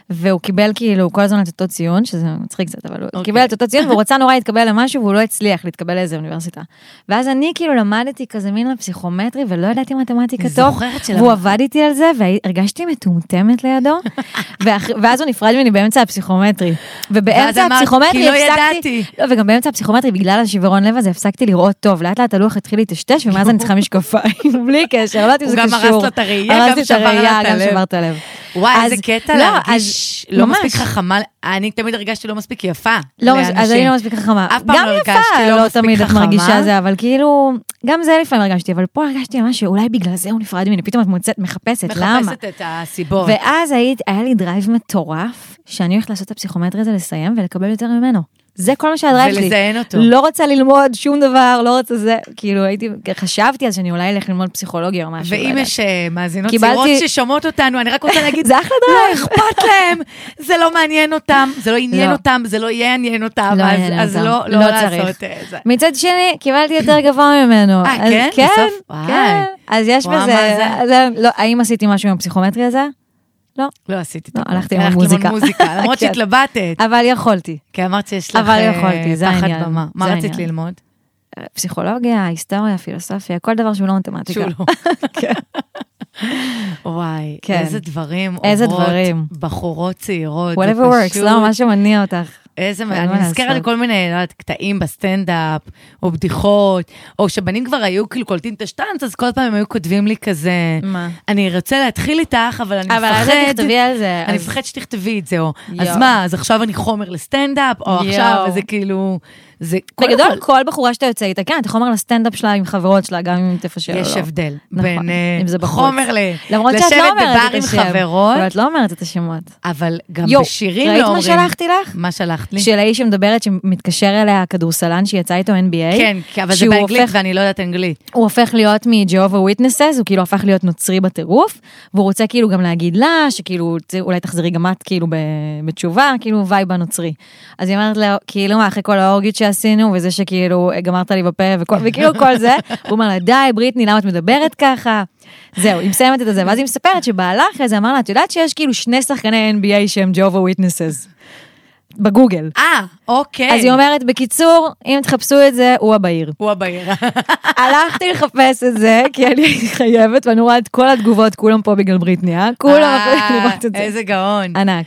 Speaker 2: והוא קיבל כאילו כל הזמן את אותו ציון, שזה מצחיק קצת, אבל הוא
Speaker 1: אוקיי.
Speaker 2: קיבל את אותו ציון, והוא רצה נורא להתקבל למשהו, והוא לא הצליח להתקבל לאיזה אוניברסיטה. ואז אני כאילו למדתי כזה מין לפסיכומטרי, ולא ידעתי מתמטיקה
Speaker 1: אני
Speaker 2: טוב,
Speaker 1: זוכרת שלמדת.
Speaker 2: והוא עבד איתי על זה, והרגשתי מטומטמת לידו, ואח- ואז הוא נפרד ממני באמצע הפסיכומטרי.
Speaker 1: ואז
Speaker 2: ובאמצע
Speaker 1: אמרת, "כי
Speaker 2: הפסיכומטרי
Speaker 1: לא
Speaker 2: הפסקתי,
Speaker 1: ידעתי.
Speaker 2: לא, וגם באמצע הפסיכומטרי, בגלל השיוורון לב הזה, הפסקתי לראות טוב. לאט לאט הלוח התחיל להיטשטש, ומאז אני צריכה משקפיים, בלי קשר, לא יודעת אם
Speaker 1: הוא
Speaker 2: זה
Speaker 1: גם
Speaker 2: קשור.
Speaker 1: הרס לו את הראייה, גם
Speaker 2: הרסתי את
Speaker 1: שבר לה את
Speaker 2: הראייה, גם
Speaker 1: הלב.
Speaker 2: שבר את הלב.
Speaker 1: וואי,
Speaker 2: אז-
Speaker 1: איזה קטע
Speaker 2: לא,
Speaker 1: להרגיש
Speaker 2: אז
Speaker 1: לא
Speaker 2: ממש.
Speaker 1: מספיק חכמה, אני תמיד הרגשתי לא מספיק יפה
Speaker 2: לא,
Speaker 1: לאנשים.
Speaker 2: אז אני לא מספיק חכמה.
Speaker 1: אף פעם
Speaker 2: גם
Speaker 1: לא
Speaker 2: יפה,
Speaker 1: הרגשתי לא
Speaker 2: לא
Speaker 1: מספיק
Speaker 2: תמיד את
Speaker 1: חכמה.
Speaker 2: מרגישה זה, אבל כאילו, גם זה לפעמים הרגשתי, אבל פה הרגשתי ממש שאולי בגלל זה הוא נפרד ממני, פתאום את מוצאת, מחפשת, למה?
Speaker 1: מחפשת את הסיבות.
Speaker 2: ואז היית, היה לי דרייב מטורף, שאני הולכת לעשות את הפסיכומטרי הזה, לסיים ולקבל יותר ממנו. זה כל מה שהדרייב שלי.
Speaker 1: ולזיין אותו.
Speaker 2: לא רוצה ללמוד שום דבר, לא רוצה זה, כאילו הייתי, חשבתי אז שאני אולי אלך ללמוד פסיכולוגיה או משהו. לא
Speaker 1: ואם
Speaker 2: יודעת.
Speaker 1: יש אה, מאזינות
Speaker 2: קיבלתי-
Speaker 1: צעירות ששומעות אותנו, אני רק רוצה להגיד,
Speaker 2: זה אחלה
Speaker 1: לא
Speaker 2: דרייב.
Speaker 1: אכפת להם, זה לא מעניין אותם, זה לא עניין
Speaker 2: לא.
Speaker 1: אותם, זה לא יעניין אותם,
Speaker 2: לא
Speaker 1: אז-
Speaker 2: יעניין
Speaker 1: אז
Speaker 2: אותם.
Speaker 1: לא
Speaker 2: לא
Speaker 1: לא
Speaker 2: צריך.
Speaker 1: לעשות אה, זה.
Speaker 2: מצד שני, קיבלתי יותר גבוה ממנו.
Speaker 1: אה,
Speaker 2: אז
Speaker 1: כן?
Speaker 2: כן,
Speaker 1: בסוף? וואי.
Speaker 2: כן. אז יש
Speaker 1: וואו,
Speaker 2: בזה,
Speaker 1: מה
Speaker 2: זה- לא, האם עשיתי משהו עם הפסיכומטרי הזה?
Speaker 1: לא עשיתי את
Speaker 2: לא,
Speaker 1: הכל.
Speaker 2: הלכתי עם
Speaker 1: ללמוד
Speaker 2: המוזיקה.
Speaker 1: מוזיקה, למרות
Speaker 2: כן.
Speaker 1: שהתלבטת,
Speaker 2: אבל יכולתי.
Speaker 1: כי אמרת שיש לך
Speaker 2: אבל
Speaker 1: אה,
Speaker 2: יכולתי, זה
Speaker 1: פחד
Speaker 2: העניין,
Speaker 1: במה. מה
Speaker 2: זה
Speaker 1: רצית
Speaker 2: העניין.
Speaker 1: ללמוד?
Speaker 2: פסיכולוגיה, היסטוריה, פילוסופיה, כל דבר שהוא לא מתמטיקה.
Speaker 1: שהוא לא. וואי,
Speaker 2: כן.
Speaker 1: איזה דברים
Speaker 2: איזה
Speaker 1: עוברות
Speaker 2: דברים.
Speaker 1: בחורות צעירות. זה
Speaker 2: whatever works,
Speaker 1: פשוט-
Speaker 2: לא, מה שמניע אותך.
Speaker 1: איזה,
Speaker 2: אין מה
Speaker 1: אני נזכרת
Speaker 2: לעשות.
Speaker 1: לכל מיני לא יודעת, קטעים בסטנדאפ, או בדיחות, או שבנים כבר היו כאילו קולטים את השטאנץ, אז כל פעם הם היו כותבים לי כזה,
Speaker 2: מה?
Speaker 1: אני רוצה להתחיל איתך, אבל אני מפחד.
Speaker 2: אבל אז אל תכתבי על זה.
Speaker 1: אני
Speaker 2: אז-
Speaker 1: מפחד שתכתבי את זה, או אז
Speaker 2: יואו.
Speaker 1: מה, אז עכשיו אני חומר לסטנדאפ, או
Speaker 2: יואו.
Speaker 1: עכשיו, וזה כאילו, זה קודם כל-
Speaker 2: בגדול, כל בחורה שאתה יוצא איתה, כן, אתה חומר לסטנדאפ שלה עם חברות שלה, גם אם תפשל או לא.
Speaker 1: יש הבדל
Speaker 2: נכון,
Speaker 1: בין אה,
Speaker 2: אם זה בחוץ.
Speaker 1: חומר ל-
Speaker 2: למרות שאת לא
Speaker 1: לשבת
Speaker 2: אומרת
Speaker 1: בבר
Speaker 2: את
Speaker 1: עם
Speaker 2: השם.
Speaker 1: חברות,
Speaker 2: אבל את לא אומרת את השמות.
Speaker 1: אבל גם
Speaker 2: יואו,
Speaker 1: בשירים
Speaker 2: ראית
Speaker 1: לא אומרים.
Speaker 2: מה שלחתי לך?
Speaker 1: מה שלחת לי?
Speaker 2: של האיש שמדברת, שמתקשר אליה הכדורסלן שיצא איתו NBA.
Speaker 1: כן, כי- אבל זה
Speaker 2: שהוא
Speaker 1: באנגלית
Speaker 2: הופך-
Speaker 1: ואני לא יודעת אנגלית.
Speaker 2: הוא הופך להיות מג'הובה וויטנסס, הוא כאילו הפך להיות נוצרי בטירוף, והוא רוצה כאילו גם להגיד לה, שכאילו "צא- אולי תחזרי גם את כאילו ב- בתשובה, כאילו וייב הנוצרי. אז היא אומרת לו, כאילו מה, אחרי כל האורגית שעשינו, וזה שכאילו אה, גמרת לי בפה, וכל- וכאילו כל זה, הוא אומר לה, די, בריטני, למה את מדברת ככה? זהו, היא מסיימת את זה, ואז היא מספרת שבעלה אחרי זה אמר לה, את יודעת שיש כאילו שני שחקני NBA שהם ג'הובה וויטנסס, בגוגל.
Speaker 1: אה, אוקיי.
Speaker 2: אז היא אומרת, בקיצור, אם תחפשו את זה, הוא הבעיר.
Speaker 1: הוא הבעיר.
Speaker 2: הלכתי לחפש את זה, כי אני הייתי חייבת, ואני רואה את כל התגובות, כולם פה בגלל בריטני, אה? כולם
Speaker 1: אה,
Speaker 2: יכולים לראות את זה.
Speaker 1: איזה גאון.
Speaker 2: ענק.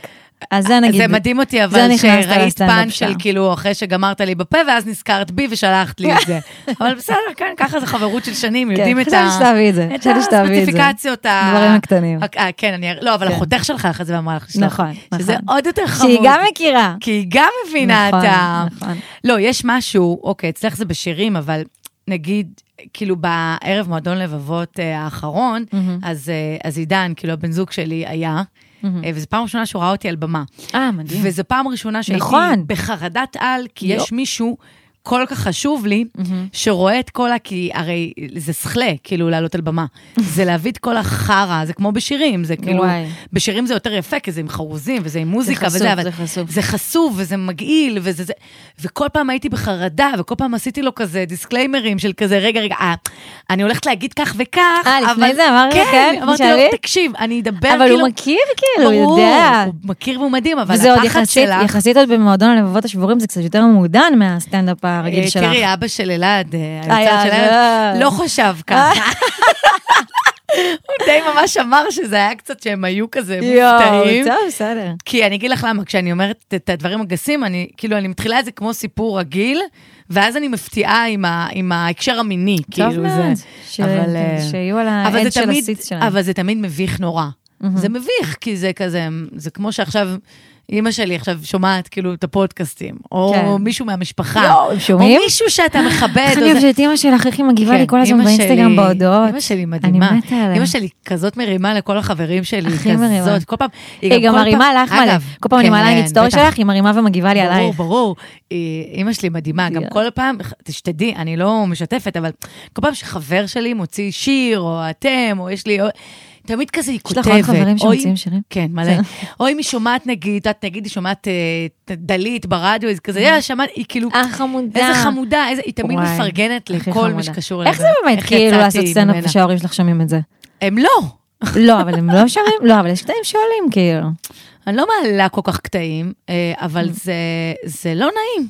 Speaker 2: אז זה נגיד...
Speaker 1: זה מדהים אותי,
Speaker 2: זה
Speaker 1: אבל
Speaker 2: נכנס
Speaker 1: שראית
Speaker 2: לסטנדאפ
Speaker 1: פן
Speaker 2: שלה.
Speaker 1: של כאילו, אחרי שגמרת לי בפה, ואז נזכרת בי ושלחת לי את זה. אבל בסדר, כן, ככה זה חברות של שנים, יודעים את
Speaker 2: כן, חשבתי שתאהבי את זה,
Speaker 1: את
Speaker 2: חשבתי שתאהבי את זה.
Speaker 1: הספציפיקציות ה...
Speaker 2: דברים הקטנים.
Speaker 1: אה, כן, אני... לא, אבל אחותך שלך אחרי זה ואמרה לך לשלוח.
Speaker 2: נכון, נכון.
Speaker 1: כאילו- שזה עוד יותר חמור.
Speaker 2: שהיא גם מכירה.
Speaker 1: כי היא גם מבינה
Speaker 2: נכון,
Speaker 1: את ה...
Speaker 2: נכון.
Speaker 1: לא, יש משהו, אוקיי, אצלך זה בשירים, אבל נגיד, כאילו בערב מועדון לבבות אה, האחרון, אז, אה, אז עידן, כאילו הבן זוג שלי היה, אה, וזו פעם ראשונה שהוא ראה אותי על במה.
Speaker 2: אה, מדהים.
Speaker 1: וזו פעם ראשונה שהייתי
Speaker 2: נכון. לא.
Speaker 1: בחרדת על, כי
Speaker 2: יו.
Speaker 1: יש מישהו... כל כך חשוב לי, שרואה את כל ה... כי הרי זה סכלה, כאילו, לעלות על במה. זה להביא את כל החרא, זה כמו בשירים, זה כאילו...
Speaker 2: וואי.
Speaker 1: בשירים זה יותר יפה, כי זה עם חרוזים, וזה עם מוזיקה,
Speaker 2: חשוף,
Speaker 1: וזה, אבל...
Speaker 2: זה חשוף.
Speaker 1: זה חשוף, וזה מגעיל, וזה זה... וכל פעם הייתי בחרדה, וכל פעם עשיתי לו כזה דיסקליימרים של כזה, רגע, רגע, אה, אני הולכת להגיד כך וכך,
Speaker 2: אה, לפני
Speaker 1: אבל-
Speaker 2: זה אמר לך, כן?
Speaker 1: כן, אמרתי לו,
Speaker 2: תשאלי?
Speaker 1: תקשיב, אני אדבר כאילו...
Speaker 2: אבל הוא מכיר, כאילו, הוא
Speaker 1: ברור,
Speaker 2: יודע.
Speaker 1: הוא מכיר והוא מדהים, אבל
Speaker 2: וזה עוד
Speaker 1: הפחד
Speaker 2: יחסית,
Speaker 1: שלך...
Speaker 2: יחסית עוד במועדון הלבבות השבורים, זה קצת יותר מעודן מהסטנדאפ הרגיל
Speaker 1: אה,
Speaker 2: שלך.
Speaker 1: תראי, אבא של אלעד, אה,
Speaker 2: היה,
Speaker 1: היוצר של אלעד,
Speaker 2: אה.
Speaker 1: לא חשב ככה. הוא די ממש אמר שזה היה קצת שהם היו כזה מופתעים.
Speaker 2: יואו, טוב, בסדר.
Speaker 1: כי אני אגיד לך למה, כשאני אומרת את הדברים הגסים, אני כאילו, אני מתחילה את זה כמו סיפור רגיל, ואז אני מפתיעה עם, ה, עם ההקשר המיני, כאילו
Speaker 2: טוב
Speaker 1: זה.
Speaker 2: מאוד. ש- כן,
Speaker 1: אבל, אה,
Speaker 2: שיהיו על
Speaker 1: אבל
Speaker 2: העד
Speaker 1: זה
Speaker 2: של
Speaker 1: תמיד-
Speaker 2: הסיץ שלהם.
Speaker 1: אבל זה תמיד מביך נורא. זה מביך, כי זה כזה, זה כמו שעכשיו... אימא שלי עכשיו שומעת כאילו את הפודקאסטים, או
Speaker 2: כן.
Speaker 1: מישהו מהמשפחה,
Speaker 2: יואו, הם שומעים?
Speaker 1: או מישהו שאתה מכבד,
Speaker 2: איך
Speaker 1: או
Speaker 2: אני
Speaker 1: זה-
Speaker 2: אוהבת את אימא שלך, איך היא מגיבה לי
Speaker 1: כן,
Speaker 2: כל הזמן
Speaker 1: אמא
Speaker 2: באינסטגרם
Speaker 1: שלי-
Speaker 2: בהודעות.
Speaker 1: אמא שלי מדהימה.
Speaker 2: אני מתה עליה.
Speaker 1: אמא שלי כזאת מרימה לכל החברים שלי,
Speaker 2: הכי מרימה.
Speaker 1: כזאת, כל פעם,
Speaker 2: היא גם
Speaker 1: כל
Speaker 2: מרימה
Speaker 1: פעם-
Speaker 2: לך מלא.
Speaker 1: אגב,
Speaker 2: כל פעם אני
Speaker 1: כן,
Speaker 2: מעלה נגיד סטורי
Speaker 1: בטח.
Speaker 2: שלך, היא מרימה ומגיבה לי
Speaker 1: ברור,
Speaker 2: עלייך.
Speaker 1: ברור. אה, אימא שלי מדהימה, גם
Speaker 2: יאללה.
Speaker 1: כל פעם, תשתדלי, אני לא משתפת, אבל כל פעם שחבר שלי מוציא שיר, או אתם, או יש לי... או- תמיד כזה היא
Speaker 2: יש לך
Speaker 1: כותבת.
Speaker 2: עוד חברים
Speaker 1: או אם-
Speaker 2: שמוציאים שירים?
Speaker 1: כן, מלא. או אם היא שומעת נגיד, את נגיד היא שומעת אה, דלית ברדיו, אז כזה, יאללה, שמעת, היא כאילו,
Speaker 2: אה, חמודה.
Speaker 1: איזה חמודה, איזה- היא תמיד
Speaker 2: וואי,
Speaker 1: מפרגנת
Speaker 2: הכי
Speaker 1: לכל
Speaker 2: חמודה.
Speaker 1: מי שקשור
Speaker 2: איך זה באמת כאילו
Speaker 1: יצאתי
Speaker 2: לעשות סצנה
Speaker 1: ממנה?
Speaker 2: כשההורים שלך שומעים את זה?
Speaker 1: הם לא.
Speaker 2: לא, אבל הם לא שומעים, לא, אבל יש קטעים שעולים כאילו.
Speaker 1: אני לא מעלה כל כך קטעים, אה, אבל זה, זה לא נעים.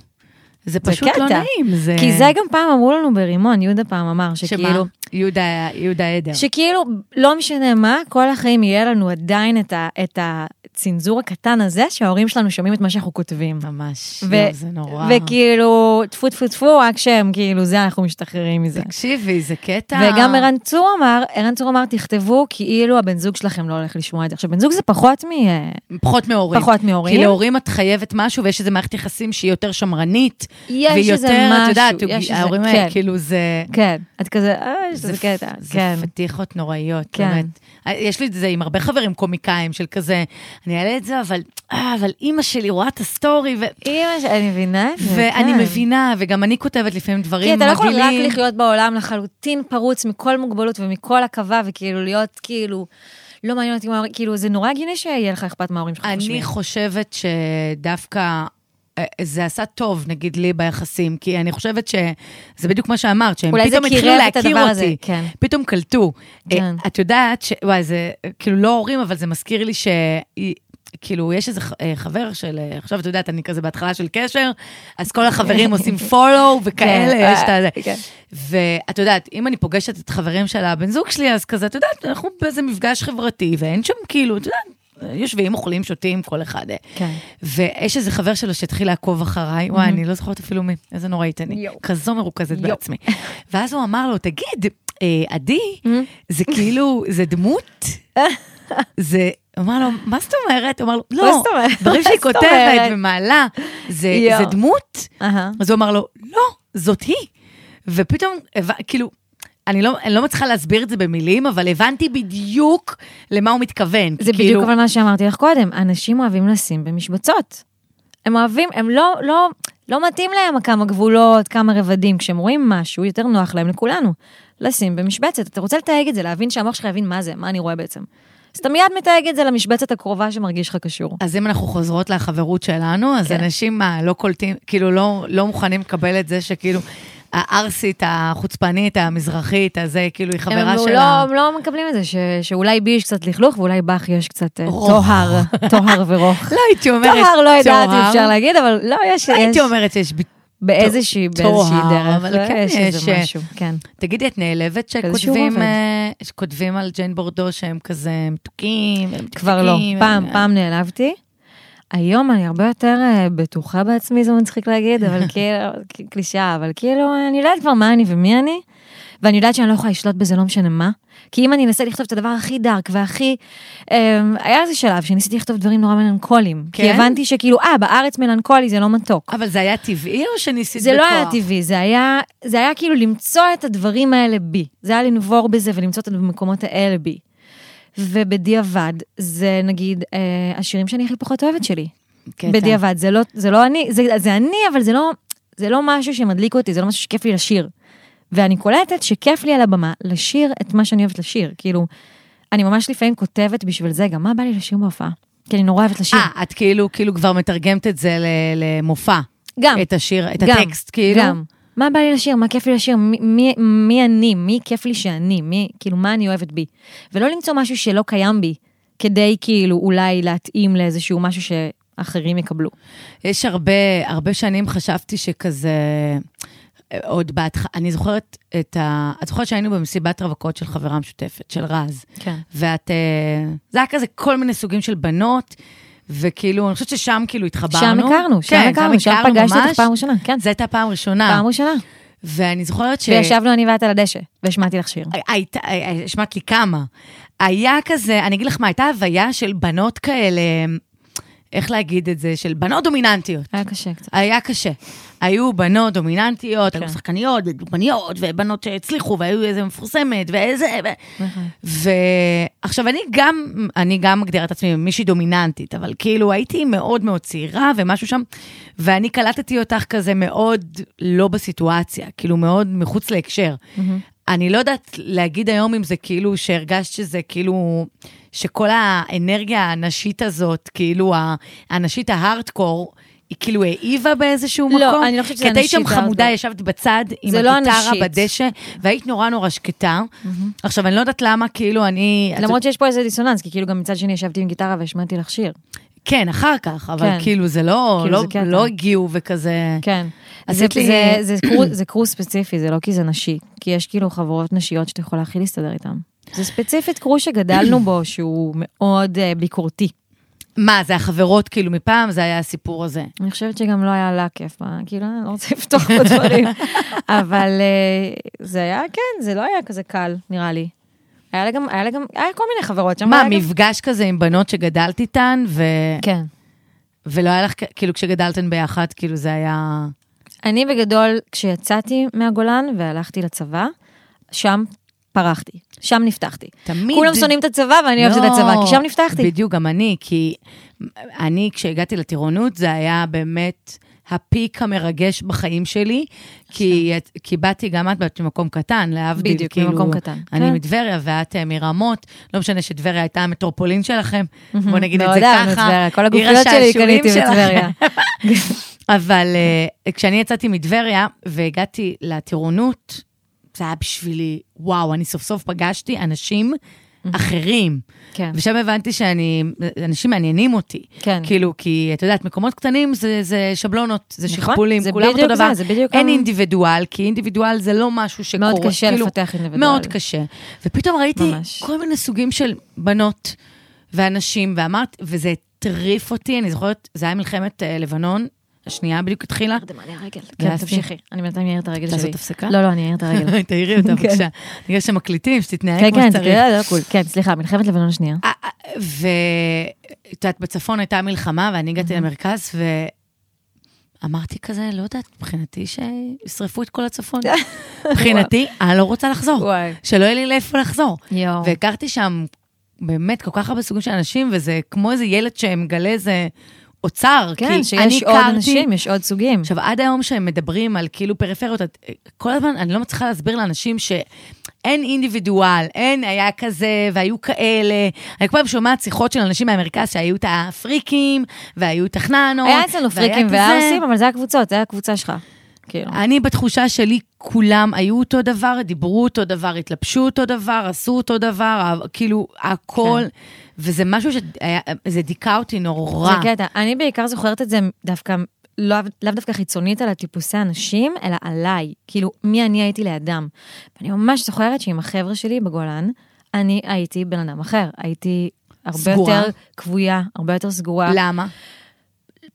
Speaker 1: זה
Speaker 2: Mm. זה
Speaker 1: פשוט לא
Speaker 2: קטע.
Speaker 1: נעים. זה...
Speaker 2: כי זה גם פעם אמרו לנו ברימון, יהודה פעם אמר, שכאילו,
Speaker 1: שמה? יהודה, יהודה עדר.
Speaker 2: שכאילו, לא משנה מה, כל החיים יהיה לנו עדיין את, ה, את הצנזור הקטן הזה, שההורים שלנו שומעים את מה שאנחנו כותבים.
Speaker 1: ממש,
Speaker 2: ו-
Speaker 1: יואו, זה נורא.
Speaker 2: וכאילו, טפו טפו טפו, רק שהם, כאילו, זה, אנחנו משתחררים מזה.
Speaker 1: תקשיבי, זה קטע...
Speaker 2: וגם ערן צור אמר, ערן צור אמר, תכתבו כאילו הבן זוג שלכם לא הולך לשמוע את זה. עכשיו, בן זוג זה פחות מ... אה,
Speaker 1: פחות מהורים.
Speaker 2: פחות מהורים.
Speaker 1: כי להורים את חייבת משהו, ויש איזו מערכת יחסים שהיא יותר שמרנית.
Speaker 2: יש
Speaker 1: והיא
Speaker 2: איזה
Speaker 1: יותר, את
Speaker 2: משהו,
Speaker 1: יודעת,
Speaker 2: יש איזה-
Speaker 1: ההורים
Speaker 2: כן.
Speaker 1: האלה, כאילו זה...
Speaker 2: כן, את כזה, אה, יש איזה
Speaker 1: פ-
Speaker 2: קטע,
Speaker 1: זה
Speaker 2: כן.
Speaker 1: פדיחות נוראיות,
Speaker 2: כן.
Speaker 1: באמת. אה, יש לי את זה עם הרבה חברים קומיקאים של כזה, אני אעלה את זה, אבל, אה, אבל אימא שלי רואה את הסטורי, ו...
Speaker 2: אימא ש... אני מבינה את זה,
Speaker 1: ואני
Speaker 2: כן.
Speaker 1: מבינה, וגם אני כותבת לפעמים דברים
Speaker 2: כי
Speaker 1: מגעילים.
Speaker 2: אתה לא יכול רק לחיות בעולם לחלוטין פרוץ מכל מוגבלות ומכל עכבה, וכאילו להיות כאילו, לא מעניין אותי מה ההורים, כאילו זה נורא הגיוני שיהיה לך אכפת מההורים שלך
Speaker 1: אני
Speaker 2: חושבים.
Speaker 1: חושבת שדווקא... אה, זה עשה טוב, נגיד לי, ביחסים, כי אני חושבת שזה בדיוק מה שאמרת, שהם
Speaker 2: אולי זה
Speaker 1: פתאום התחילו
Speaker 2: קירב את
Speaker 1: להכיר
Speaker 2: הדבר
Speaker 1: אותי.
Speaker 2: הזה, כן.
Speaker 1: פתאום קלטו.
Speaker 2: כן.
Speaker 1: אה, את יודעת, ש... וואי, זה אה, כאילו לא הורים, אבל זה מזכיר לי ש... כאילו, יש איזה ח- אה, חבר של, אה, עכשיו את יודעת, אני כזה בהתחלה של קשר, אז כל החברים עושים follow וכאלה,
Speaker 2: כן,
Speaker 1: יש את ה...
Speaker 2: כן.
Speaker 1: ואת יודעת, אם אני פוגשת את חברים של הבן זוג שלי, אז כזה, את יודעת, אנחנו באיזה מפגש חברתי, ואין שם כאילו, את יודעת, יושבים, אוכלים, שותים, כל אחד. אה.
Speaker 2: כן.
Speaker 1: ויש איזה חבר שלו שהתחיל לעקוב אחריי, וואי, אני לא זוכרת אפילו מי, איזה נוראית אני.
Speaker 2: Mm-hmm. יואו.
Speaker 1: כזו מרוכזת בעצמי. ואז הוא אמר לו, תגיד, אה, עדי,
Speaker 2: Mm-hmm.
Speaker 1: זה כאילו, זה דמות? זה, הוא אמר לו, מה זאת אומרת? הוא אמר לו,
Speaker 2: מה
Speaker 1: לא,
Speaker 2: זאת אומרת?
Speaker 1: דברים שהיא
Speaker 2: מה זאת אומרת?"
Speaker 1: כותבת ומעלה, זה
Speaker 2: יואו.
Speaker 1: זה דמות?
Speaker 2: אהה.
Speaker 1: אז הוא אמר לו, לא, זאת היא. ופתאום, הבנ- כאילו, אני לא, אני לא מצליחה להסביר את זה במילים, אבל הבנתי בדיוק למה הוא מתכוון.
Speaker 2: זה
Speaker 1: כאילו,
Speaker 2: בדיוק אבל מה שאמרתי לך קודם, אנשים אוהבים לשים במשבצות. הם אוהבים, הם לא, לא, לא מתאים להם כמה גבולות, כמה רבדים, כשהם רואים משהו, יותר נוח להם לכולנו. לשים במשבצת. אתה רוצה לתייג את זה, להבין שהמוח שלך יבין מה זה, מה אני רואה בעצם. אז אתה מיד מתייג את זה למשבצת הקרובה שמרגיש לך קשור.
Speaker 1: אז אם אנחנו חוזרות לחברות שלנו, אז
Speaker 2: כן.
Speaker 1: אנשים מה, לא קולטים, כאילו לא, לא מוכנים לקבל את זה שכאילו הערסית, החוצפנית, המזרחית, הזה, כאילו היא
Speaker 2: הם
Speaker 1: חברה
Speaker 2: לא-
Speaker 1: שלה.
Speaker 2: לא, הם לא מקבלים את זה, ש, שאולי בי יש קצת לכלוך ואולי בך יש קצת אה,
Speaker 1: רוך.
Speaker 2: טוהר, טוהר ורוך.
Speaker 1: לא הייתי אומרת,
Speaker 2: טוהר לא יודעת אם
Speaker 1: טוהר.
Speaker 2: אפשר להגיד, אבל לא, יש,
Speaker 1: לא
Speaker 2: יש
Speaker 1: הייתי אומרת שיש... ב-
Speaker 2: באיזושהי,
Speaker 1: טוהר,
Speaker 2: באיזושהי דרך,
Speaker 1: אבל
Speaker 2: לא,
Speaker 1: כן
Speaker 2: יש
Speaker 1: יש,
Speaker 2: איזה
Speaker 1: אה,
Speaker 2: משהו, כן.
Speaker 1: תגידי, את נעלבת
Speaker 2: איזשהו
Speaker 1: שכותבים
Speaker 2: רובד.
Speaker 1: אה, שכותבים על ג'יין בורדו שהם כזה מתוקים? הם
Speaker 2: כבר לא.
Speaker 1: מתוקים,
Speaker 2: פעם,
Speaker 1: הם-
Speaker 2: פעם נעלבתי. היום אני הרבה יותר אה, בטוחה בעצמי, זה מצחיק להגיד, אבל כאילו, ק- קלישאה, אבל כאילו, אני יודעת כבר מה אני ומי אני, ואני יודעת שאני לא יכולה לשלוט בזה לא משנה מה. כי אם אני אנסה לכתוב את הדבר הכי דארק והכי... אה, היה איזה שלב שניסיתי לכתוב דברים נורא מלנכוליים. כי
Speaker 1: כן?
Speaker 2: הבנתי שכאילו, אה, בארץ מלנכולי זה לא מתוק.
Speaker 1: אבל זה היה טבעי או שניסית
Speaker 2: זה
Speaker 1: בכוח?
Speaker 2: לא היה טבעי, זה היה, זה היה כאילו למצוא את הדברים האלה בי. זה היה לנבור בזה ולמצוא את זה במקומות האלה בי. ובדיעבד, זה נגיד אה, השירים שאני הכי פחות אוהבת שלי.
Speaker 1: קטע.
Speaker 2: בדיעבד, זה לא, זה לא אני, זה, זה אני, אבל זה לא, זה לא משהו שמדליק אותי, זה לא משהו שכיף לי לשיר. ואני קולטת שכיף לי על הבמה לשיר את מה שאני אוהבת לשיר. כאילו, אני ממש לפעמים כותבת בשביל זה, גם מה בא לי לשיר בהופעה? כי אני נורא אוהבת לשיר.
Speaker 1: אה, את כאילו, כאילו כבר מתרגמת את זה ל- למופע.
Speaker 2: גם.
Speaker 1: את השיר, את
Speaker 2: גם,
Speaker 1: הטקסט, כאילו.
Speaker 2: גם. מה בא לי לשיר? מה כיף לי לשיר? מי, מי, מי אני? מי כיף לי שאני? מי, כאילו, מה אני אוהבת בי? ולא למצוא משהו שלא קיים בי, כדי כאילו אולי להתאים לאיזשהו משהו שאחרים יקבלו.
Speaker 1: אה, יש הרבה, הרבה שנים חשבתי שכזה, עוד בהתחלה, אני זוכרת את ה... את זוכרת שהיינו במסיבת רווקות של חברה משותפת, של רז.
Speaker 2: כן.
Speaker 1: ואת... אה, זה היה כזה כל מיני סוגים של בנות, וכאילו, אני חושבת ששם כאילו התחברנו.
Speaker 2: שם הכרנו, שם
Speaker 1: כן,
Speaker 2: הכרנו, שם פגשתי אותך
Speaker 1: ממש.
Speaker 2: פעם ראשונה, כן.
Speaker 1: זו הייתה פעם ראשונה.
Speaker 2: פעם ראשונה.
Speaker 1: אוקיי. ואני זוכרת ש...
Speaker 2: וישבנו אני ואת על הדשא, והשמעתי לך שיר.
Speaker 1: הייתה, השמעת לי כמה. היה כזה, אני אגיד לך מה, הייתה הוויה של בנות כאלה, איך להגיד את זה, של בנות דומיננטיות.
Speaker 2: היה קשה קצת.
Speaker 1: היה קשה. היו בנות דומיננטיות, היו
Speaker 2: כן.
Speaker 1: שחקניות, דוגמניות, ובנות שהצליחו, והיו איזה מפורסמת, ואיזה... ו- ועכשיו, אני גם, אני גם מגדירה את עצמי מישהי דומיננטית, אבל כאילו הייתי מאוד מאוד צעירה ומשהו שם, ואני קלטתי אותך כזה מאוד לא בסיטואציה, כאילו מאוד מחוץ להקשר. אני לא יודעת להגיד היום אם זה כאילו שהרגשת שזה כאילו, שכל האנרגיה הנשית הזאת, כאילו ה- הנשית ההארדקור, היא כאילו העיבה באיזשהו
Speaker 2: לא,
Speaker 1: מקום?
Speaker 2: אני לא חושבת שזה
Speaker 1: כי את היית שם
Speaker 2: הנשית
Speaker 1: חמודה,
Speaker 2: ההארדקור.
Speaker 1: ישבת בצד עם
Speaker 2: זה לא
Speaker 1: הגיטרה
Speaker 2: הנשית.
Speaker 1: בדשא, והיית נורא נורא שקטה. עכשיו, אני לא יודעת למה, כאילו, אני... את
Speaker 2: למרות שיש פה איזה דיסוננס, כי כאילו גם מצד שני ישבתי עם גיטרה והשמעתי לך שיר.
Speaker 1: כן, אחר כך, אבל
Speaker 2: כן.
Speaker 1: כאילו זה לא,
Speaker 2: כאילו
Speaker 1: לא,
Speaker 2: זה קטע.
Speaker 1: לא הגיעו וכזה...
Speaker 2: כן.
Speaker 1: אז
Speaker 2: זה,
Speaker 1: את לי-
Speaker 2: זה, זה, קרוס, זה קרוס ספציפי, זה לא כי זה נשי, כי יש כאילו חברות נשיות שאתה יכול הכי להסתדר איתן. זה ספציפית קרוס שגדלנו בו, שהוא מאוד אה, ביקורתי.
Speaker 1: מה, זה החברות כאילו מפעם, זה היה הסיפור הזה.
Speaker 2: אני חושבת שגם לא היה לה כיף, אה? כאילו, אני לא רוצה לפתוח פה דברים. אבל אה, זה היה, כן, זה לא היה כזה קל, נראה לי. היה לה גם, היה לה גם, היה כל מיני חברות שם.
Speaker 1: מה,
Speaker 2: היה גם-
Speaker 1: מפגש כזה עם בנות שגדלת איתן, ו...
Speaker 2: כן.
Speaker 1: ולא היה לך, כ- כאילו כשגדלתן ביחד, כאילו זה היה...
Speaker 2: אני בגדול, כשיצאתי מהגולן והלכתי לצבא, שם פרחתי, שם נפתחתי.
Speaker 1: תמיד...
Speaker 2: כולם שונאים את הצבא ואני אוהבת את
Speaker 1: לא,
Speaker 2: הצבא, כי שם נפתחתי.
Speaker 1: בדיוק, גם אני, כי אני, כשהגעתי לטירונות, זה היה באמת הפיק המרגש בחיים שלי, כי, את- כי באתי גם את באת ממקום קטן, להבדיל,
Speaker 2: בדיוק,
Speaker 1: כאילו,
Speaker 2: ממקום קטן.
Speaker 1: אני
Speaker 2: כן.
Speaker 1: מטבריה ואת אה, מרמות, לא משנה שטבריה הייתה המטרופולין שלכם, בוא נגיד את זה
Speaker 2: Mm, מאוד אהבנו את
Speaker 1: ככה.
Speaker 2: טבריה, כל
Speaker 1: עיר
Speaker 2: הגופיות שלי
Speaker 1: השעשועים
Speaker 2: קניתי
Speaker 1: שלכם.
Speaker 2: בטבריה.
Speaker 1: אבל אה, כשאני יצאתי מטבריה והגעתי לטירונות, זה היה בשבילי, וואו, אני סוף סוף פגשתי אנשים אחרים.
Speaker 2: כן.
Speaker 1: ושם הבנתי שאני, אנשים מעניינים אותי.
Speaker 2: כן.
Speaker 1: כאילו, כי את יודעת, מקומות קטנים זה, זה שבלונות, זה
Speaker 2: נכון,
Speaker 1: שכפולים,
Speaker 2: זה
Speaker 1: כולם אותו
Speaker 2: בדיוק
Speaker 1: דבר.
Speaker 2: זה, זה בדיוק
Speaker 1: אין
Speaker 2: ה-
Speaker 1: אינדיבידואל, כי אינדיבידואל זה לא משהו שקורה.
Speaker 2: מאוד קשה
Speaker 1: כאילו,
Speaker 2: לפתח אינדיבידואל.
Speaker 1: מאוד קשה. ופתאום ראיתי
Speaker 2: ממש.
Speaker 1: כל מיני סוגים של בנות ואנשים, ואמרת, וזה הטריף אותי, אני זוכרת, זה היה מלחמת אה, לבנון, השנייה בדיוק התחילה.
Speaker 2: תרדמה לי הרגל.
Speaker 1: ולעשות-
Speaker 2: כן, תמשיכי. אני בינתיים אעיר את הרגל שלי.
Speaker 1: לעשות הפסקה?
Speaker 2: לא, לא, אני אעיר את הרגל.
Speaker 1: תעירי אותה
Speaker 2: כן.
Speaker 1: בבקשה. בגלל שמקליטים, שתתנהג
Speaker 2: כן,
Speaker 1: כמו
Speaker 2: כן,
Speaker 1: שצריך.
Speaker 2: תקראי, לא, קול. כן, סליחה, מלחמת לבנון השנייה.
Speaker 1: אה, אה, ו... את יודעת, בצפון הייתה מלחמה, ואני
Speaker 2: Mm-hmm.
Speaker 1: הגעתי למרכז, ואמרתי כזה, לא יודעת, מבחינתי שישרפו את כל הצפון. מבחינתי, אני לא רוצה לחזור.
Speaker 2: וואי.
Speaker 1: שלא יהיה לי לאיפה לחזור.
Speaker 2: יואו.
Speaker 1: והכרתי שם באמת כל כך הרבה סוגים של אנשים, וזה כמו איזה ילד שמגלה איזה אוצר.
Speaker 2: כן,
Speaker 1: כי אני
Speaker 2: שיש עוד
Speaker 1: הכרתי-
Speaker 2: אנשים, יש עוד סוגים.
Speaker 1: עכשיו, עד היום שהם מדברים על כאילו פריפריות, את- כל הזמן אני לא מצליחה להסביר לאנשים שאין אינדיבידואל, אין היה כזה והיו כאלה. אני כל פעם שומעת שיחות של אנשים מהמרכז שהיו את הפריקים, והיו את החננות.
Speaker 2: היה אצלנו
Speaker 1: והיה
Speaker 2: פריקים
Speaker 1: את זה.
Speaker 2: וערסים, אבל זה הקבוצות, זה הקבוצה שלך. כאילו.
Speaker 1: אני בתחושה שלי, כולם היו אותו דבר, דיברו אותו דבר, התלבשו אותו דבר, עשו אותו דבר, כאילו, הכל.
Speaker 2: כן.
Speaker 1: וזה משהו שזה דיכא אותי נורא.
Speaker 2: זה כן קטע. אני בעיקר זוכרת את זה דווקא, לא- לאו דווקא חיצונית על הטיפוסי אנשים, אלא עליי. כאילו, מי אני הייתי לאדם. ואני ממש זוכרת שעם החבר'ה שלי בגולן, אני הייתי בן אדם אחר. הייתי הרבה
Speaker 1: סגורה.
Speaker 2: יותר כבויה, הרבה יותר סגורה.
Speaker 1: למה?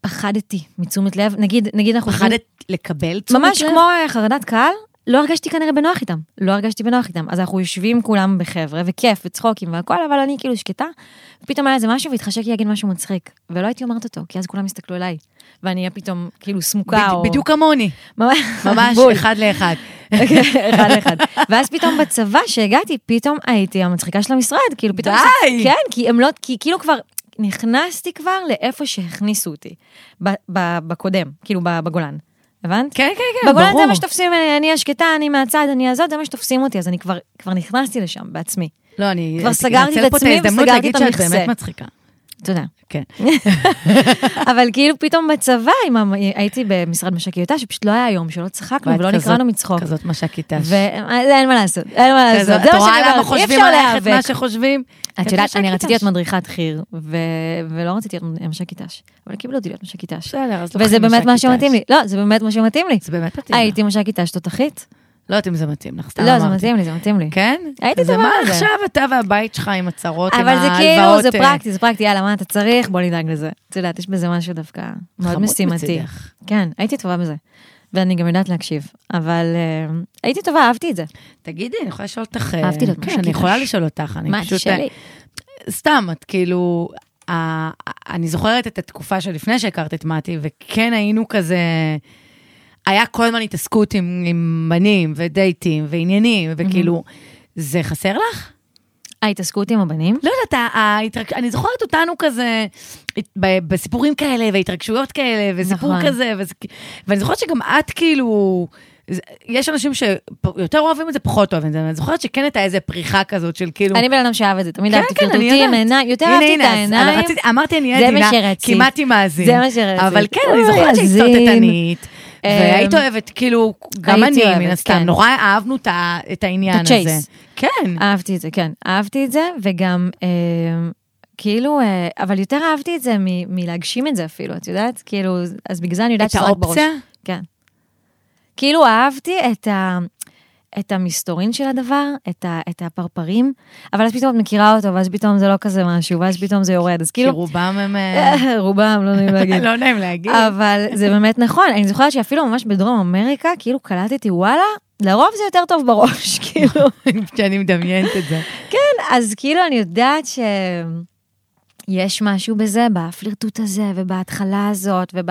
Speaker 2: פחדתי מתשומת לב. נגיד, נגיד אנחנו... יושבים-
Speaker 1: פחדת לקבל תשומת
Speaker 2: ממש
Speaker 1: לב?
Speaker 2: כמו אה, חרדת קהל, לא הרגשתי כנראה בנוח איתם. לא הרגשתי בנוח איתם. אז אנחנו יושבים כולם בחבר'ה, וכיף, וצחוקים והכל, אבל אני כאילו שקטה. פתאום היה איזה משהו והתחשק לי להגיד משהו מצחיק. ולא הייתי אומרת אותו, כי אז כולם הסתכלו עליי. ואני אהיה פתאום כאילו סמוקה
Speaker 1: בד-
Speaker 2: או...
Speaker 1: בדיוק כמוני.
Speaker 2: ממש,
Speaker 1: ממש
Speaker 2: בול. אוקיי,
Speaker 1: אחד לאחד.
Speaker 2: אחד לאחד. ואז פתאום בצבא שהגעתי, פתאום הייתי המצחיקה של המשרד, כאילו פתאום...
Speaker 1: די!
Speaker 2: כן, כי הם לא, כי כאילו כבר... נכנסתי כבר לאיפה שהכניסו אותי, ב- ב- בקודם, כאילו ב- בגולן. הבנת?
Speaker 1: כן, כן, כן,
Speaker 2: בגולן
Speaker 1: ברור.
Speaker 2: זה מה שתופסים, אה, אני השקטה, אני מהצד, אני הזאת, זה מה שתופסים אותי, אז אני כבר, כבר נכנסתי לשם בעצמי.
Speaker 1: לא, אני...
Speaker 2: כבר
Speaker 1: אני
Speaker 2: סגרתי את
Speaker 1: אנצל פה
Speaker 2: עצמי
Speaker 1: ההזדמנות
Speaker 2: וסגרתי
Speaker 1: להגיד
Speaker 2: את
Speaker 1: שאת
Speaker 2: המכסה.
Speaker 1: באמת מצחיקה.
Speaker 2: תודה.
Speaker 1: כן.
Speaker 2: אבל כאילו פתאום בצבא, עם המ- הייתי במשרד משקיותה, שפשוט לא היה יום שלא צחקנו
Speaker 1: ואת
Speaker 2: ולא
Speaker 1: כזאת-
Speaker 2: נקראנו מצחוק.
Speaker 1: כזאת משקיטה.
Speaker 2: ואין מה לעשות, אין מה
Speaker 1: כזאת,
Speaker 2: לעשות, זה
Speaker 1: את
Speaker 2: מה
Speaker 1: רואה
Speaker 2: שאני
Speaker 1: למה
Speaker 2: אומרת, אי
Speaker 1: חושבים
Speaker 2: אפשר
Speaker 1: עלייך את מה
Speaker 2: להיאבק.
Speaker 1: שחושבים?
Speaker 2: את יודעת, אני
Speaker 1: מש"קית
Speaker 2: רציתי להיות
Speaker 1: ת"ש.
Speaker 2: מדריכת חי"ר, ו- ולא רציתי להיות מש"קית ת"ש, אבל קיבלו אותי להיות מש"קית ת"ש.
Speaker 1: בסדר, אז לא
Speaker 2: וזה
Speaker 1: לוקחים
Speaker 2: באמת מה
Speaker 1: מש"קית
Speaker 2: שמתאים
Speaker 1: ת"ש.
Speaker 2: לי, לא, זה באמת מה שמתאים לי.
Speaker 1: זה באמת מתאים. לך.
Speaker 2: הייתי מש"קית ת"ש תותחית?
Speaker 1: לא יודעת אם זה מתאים לך, סתם
Speaker 2: לא, זה
Speaker 1: אמרתי.
Speaker 2: מתאים לי, זה מתאים לי.
Speaker 1: כן?
Speaker 2: הייתי
Speaker 1: אז
Speaker 2: טובה
Speaker 1: מה
Speaker 2: בזה.
Speaker 1: עכשיו אתה והבית שלך עם הצרות, עם
Speaker 2: אבל זה כאילו,
Speaker 1: ההלוואות,
Speaker 2: זה
Speaker 1: אה,
Speaker 2: פרקטי, זה פרקטי, יאללה, מה אתה צריך? בוא נדאג לזה. את יודעת, יש בזה משהו דווקא מאוד
Speaker 1: חמוד
Speaker 2: משימתי.
Speaker 1: מצידך.
Speaker 2: כן, הייתי טובה בזה. ואני גם יודעת להקשיב, אבל אה, הייתי טובה, אהבתי את זה.
Speaker 1: תגידי, אני יכולה לשאול אותך... אה,
Speaker 2: אהבתי להיות
Speaker 1: כן,
Speaker 2: מש"קית
Speaker 1: אני יכולה
Speaker 2: ת"ש.
Speaker 1: לשאול אותך, אני
Speaker 2: מה, את
Speaker 1: פשוט... אה,
Speaker 2: שלי?
Speaker 1: סתם, את כאילו... ה- אני זוכרת את התקופה שלפני שהכרת את מתי, וכן היינו כזה... היה כל הזמן התעסקות עם, עם בנים ודייטים ועניינים, וכאילו, זה חסר לך?
Speaker 2: ההתעסקות עם הבנים?
Speaker 1: לא יודעת, ה- ההתרג... אני זוכרת אותנו כזה, הת- ב- בסיפורים כאלה, והתרגשויות כאלה, וסיפור
Speaker 2: נכון.
Speaker 1: כזה, וזה... כ- ואני זוכרת שגם את כאילו... זה- יש אנשים שיותר אוהבים את זה, פחות אוהבים את זה, אבל אני זוכרת שכן הייתה איזה פריחה כזאת של כאילו...
Speaker 2: אני בן אדם שאהב את זה, תמיד
Speaker 1: כן,
Speaker 2: אהבתי
Speaker 1: כן, אני
Speaker 2: פרטוטים,
Speaker 1: יודעת.
Speaker 2: עיניים, יותר
Speaker 1: הנה,
Speaker 2: אהבתי את
Speaker 1: הנה, אז-
Speaker 2: העיניים.
Speaker 1: רציתי- אמרתי, אני
Speaker 2: זה
Speaker 1: אהיה
Speaker 2: מה
Speaker 1: עדינה,
Speaker 2: שרצית.
Speaker 1: כמעט עם מאזין.
Speaker 2: זה מה שרצית.
Speaker 1: אבל כן, אני
Speaker 2: אוי,
Speaker 1: זוכרת שהיית
Speaker 2: יאזין.
Speaker 1: סרטטנית,
Speaker 2: אמ,
Speaker 1: והיית אוהבת, כאילו, גם
Speaker 2: הייתי
Speaker 1: אני,
Speaker 2: אוהבת,
Speaker 1: מן הסתם,
Speaker 2: כן.
Speaker 1: נורא אהבנו את ה- את העניין
Speaker 2: את ה-chase.
Speaker 1: הזה. כן.
Speaker 2: אהבתי את זה, כן. אהבתי את זה, וגם אה, כאילו, אה, אבל יותר אהבתי את זה מ- מלהגשים את זה אפילו, את יודעת? כאילו, אז בגלל זה אני יודעת
Speaker 1: את האופציה?
Speaker 2: כן. כאילו אהבתי את, ה... את המסתורין של הדבר, את, ה... את הפרפרים, אבל אז פתאום את מכירה אותו, ואז פתאום זה לא כזה משהו, ואז פתאום זה יורד, אז
Speaker 1: כי
Speaker 2: כאילו...
Speaker 1: רובם הם... אה,
Speaker 2: רובם, לא נעים להגיד.
Speaker 1: לא נעים להגיד.
Speaker 2: אבל זה באמת נכון, אני זוכרת שאפילו ממש בדרום אמריקה, כאילו קלטתי, וואלה, לרוב זה יותר טוב בראש, כאילו.
Speaker 1: כשאני מדמיינת את זה.
Speaker 2: אז כאילו אני יודעת ש... יש משהו בזה, בפלירטוט הזה, ובהתחלה הזאת, וב...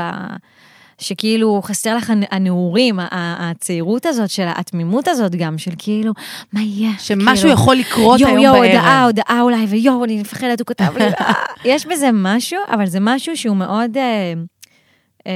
Speaker 2: שכאילו חסר לך הנ- הנעורים, ה- ה- הצעירות הזאת של התמימות הזאת גם, של כאילו, מה יהיה?
Speaker 1: שמשהו
Speaker 2: כאילו,
Speaker 1: יכול לקרות היום
Speaker 2: יואו,
Speaker 1: בערב.
Speaker 2: יואו, הודעה, הודעה אולי, ויואו, אני מפחדת, הוא כתב לי. אה. יש בזה משהו, אבל זה משהו שהוא מאוד... אה, אה,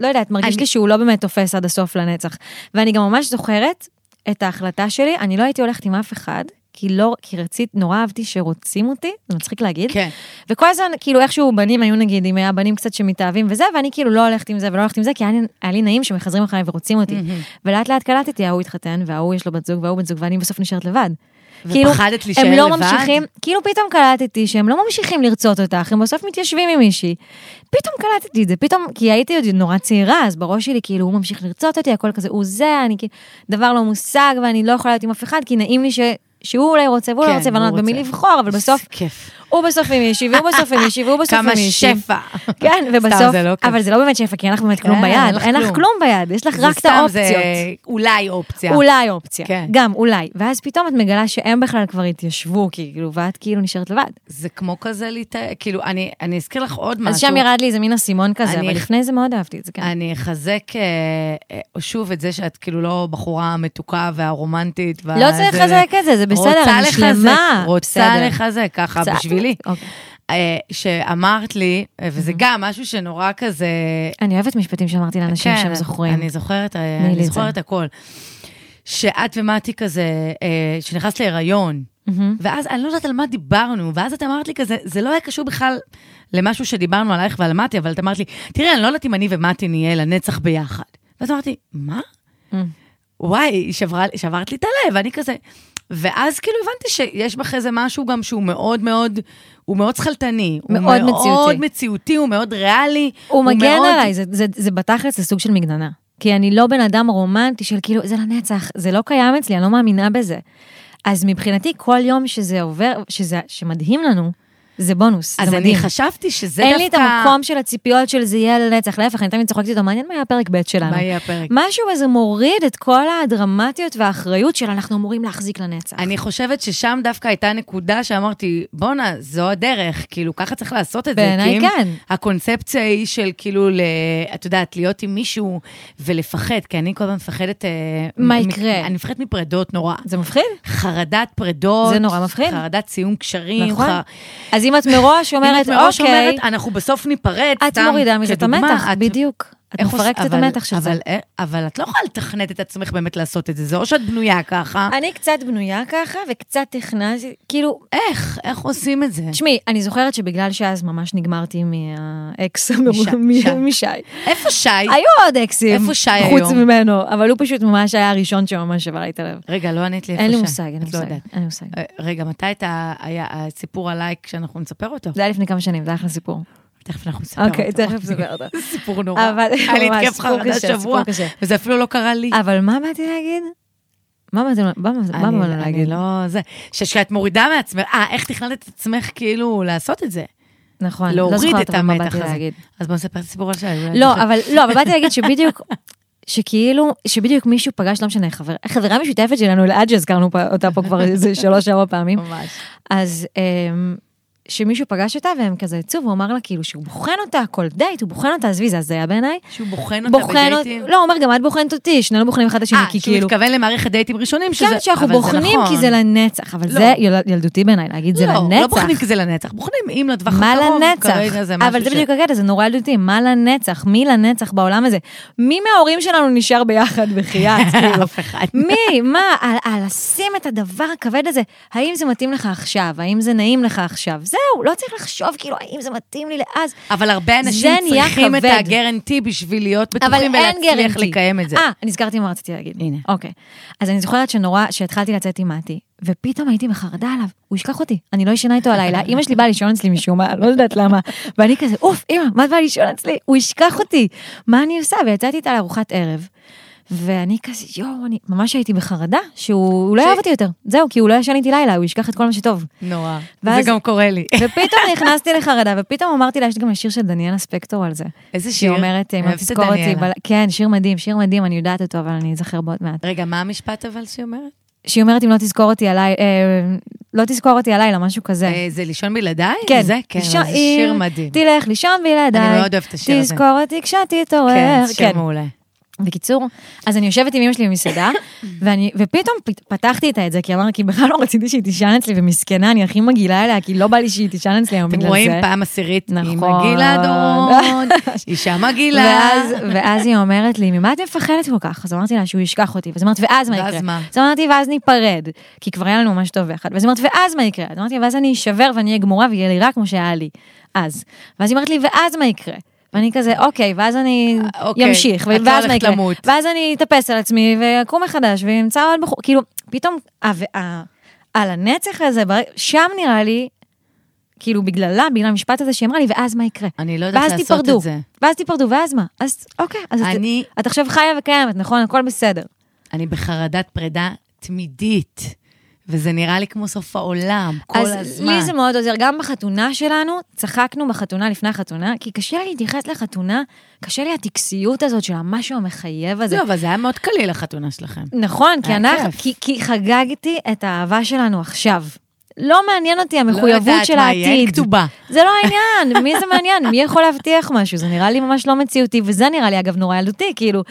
Speaker 2: לא יודעת, מרגיש
Speaker 1: אני-
Speaker 2: לי שהוא לא באמת תופס עד הסוף לנצח. ואני גם ממש זוכרת את ההחלטה שלי, אני לא הייתי הולכת עם אף אחד, כי לא, כי רצית, נורא אהבתי שרוצים אותי, זה מצחיק להגיד.
Speaker 1: כן.
Speaker 2: וכל הזמן, כאילו, איכשהו בנים היו נגיד, אם היה בנים קצת שמתאהבים וזה, ואני כאילו לא הולכת עם זה ולא הולכת עם זה, כי היה לי, היה לי נעים שמחזרים אחריי ורוצים אותי. ולאט לאט קלטתי, ההוא התחתן, וההוא יש לו בת זוג, וההוא בת זוג, ואני בסוף נשארת לבד. כאילו,
Speaker 1: ופחדת להישאר
Speaker 2: הם לא
Speaker 1: לבד?
Speaker 2: ממשיכים, כאילו פתאום קלטתי שהם לא ממשיכים לרצות אותך, הם בסוף מתיישבים עם מישהי. פתאום קלטתי את זה, פתאום, כי הייתי עוד נורא צעירה, אז בראש שלי כאילו הוא ממשיך לרצות אותי, הכל כזה, הוא זה, אני כאילו, דבר לא מושג, ואני לא יכולה להיות עם אף אחד, כי נעים לי ש... שהוא אולי רוצה והוא
Speaker 1: כן,
Speaker 2: לא רוצה, ואני לא
Speaker 1: הוא
Speaker 2: יודעת במי
Speaker 1: רוצה.
Speaker 2: לבחור, אבל בסוף
Speaker 1: איזה כיף.
Speaker 2: הוא בסוף עם מישהי, והוא בסוף עם מישהי, והוא בסוף עם
Speaker 1: כמה
Speaker 2: מישהי.
Speaker 1: שפע.
Speaker 2: כן,
Speaker 1: סתם,
Speaker 2: ובסוף,
Speaker 1: זה לא כיף.
Speaker 2: אבל זה לא באמת שפע, כי אין לך באמת כלום
Speaker 1: כן, אין
Speaker 2: ביד,
Speaker 1: לך
Speaker 2: אין לך
Speaker 1: כלום.
Speaker 2: כלום ביד, יש לך
Speaker 1: זה
Speaker 2: רק את
Speaker 1: סתם, זה
Speaker 2: האופציות.
Speaker 1: אולי אופציה.
Speaker 2: אולי אופציה,
Speaker 1: כן.
Speaker 2: גם אולי. ואז פתאום את מגלה שהם בכלל כבר התיישבו, כאילו, ואת כאילו נשארת לבד.
Speaker 1: זה כמו כזה להתאר, כאילו, אני, אני אזכיר לך עוד משהו.
Speaker 2: אז שם ירד לי איזה מין אסימון כזה,
Speaker 1: אני-
Speaker 2: אבל לפני זה מאוד אהבתי את זה, כן.
Speaker 1: אני אחזק אה, אה, שוב את זה שאת כאילו לא בחורה המתוקה והרומנטית. וה-
Speaker 2: לא צריך
Speaker 1: זה-
Speaker 2: לחזק את זה, זה בסדר,
Speaker 1: רוצה
Speaker 2: אני
Speaker 1: לחזק,
Speaker 2: שלמה.
Speaker 1: רוצה
Speaker 2: בסדר.
Speaker 1: לחזק, ככה,
Speaker 2: קצת.
Speaker 1: בשבילי.
Speaker 2: אוקיי.
Speaker 1: אה, שאמרת לי, אה,
Speaker 2: Mm-hmm.
Speaker 1: וזה גם משהו שנורא כזה...
Speaker 2: אני אוהבת משפטים שאמרתי לאנשים שהם זוכרים.
Speaker 1: כן, אני זוכרת, אה,
Speaker 2: תני לי
Speaker 1: אני
Speaker 2: את
Speaker 1: זוכרת הכל. שאת ומתי כזה, אה, שנכנסת להיריון,
Speaker 2: מהמם.
Speaker 1: ואז אני לא יודעת על מה דיברנו, ואז את אמרת לי כזה, זה לא היה קשור בכלל למשהו שדיברנו עלייך ועל מתי, אבל את אמרת לי, תראה, אני לא יודעת אם אני ומתי נהיה לנצח ביחד. ואז אמרתי, מה?
Speaker 2: Mm.
Speaker 1: וואי, שברה, שברת לי את הלב, אני כזה... ואז כאילו הבנתי שיש בך איזה משהו גם שהוא מאוד מאוד, הוא מאוד שכלתני.
Speaker 2: מאוד
Speaker 1: הוא מאוד
Speaker 2: מציאותי.
Speaker 1: מציאותי, הוא מאוד ריאלי.
Speaker 2: הוא מגן
Speaker 1: מאוד-
Speaker 2: עליי, זה- זה- זה בתכלס זה סוג של מגננה. כי אני לא בן אדם רומנטי של כאילו, זה לנצח, זה לא קיים אצלי, אני לא מאמינה בזה. אז מבחינתי, כל יום שזה עובר, שזה- שמדהים לנו, זה בונוס, זה
Speaker 1: אז
Speaker 2: מדהים.
Speaker 1: אני חשבתי שזה
Speaker 2: אין
Speaker 1: דווקא...
Speaker 2: לי את המקום של הציפיות של זה יהיה לנצח, להפך, אני תמיד צוחקת איתו, מעניין מה יהיה הפרק ב' שלנו.
Speaker 1: מה יהיה הפרק?
Speaker 2: משהו בזה מוריד את כל הדרמטיות והאחריות של אנחנו אמורים להחזיק לנצח.
Speaker 1: אני חושבת ששם דווקא הייתה נקודה שאמרתי, בואנה, זו הדרך, כאילו, ככה צריך לעשות את זה.
Speaker 2: בעיניי
Speaker 1: כי אם
Speaker 2: כן.
Speaker 1: הקונספציה היא של כאילו, ל- את יודעת, להיות עם מישהו ולפחד, כי אני כל הזמן מפחדת... אה,
Speaker 2: מה
Speaker 1: מ-
Speaker 2: יקרה?
Speaker 1: אני מפחדת מפרדות נורא.
Speaker 2: זה מפחיד,
Speaker 1: חרדת פרדות.
Speaker 2: זה נורא מפחיד.
Speaker 1: חרדת סיום קשרים.
Speaker 2: נכון?
Speaker 1: ח-
Speaker 2: אז אם את מראש
Speaker 1: אם
Speaker 2: אומרת,
Speaker 1: את מראש
Speaker 2: אוקיי,
Speaker 1: אומרת, אנחנו בסוף ניפרד,
Speaker 2: את מורידה מזה את
Speaker 1: כדוגמה,
Speaker 2: המתח,
Speaker 1: את-
Speaker 2: בדיוק. את
Speaker 1: איך עוש-
Speaker 2: מפרקת את
Speaker 1: אבל-
Speaker 2: המתח של זה.
Speaker 1: אבל- אה, אבל את לא יכולה לתכנת את עצמך באמת לעשות את זה, זה או שאת בנויה ככה.
Speaker 2: אני קצת בנויה ככה, וקצת תכננתי, כאילו,
Speaker 1: איך? איך עושים את זה?
Speaker 2: תשמעי, אני זוכרת שבגלל שאז ממש נגמרתי מהאקס
Speaker 1: משי, שי.
Speaker 2: המרומם, משי.
Speaker 1: איפה שי?
Speaker 2: היו עוד אקסים,
Speaker 1: איפה שי
Speaker 2: חוץ
Speaker 1: היום?
Speaker 2: ממנו, אבל הוא פשוט ממש היה הראשון שממש שבר לי את הלב.
Speaker 1: רגע, לא ענית לי איפה שי.
Speaker 2: אין לי מושג, אין לי
Speaker 1: את לא
Speaker 2: מושג. אין
Speaker 1: יודעת.
Speaker 2: לי מושג.
Speaker 1: אה, רגע, מתי הייתה- היה הסיפור עליי כשאנחנו נספר אותו?
Speaker 2: זה היה לפני כמה שנים, זה היה אחלה סיפור.
Speaker 1: תכף אנחנו נספר אותו.
Speaker 2: לא. אוקיי, תכף נספר אותו.
Speaker 1: סיפור נורא.
Speaker 2: אבל-
Speaker 1: היה לי
Speaker 2: ממש,
Speaker 1: התקף
Speaker 2: סיפור
Speaker 1: חרדה
Speaker 2: קשה,
Speaker 1: שבוע,
Speaker 2: סיפור קשה. אה,
Speaker 1: וזה אפילו לא קרה לי.
Speaker 2: אבל מה באתי להגיד? מה באתי מה- מה
Speaker 1: אני-
Speaker 2: באנו
Speaker 1: אני
Speaker 2: להגיד?
Speaker 1: לא... זה... ש- שאת מורידה מעצמך, אה, איך תכננת את עצמך כאילו לעשות את זה?
Speaker 2: נכון, לא
Speaker 1: להוריד
Speaker 2: זוכרת
Speaker 1: את
Speaker 2: אבל מה
Speaker 1: המתח
Speaker 2: באתי
Speaker 1: הזה.
Speaker 2: להגיד.
Speaker 1: אז בוא נספר את הסיפור על שי. אולי
Speaker 2: לא,
Speaker 1: אני-
Speaker 2: אבל, לא, אבל באתי להגיד שבדיוק, שכאילו, שבדיוק מישהו פגש, לא משנה, חבר- חברה משותפת שלנו, אלעד שהזכרנו פה- אותה פה כבר איזה שלוש ארבע פעמים,
Speaker 1: ממש.
Speaker 2: אז אמ, שמישהו פגש אותה והם כזה יצאו, והוא אמר לה כאילו שהוא בוחן אותה, כל דייט, הוא בוחן אותה, עזבי, זה הזיה בעיניי.
Speaker 1: שהוא בוחן אותה
Speaker 2: בוחן אותה,
Speaker 1: בדייטים?
Speaker 2: לא, הוא אומר גם את בוחנת אותי, שנינו בוחנים אחד את השני,
Speaker 1: אה,
Speaker 2: כי
Speaker 1: שהוא
Speaker 2: כאילו...
Speaker 1: מתכוון למערכת דייטים ראשונים, שזה...
Speaker 2: כן, שאנחנו
Speaker 1: אבל זה
Speaker 2: בוחנים כי
Speaker 1: נכון.
Speaker 2: זה לנצח, אבל
Speaker 1: לא.
Speaker 2: זה יל- ילדותי בעיניי, להגיד זה לנצח.
Speaker 1: לא, לא בוחנים כי זה לנצח, בוחנים אם לטווח
Speaker 2: מה
Speaker 1: הקרוב,
Speaker 2: לנצח?
Speaker 1: כרגע זה משהו
Speaker 2: אבל זה
Speaker 1: ש-
Speaker 2: בדיוק הקטע, זה נורא ילדותי, מה לנצח? מי לנצח בעולם הזה? מי מההורים שלנו נשאר ביחד בחייאת? כאילו?
Speaker 1: אף אחד.
Speaker 2: מי? מה? על, על לשים את הדבר הכבד הזה? האם זה מתאים לך עכשיו? האם זה נעים לך עכשיו? זה זהו, לא צריך לחשוב כאילו האם זה מתאים לי לאז.
Speaker 1: אבל הרבה אנשים
Speaker 2: זה נהיה
Speaker 1: צריכים את
Speaker 2: כבד.
Speaker 1: הגרנטי בשביל להיות
Speaker 2: אבל
Speaker 1: בטוחים
Speaker 2: אין
Speaker 1: ולהצליח
Speaker 2: גרנטי.
Speaker 1: לקיים את זה.
Speaker 2: אה, נזכרתי מה רציתי להגיד.
Speaker 1: הנה.
Speaker 2: אוקיי. אז אני זוכרת שנורא, שהתחלתי לצאת עם מתי, ופתאום הייתי בחרדה עליו, הוא ישכח אותי, אני לא ישנה איתו הלילה, אמא שלי באה לישון אצלי משום מה, לא יודעת למה, ואני כזה, אוף, אמא, מה את באה לישון אצלי? הוא ישכח אותי, מה אני עושה? ויצאתי איתה לארוחת ערב, ואני כזה, יואו, אני ממש הייתי בחרדה, שהוא לא
Speaker 1: ש-
Speaker 2: יאהב אותי יותר. זהו, כי הוא לא ישן איתי לילה, הוא ישכח את כל מה שטוב.
Speaker 1: נורא.
Speaker 2: ואז-
Speaker 1: זה גם קורה לי.
Speaker 2: ופתאום נכנסתי לחרדה, ופתאום אמרתי לה, יש גם שיר של דניאלה ספקטור על זה.
Speaker 1: איזה
Speaker 2: שהיא
Speaker 1: שיר? אה,
Speaker 2: אומרת, אם לא
Speaker 1: אוהבת את
Speaker 2: תזכור אותי,
Speaker 1: דניאלה.
Speaker 2: בל- כן, שיר מדהים, שיר מדהים, אני יודעת אותו, אבל אני אזכר בעוד מעט.
Speaker 1: רגע, מה המשפט אבל שהיא אומרת?
Speaker 2: שהיא אומרת, אם לא תזכור אותי עליי, אה, לא תזכור אותי הלילה, משהו כזה.
Speaker 1: אה, זה לישון בלעדיי?
Speaker 2: כן,
Speaker 1: זה, כן,
Speaker 2: לישון-
Speaker 1: אבל זה שיר
Speaker 2: אם
Speaker 1: מדהים.
Speaker 2: תלך לישון בלעדיי.
Speaker 1: אני מאוד אוהבת את השיר הזה.
Speaker 2: תזכור אותי כשתתעורר.
Speaker 1: כן, זה שיר מעולה.
Speaker 2: בקיצור, אז אני יושבת עם אמא שלי במסעדה, ואני, ופתאום פת- פתחתי איתה את זה, כי אמרתי, כי בכלל לא רציתי שהיא תישן אצלי, ומסכנה, אני הכי מגעילה אליה, כי לא בא לי שהיא תישן אצלי היום בגלל
Speaker 1: אתם
Speaker 2: זה.
Speaker 1: רואים פעם עשירית,
Speaker 2: נכון.
Speaker 1: אימא גילה דורון, אישה מגעילה.
Speaker 2: ואז, ואז היא אומרת לי, ממה את מפחדת כל כך? אז אמרתי לה שהוא ישכח אותי, ואז אמרת, ואז מה יקרה?
Speaker 1: ואז מה?
Speaker 2: אז אמרתי, ואז ניפרד, כי כבר היה לנו ממש טוב ביחד. ואז אמרת, ואז מה יקרה? אז אמרתי, ואז אני אשבר ואני אהיה גמורה ויהיה לי רע כמו שהיה לי, אז. ואז היא אמרת לי, ואז מה יקרה? ואני כזה, אוקיי, ואז אני
Speaker 1: אה, אוקיי,
Speaker 2: אמשיך,
Speaker 1: את לא
Speaker 2: ואז מה
Speaker 1: הולכת
Speaker 2: יקרה?
Speaker 1: למות.
Speaker 2: ואז אני אתאפס על עצמי ואקום מחדש ואמצא עוד בחור, כאילו, פתאום, ה- ה- על הנצח הזה, בר- שם נראה לי, כאילו בגללה, בגלל המשפט הזה שהיא אמרה לי, ואז מה יקרה?
Speaker 1: אני לא יודעת
Speaker 2: ואז
Speaker 1: לעשות
Speaker 2: תיפרדו,
Speaker 1: את זה.
Speaker 2: ואז תיפרדו, ואז מה? אז אוקיי, אז את-
Speaker 1: אני-
Speaker 2: את עכשיו חיה וקיימת, נכון? הכל בסדר.
Speaker 1: אני בחרדת פרידה תמידית, וזה נראה לי כמו סוף העולם, כל
Speaker 2: אז
Speaker 1: הזמן.
Speaker 2: לי זה מאוד עוזר. גם בחתונה שלנו, צחקנו בחתונה לפני החתונה, כי קשה לי להתייחס לחתונה, קשה לי הטקסיות הזאת של המשהו המחייב הזה.
Speaker 1: לא, אבל זה היה מאוד קליל החתונה שלכם.
Speaker 2: נכון, כי
Speaker 1: היה
Speaker 2: אנחנו,
Speaker 1: כיף.
Speaker 2: כי- כי חגגתי את האהבה שלנו עכשיו. לא מעניין אותי
Speaker 1: לא
Speaker 2: המחויבות
Speaker 1: יודעת
Speaker 2: של
Speaker 1: מה יהיה, אין
Speaker 2: העתיד.
Speaker 1: כתובה.
Speaker 2: זה לא העניין, מי זה מעניין? מי יכול להבטיח משהו? זה נראה לי ממש לא מציאותי, וזה נראה לי אגב נורא ילדותי, כאילו,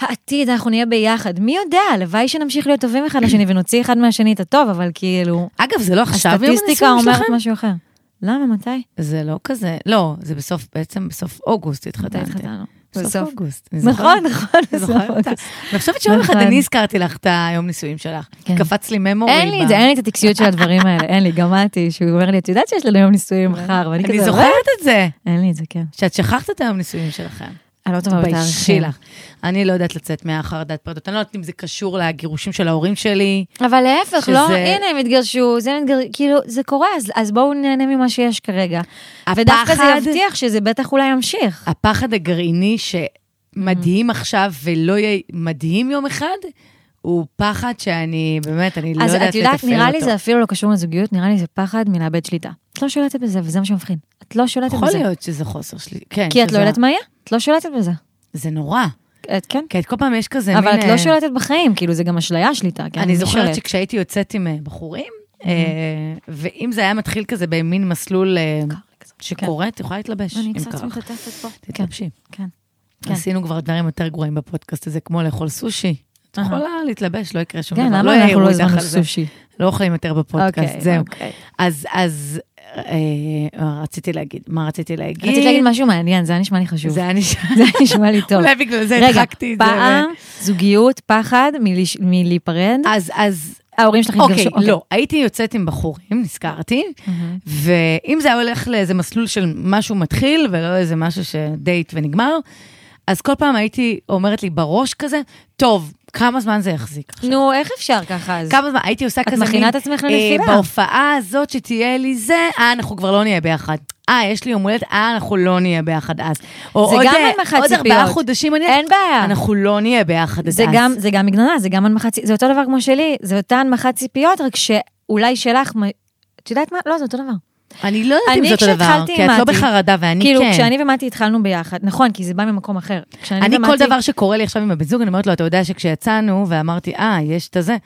Speaker 2: העתיד, אנחנו נהיה ביחד. מי יודע, הלוואי שנמשיך להיות טובים אחד לשני ונוציא אחד מהשני את הטוב, אבל כאילו,
Speaker 1: אגב, זה לא עכשיו יום
Speaker 2: הסטטיסטיקה
Speaker 1: הנישואים
Speaker 2: אומרת
Speaker 1: שלכם?
Speaker 2: משהו אחר. למה, מתי?
Speaker 1: זה לא כזה, לא, זה בסוף, בעצם בסוף אוגוסט
Speaker 2: מתי
Speaker 1: התחתנתם.
Speaker 2: התחתנו?
Speaker 1: בסוף
Speaker 2: בסוף.
Speaker 1: אוגוסט. אני זוכרת.
Speaker 2: נכון, נכון,
Speaker 1: אני
Speaker 2: בסוף
Speaker 1: זוכרת אותה.
Speaker 2: אוגוסט.
Speaker 1: אני חושבת שיום אחד
Speaker 2: נכון.
Speaker 1: אני הזכרתי לך את היום נישואים שלך.
Speaker 2: כן.
Speaker 1: קפץ לי ממורי.
Speaker 2: אין לי את זה, אין לי את הטקסיות של הדברים האלה, אין לי, גם מתי, שהוא אומר לי, את יודעת שיש לנו יום נישואים מחר, ואני כזה,
Speaker 1: אני
Speaker 2: "לא,
Speaker 1: זוכרת את זה,
Speaker 2: אין לי את זה, כן.
Speaker 1: שאת שכחת את היום נישואים שלכם.
Speaker 2: אני לא טובה
Speaker 1: תתביישי
Speaker 2: בתאריכים.
Speaker 1: לך. אני לא יודעת לצאת מהחרדת פרדות. אני לא יודעת אם זה קשור לגירושים של ההורים שלי.
Speaker 2: אבל להפך, לא,
Speaker 1: שזה-
Speaker 2: הנה הם התגרשו, זה מתגר... כאילו, זה קורה, אז, אז בואו נהנה ממה שיש כרגע. ודווקא זה
Speaker 1: הפחד-
Speaker 2: יבטיח שזה בטח אולי ימשיך.
Speaker 1: הפחד הגרעיני שמדהים עכשיו ולא יהיה מדהים יום אחד, הוא פחד שאני, באמת, אני לא
Speaker 2: אז
Speaker 1: יודעת
Speaker 2: את
Speaker 1: לתפעל אותו.
Speaker 2: יודעת, נראה לי זה אפילו לא קשור לזוגיות, נראה לי זה פחד מלאבד שליטה. את לא שולטת בזה, וזה מה שמבחין. את לא שולטת
Speaker 1: יכול
Speaker 2: בזה.
Speaker 1: להיות שזה חוסר שלי. כן,
Speaker 2: כי את לא
Speaker 1: שזה-
Speaker 2: יודעת מה יהיה, את לא שולטת בזה.
Speaker 1: זה נורא.
Speaker 2: את כן.
Speaker 1: כי את כל פעם יש כזה מין...
Speaker 2: אבל את
Speaker 1: אה,
Speaker 2: לא שולטת בחיים, כאילו, זה גם אשליה שליטה, כן?
Speaker 1: אני
Speaker 2: מי
Speaker 1: זוכרת
Speaker 2: שולט?
Speaker 1: שכשהייתי יוצאת עם אה, בחורים, אה, ואם זה היה מתחיל כזה במין מסלול אה, שקורה, את יכולה להתלבש.
Speaker 2: כן. אני
Speaker 1: אם
Speaker 2: קצת
Speaker 1: קרה לך.
Speaker 2: מתעטפת פה. כן,
Speaker 1: תתלבשי.
Speaker 2: כן. כן.
Speaker 1: עשינו כבר דברים יותר גרועים בפודקאסט הזה, כמו לאכול סושי. את
Speaker 2: אהה.
Speaker 1: יכולה להתלבש, לא יקרה שום
Speaker 2: כן,
Speaker 1: דבר.
Speaker 2: למה אנחנו
Speaker 1: יעירו
Speaker 2: לא
Speaker 1: איתך
Speaker 2: הזמנו
Speaker 1: על זה.
Speaker 2: סושי?
Speaker 1: לא אוכלים יותר בפודקאסט,
Speaker 2: אוקיי,
Speaker 1: זהו.
Speaker 2: אוקיי.
Speaker 1: אז, אז, אה, אה, רציתי להגיד, מה רציתי להגיד?
Speaker 2: רצית להגיד משהו מעניין, זה היה נשמע לי חשוב.
Speaker 1: זה היה נשמע,
Speaker 2: זה היה נשמע לי טוב.
Speaker 1: אולי בגלל זה
Speaker 2: רגע,
Speaker 1: הדחקתי את זה. ו-
Speaker 2: פעם, זוגיות, פחד מלש- מלהיפרד.
Speaker 1: אז, אז,
Speaker 2: ההורים שלך
Speaker 1: אה, אוקיי,
Speaker 2: התגרשו.
Speaker 1: לא, הייתי יוצאת עם בחורים, נזכרתי,
Speaker 2: מהמם.
Speaker 1: ואם זה היה הולך לאיזה מסלול של משהו מתחיל, ולא איזה משהו שדייט ונגמר, אז כל פעם הייתי אומרת לי בראש כזה, טוב, כמה זמן זה יחזיק עכשיו?
Speaker 2: נו, איך אפשר ככה אז?
Speaker 1: כמה זמן, הייתי עושה
Speaker 2: לא. את
Speaker 1: כזה אה,
Speaker 2: מכינה את עצמך לנפילה.
Speaker 1: בהופעה הזאת שתהיה לי זה, אה, אנחנו כבר לא נהיה ביחד. אה, יש לי יום הולדת, אה, אנחנו לא נהיה ביחד אז. או
Speaker 2: זה
Speaker 1: עוד,
Speaker 2: גם
Speaker 1: אה,
Speaker 2: הנמכת
Speaker 1: עוד ארבעה
Speaker 2: ציפיות.
Speaker 1: חודשים, אני-
Speaker 2: אין בעיה.
Speaker 1: אנחנו לא נהיה ביחד אז.
Speaker 2: זה גם, זה גם מגננה, זה גם הנמכת ציפיות, זה אותו דבר כמו שלי, זה אותה הנמכת ציפיות, רק שאולי שלך, מ- את יודעת מה? לא, זה אותו דבר.
Speaker 1: אני לא יודעת אם
Speaker 2: אני
Speaker 1: זה אותו דבר,
Speaker 2: כשהתחלתי
Speaker 1: כי
Speaker 2: עם
Speaker 1: את לא
Speaker 2: מתי,
Speaker 1: בחרדה ואני
Speaker 2: כאילו,
Speaker 1: כן.
Speaker 2: כשאני ומתי התחלנו ביחד, נכון, כי זה בא ממקום אחר. כשאני
Speaker 1: אני כל
Speaker 2: ומתי-
Speaker 1: דבר שקורה לי עכשיו עם הבן זוג, אני אומרת לו, אתה יודע שכשיצאנו, ואמרתי, אה, יש את הזה,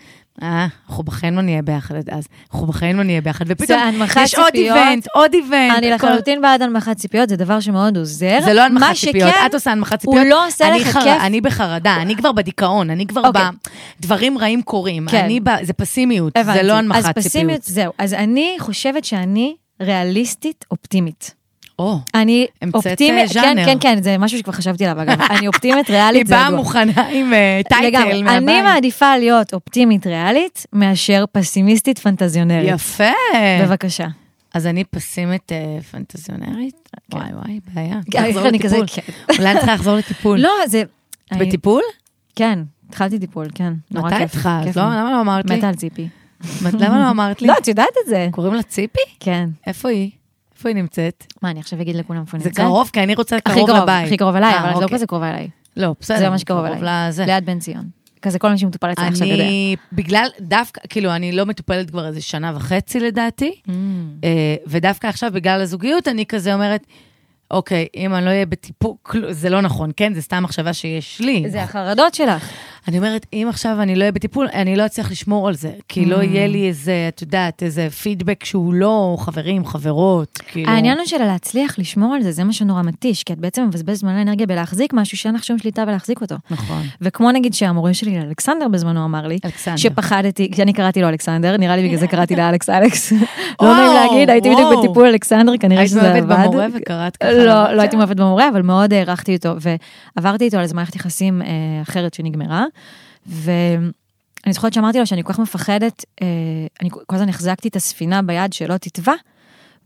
Speaker 1: אה, אנחנו בחיים לא נהיה ביחד עד אז, אנחנו בחיים לא נהיה ביחד, ופתאום
Speaker 2: זה הנמכת
Speaker 1: יש עוד
Speaker 2: ציפיות.
Speaker 1: איבנט, עוד איבנט.
Speaker 2: אני
Speaker 1: הכל-
Speaker 2: לחלוטין בעד הנמכת ציפיות, זה דבר שמאוד עוזר.
Speaker 1: זה לא
Speaker 2: מה
Speaker 1: הנמכת ציפיות,
Speaker 2: שכן,
Speaker 1: את עושה הנמכת
Speaker 2: הוא
Speaker 1: ציפיות.
Speaker 2: לא עושה
Speaker 1: אני
Speaker 2: לך
Speaker 1: חר-
Speaker 2: כיף.
Speaker 1: אני בחרדה, אני כבר בדיכאון, אני כבר ב...
Speaker 2: אוקיי.
Speaker 1: דברים רעים קורים.
Speaker 2: כן.
Speaker 1: אני ב... זה פסימיות, זה
Speaker 2: הבנתי.
Speaker 1: לא הנמכת ציפיות.
Speaker 2: אז פסימיות, זהו. אז אני חושבת שאני ריאליסטית אופטימית.
Speaker 1: או,
Speaker 2: אני
Speaker 1: המצאת,
Speaker 2: אופטימית,
Speaker 1: אה,
Speaker 2: כן,
Speaker 1: ז'אנר.
Speaker 2: כן, כן, זה משהו שכבר חשבתי עליו אגב. אני אופטימית
Speaker 1: היא
Speaker 2: ריאלית. זה
Speaker 1: באה
Speaker 2: ידוע.
Speaker 1: מוכנה עם אה, טייטל
Speaker 2: לגמרי.
Speaker 1: מהבית.
Speaker 2: אני מעדיפה להיות אופטימית ריאלית מאשר פסימיסטית פנטזיונרית.
Speaker 1: יפה.
Speaker 2: בבקשה.
Speaker 1: אז אני פסימית אה, פנטזיונרית? וואי וואי, בעיה.
Speaker 2: איך
Speaker 1: תחזור
Speaker 2: כן. אני כזה... כן.
Speaker 1: לטיפול. אולי אני צריכה לחזור לטיפול.
Speaker 2: לא, זה...
Speaker 1: את בטיפול?
Speaker 2: כן, התחלתי טיפול, כן. נורא
Speaker 1: מתי
Speaker 2: כיף.
Speaker 1: התחלת?
Speaker 2: כיף
Speaker 1: לא,
Speaker 2: לי.
Speaker 1: למה לא אמרת לי?
Speaker 2: מתה על ציפי.
Speaker 1: מת- למה לא אמרת לי?
Speaker 2: לא, את יודעת את זה.
Speaker 1: קוראים לה ציפי?
Speaker 2: כן.
Speaker 1: איפה היא? איפה היא נמצאת?
Speaker 2: מה, אני עכשיו אגיד לכולם איפה
Speaker 1: זה
Speaker 2: נמצאת?
Speaker 1: קרוב, כי אני רוצה
Speaker 2: הכי
Speaker 1: קרוב
Speaker 2: קרוב,
Speaker 1: לבית.
Speaker 2: הכי קרוב אליי,
Speaker 1: אה,
Speaker 2: אבל לא
Speaker 1: אוקיי.
Speaker 2: כזה קרובה אליי.
Speaker 1: לא, בסדר.
Speaker 2: זה ממש קרוב אליי. לא,
Speaker 1: לזה.
Speaker 2: ליד בן ציון. כזה כל מי שמטופל אצלך עכשיו יודע.
Speaker 1: אני, בגלל, דווקא, כאילו, אני לא מטופלת כבר איזה שנה וחצי לדעתי, אה, ודווקא עכשיו, בגלל הזוגיות, אני כזה אומרת, אוקיי, אם אני לא אהיה בטיפול, כל- זה לא נכון, כן? זה סתם מחשבה שיש לי.
Speaker 2: זה החרדות שלך.
Speaker 1: אני אומרת, אם עכשיו אני לא אהיה בטיפול, אני לא אצליח לשמור על זה, כי לא
Speaker 2: Mm.
Speaker 1: יהיה לי איזה, את יודעת, איזה פידבק שהוא לא חברים, חברות, כאילו.
Speaker 2: העניין הוא של להצליח לשמור על זה, זה מה שנורא מתיש, כי את בעצם מבזבזת זמן ואנרגיה בלהחזיק משהו שאין לך שום שליטה בלהחזיק אותו.
Speaker 1: נכון.
Speaker 2: וכמו נגיד שהמורה שלי, אלכסנדר בזמנו אמר לי,
Speaker 1: אלכסנדר.
Speaker 2: שפחדתי, כי אני קראתי לו אלכסנדר, נראה לי בגלל זה קראתי לה אלכס אלכס. לא
Speaker 1: וואו,
Speaker 2: נעים להגיד, הייתי בדיוק
Speaker 1: וואו.
Speaker 2: בטיפול אלכסנדר, כנראה
Speaker 1: היית
Speaker 2: שזה עבד.
Speaker 1: מאוהבת במורה וקראת ככה
Speaker 2: לא,
Speaker 1: למורה?
Speaker 2: לא הייתי מאוהבת במורה, אבל מאוד הערכתי אותו, ועברתי איתו על איזה מערכת יחסים אה, אחרת שנגמרה, ואני זוכרת שאמרתי לו שאני כל כך מפחדת, אה, אני כל הזמן החזקתי את הספינה ביד שלא תטבע,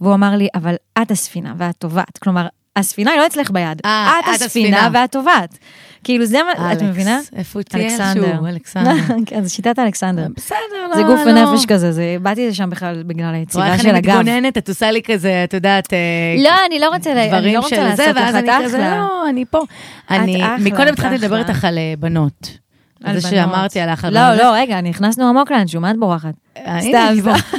Speaker 2: והוא אמר לי, אבל את הספינה ואת טובעת, כלומר, הספינה היא לא אצלך ביד,
Speaker 1: אה,
Speaker 2: את
Speaker 1: את
Speaker 2: הספינה
Speaker 1: הספינה.
Speaker 2: ואת טובעת. כאילו זה מה, את
Speaker 1: אלכס,
Speaker 2: מבינה?
Speaker 1: איפה הוא תהיה איכשהו? אלכסנדר.
Speaker 2: כן, זה שיטת אלכסנדר.
Speaker 1: בסדר,
Speaker 2: זה גוף ונפש כזה, זה- באתי לשם בכלל בגלל היצירה של
Speaker 1: אה, לא. רואה איך אני
Speaker 2: הגב.
Speaker 1: מתגוננת, את עושה לי כזה, את יודעת, אה,
Speaker 2: לא, אני לא רוצה ל- אני
Speaker 1: דברים
Speaker 2: לא רוצה
Speaker 1: של זה,
Speaker 2: לעשות לך
Speaker 1: ואז
Speaker 2: את
Speaker 1: אני כזה,
Speaker 2: אחלה.
Speaker 1: לא, אני פה. אני,
Speaker 2: אחלה,
Speaker 1: מקודם
Speaker 2: את
Speaker 1: התחלתי לדבר
Speaker 2: אחלה.
Speaker 1: איתך על אה, בנות.
Speaker 2: על
Speaker 1: זה
Speaker 2: בנות.
Speaker 1: שאמרתי עליך על
Speaker 2: לא,
Speaker 1: בנות.
Speaker 2: לא, רגע, נכנסנו עמוק לאנשהו, מה את בורחת?
Speaker 1: אה, הנה,
Speaker 2: סתם,
Speaker 1: היא פה.
Speaker 2: סתם.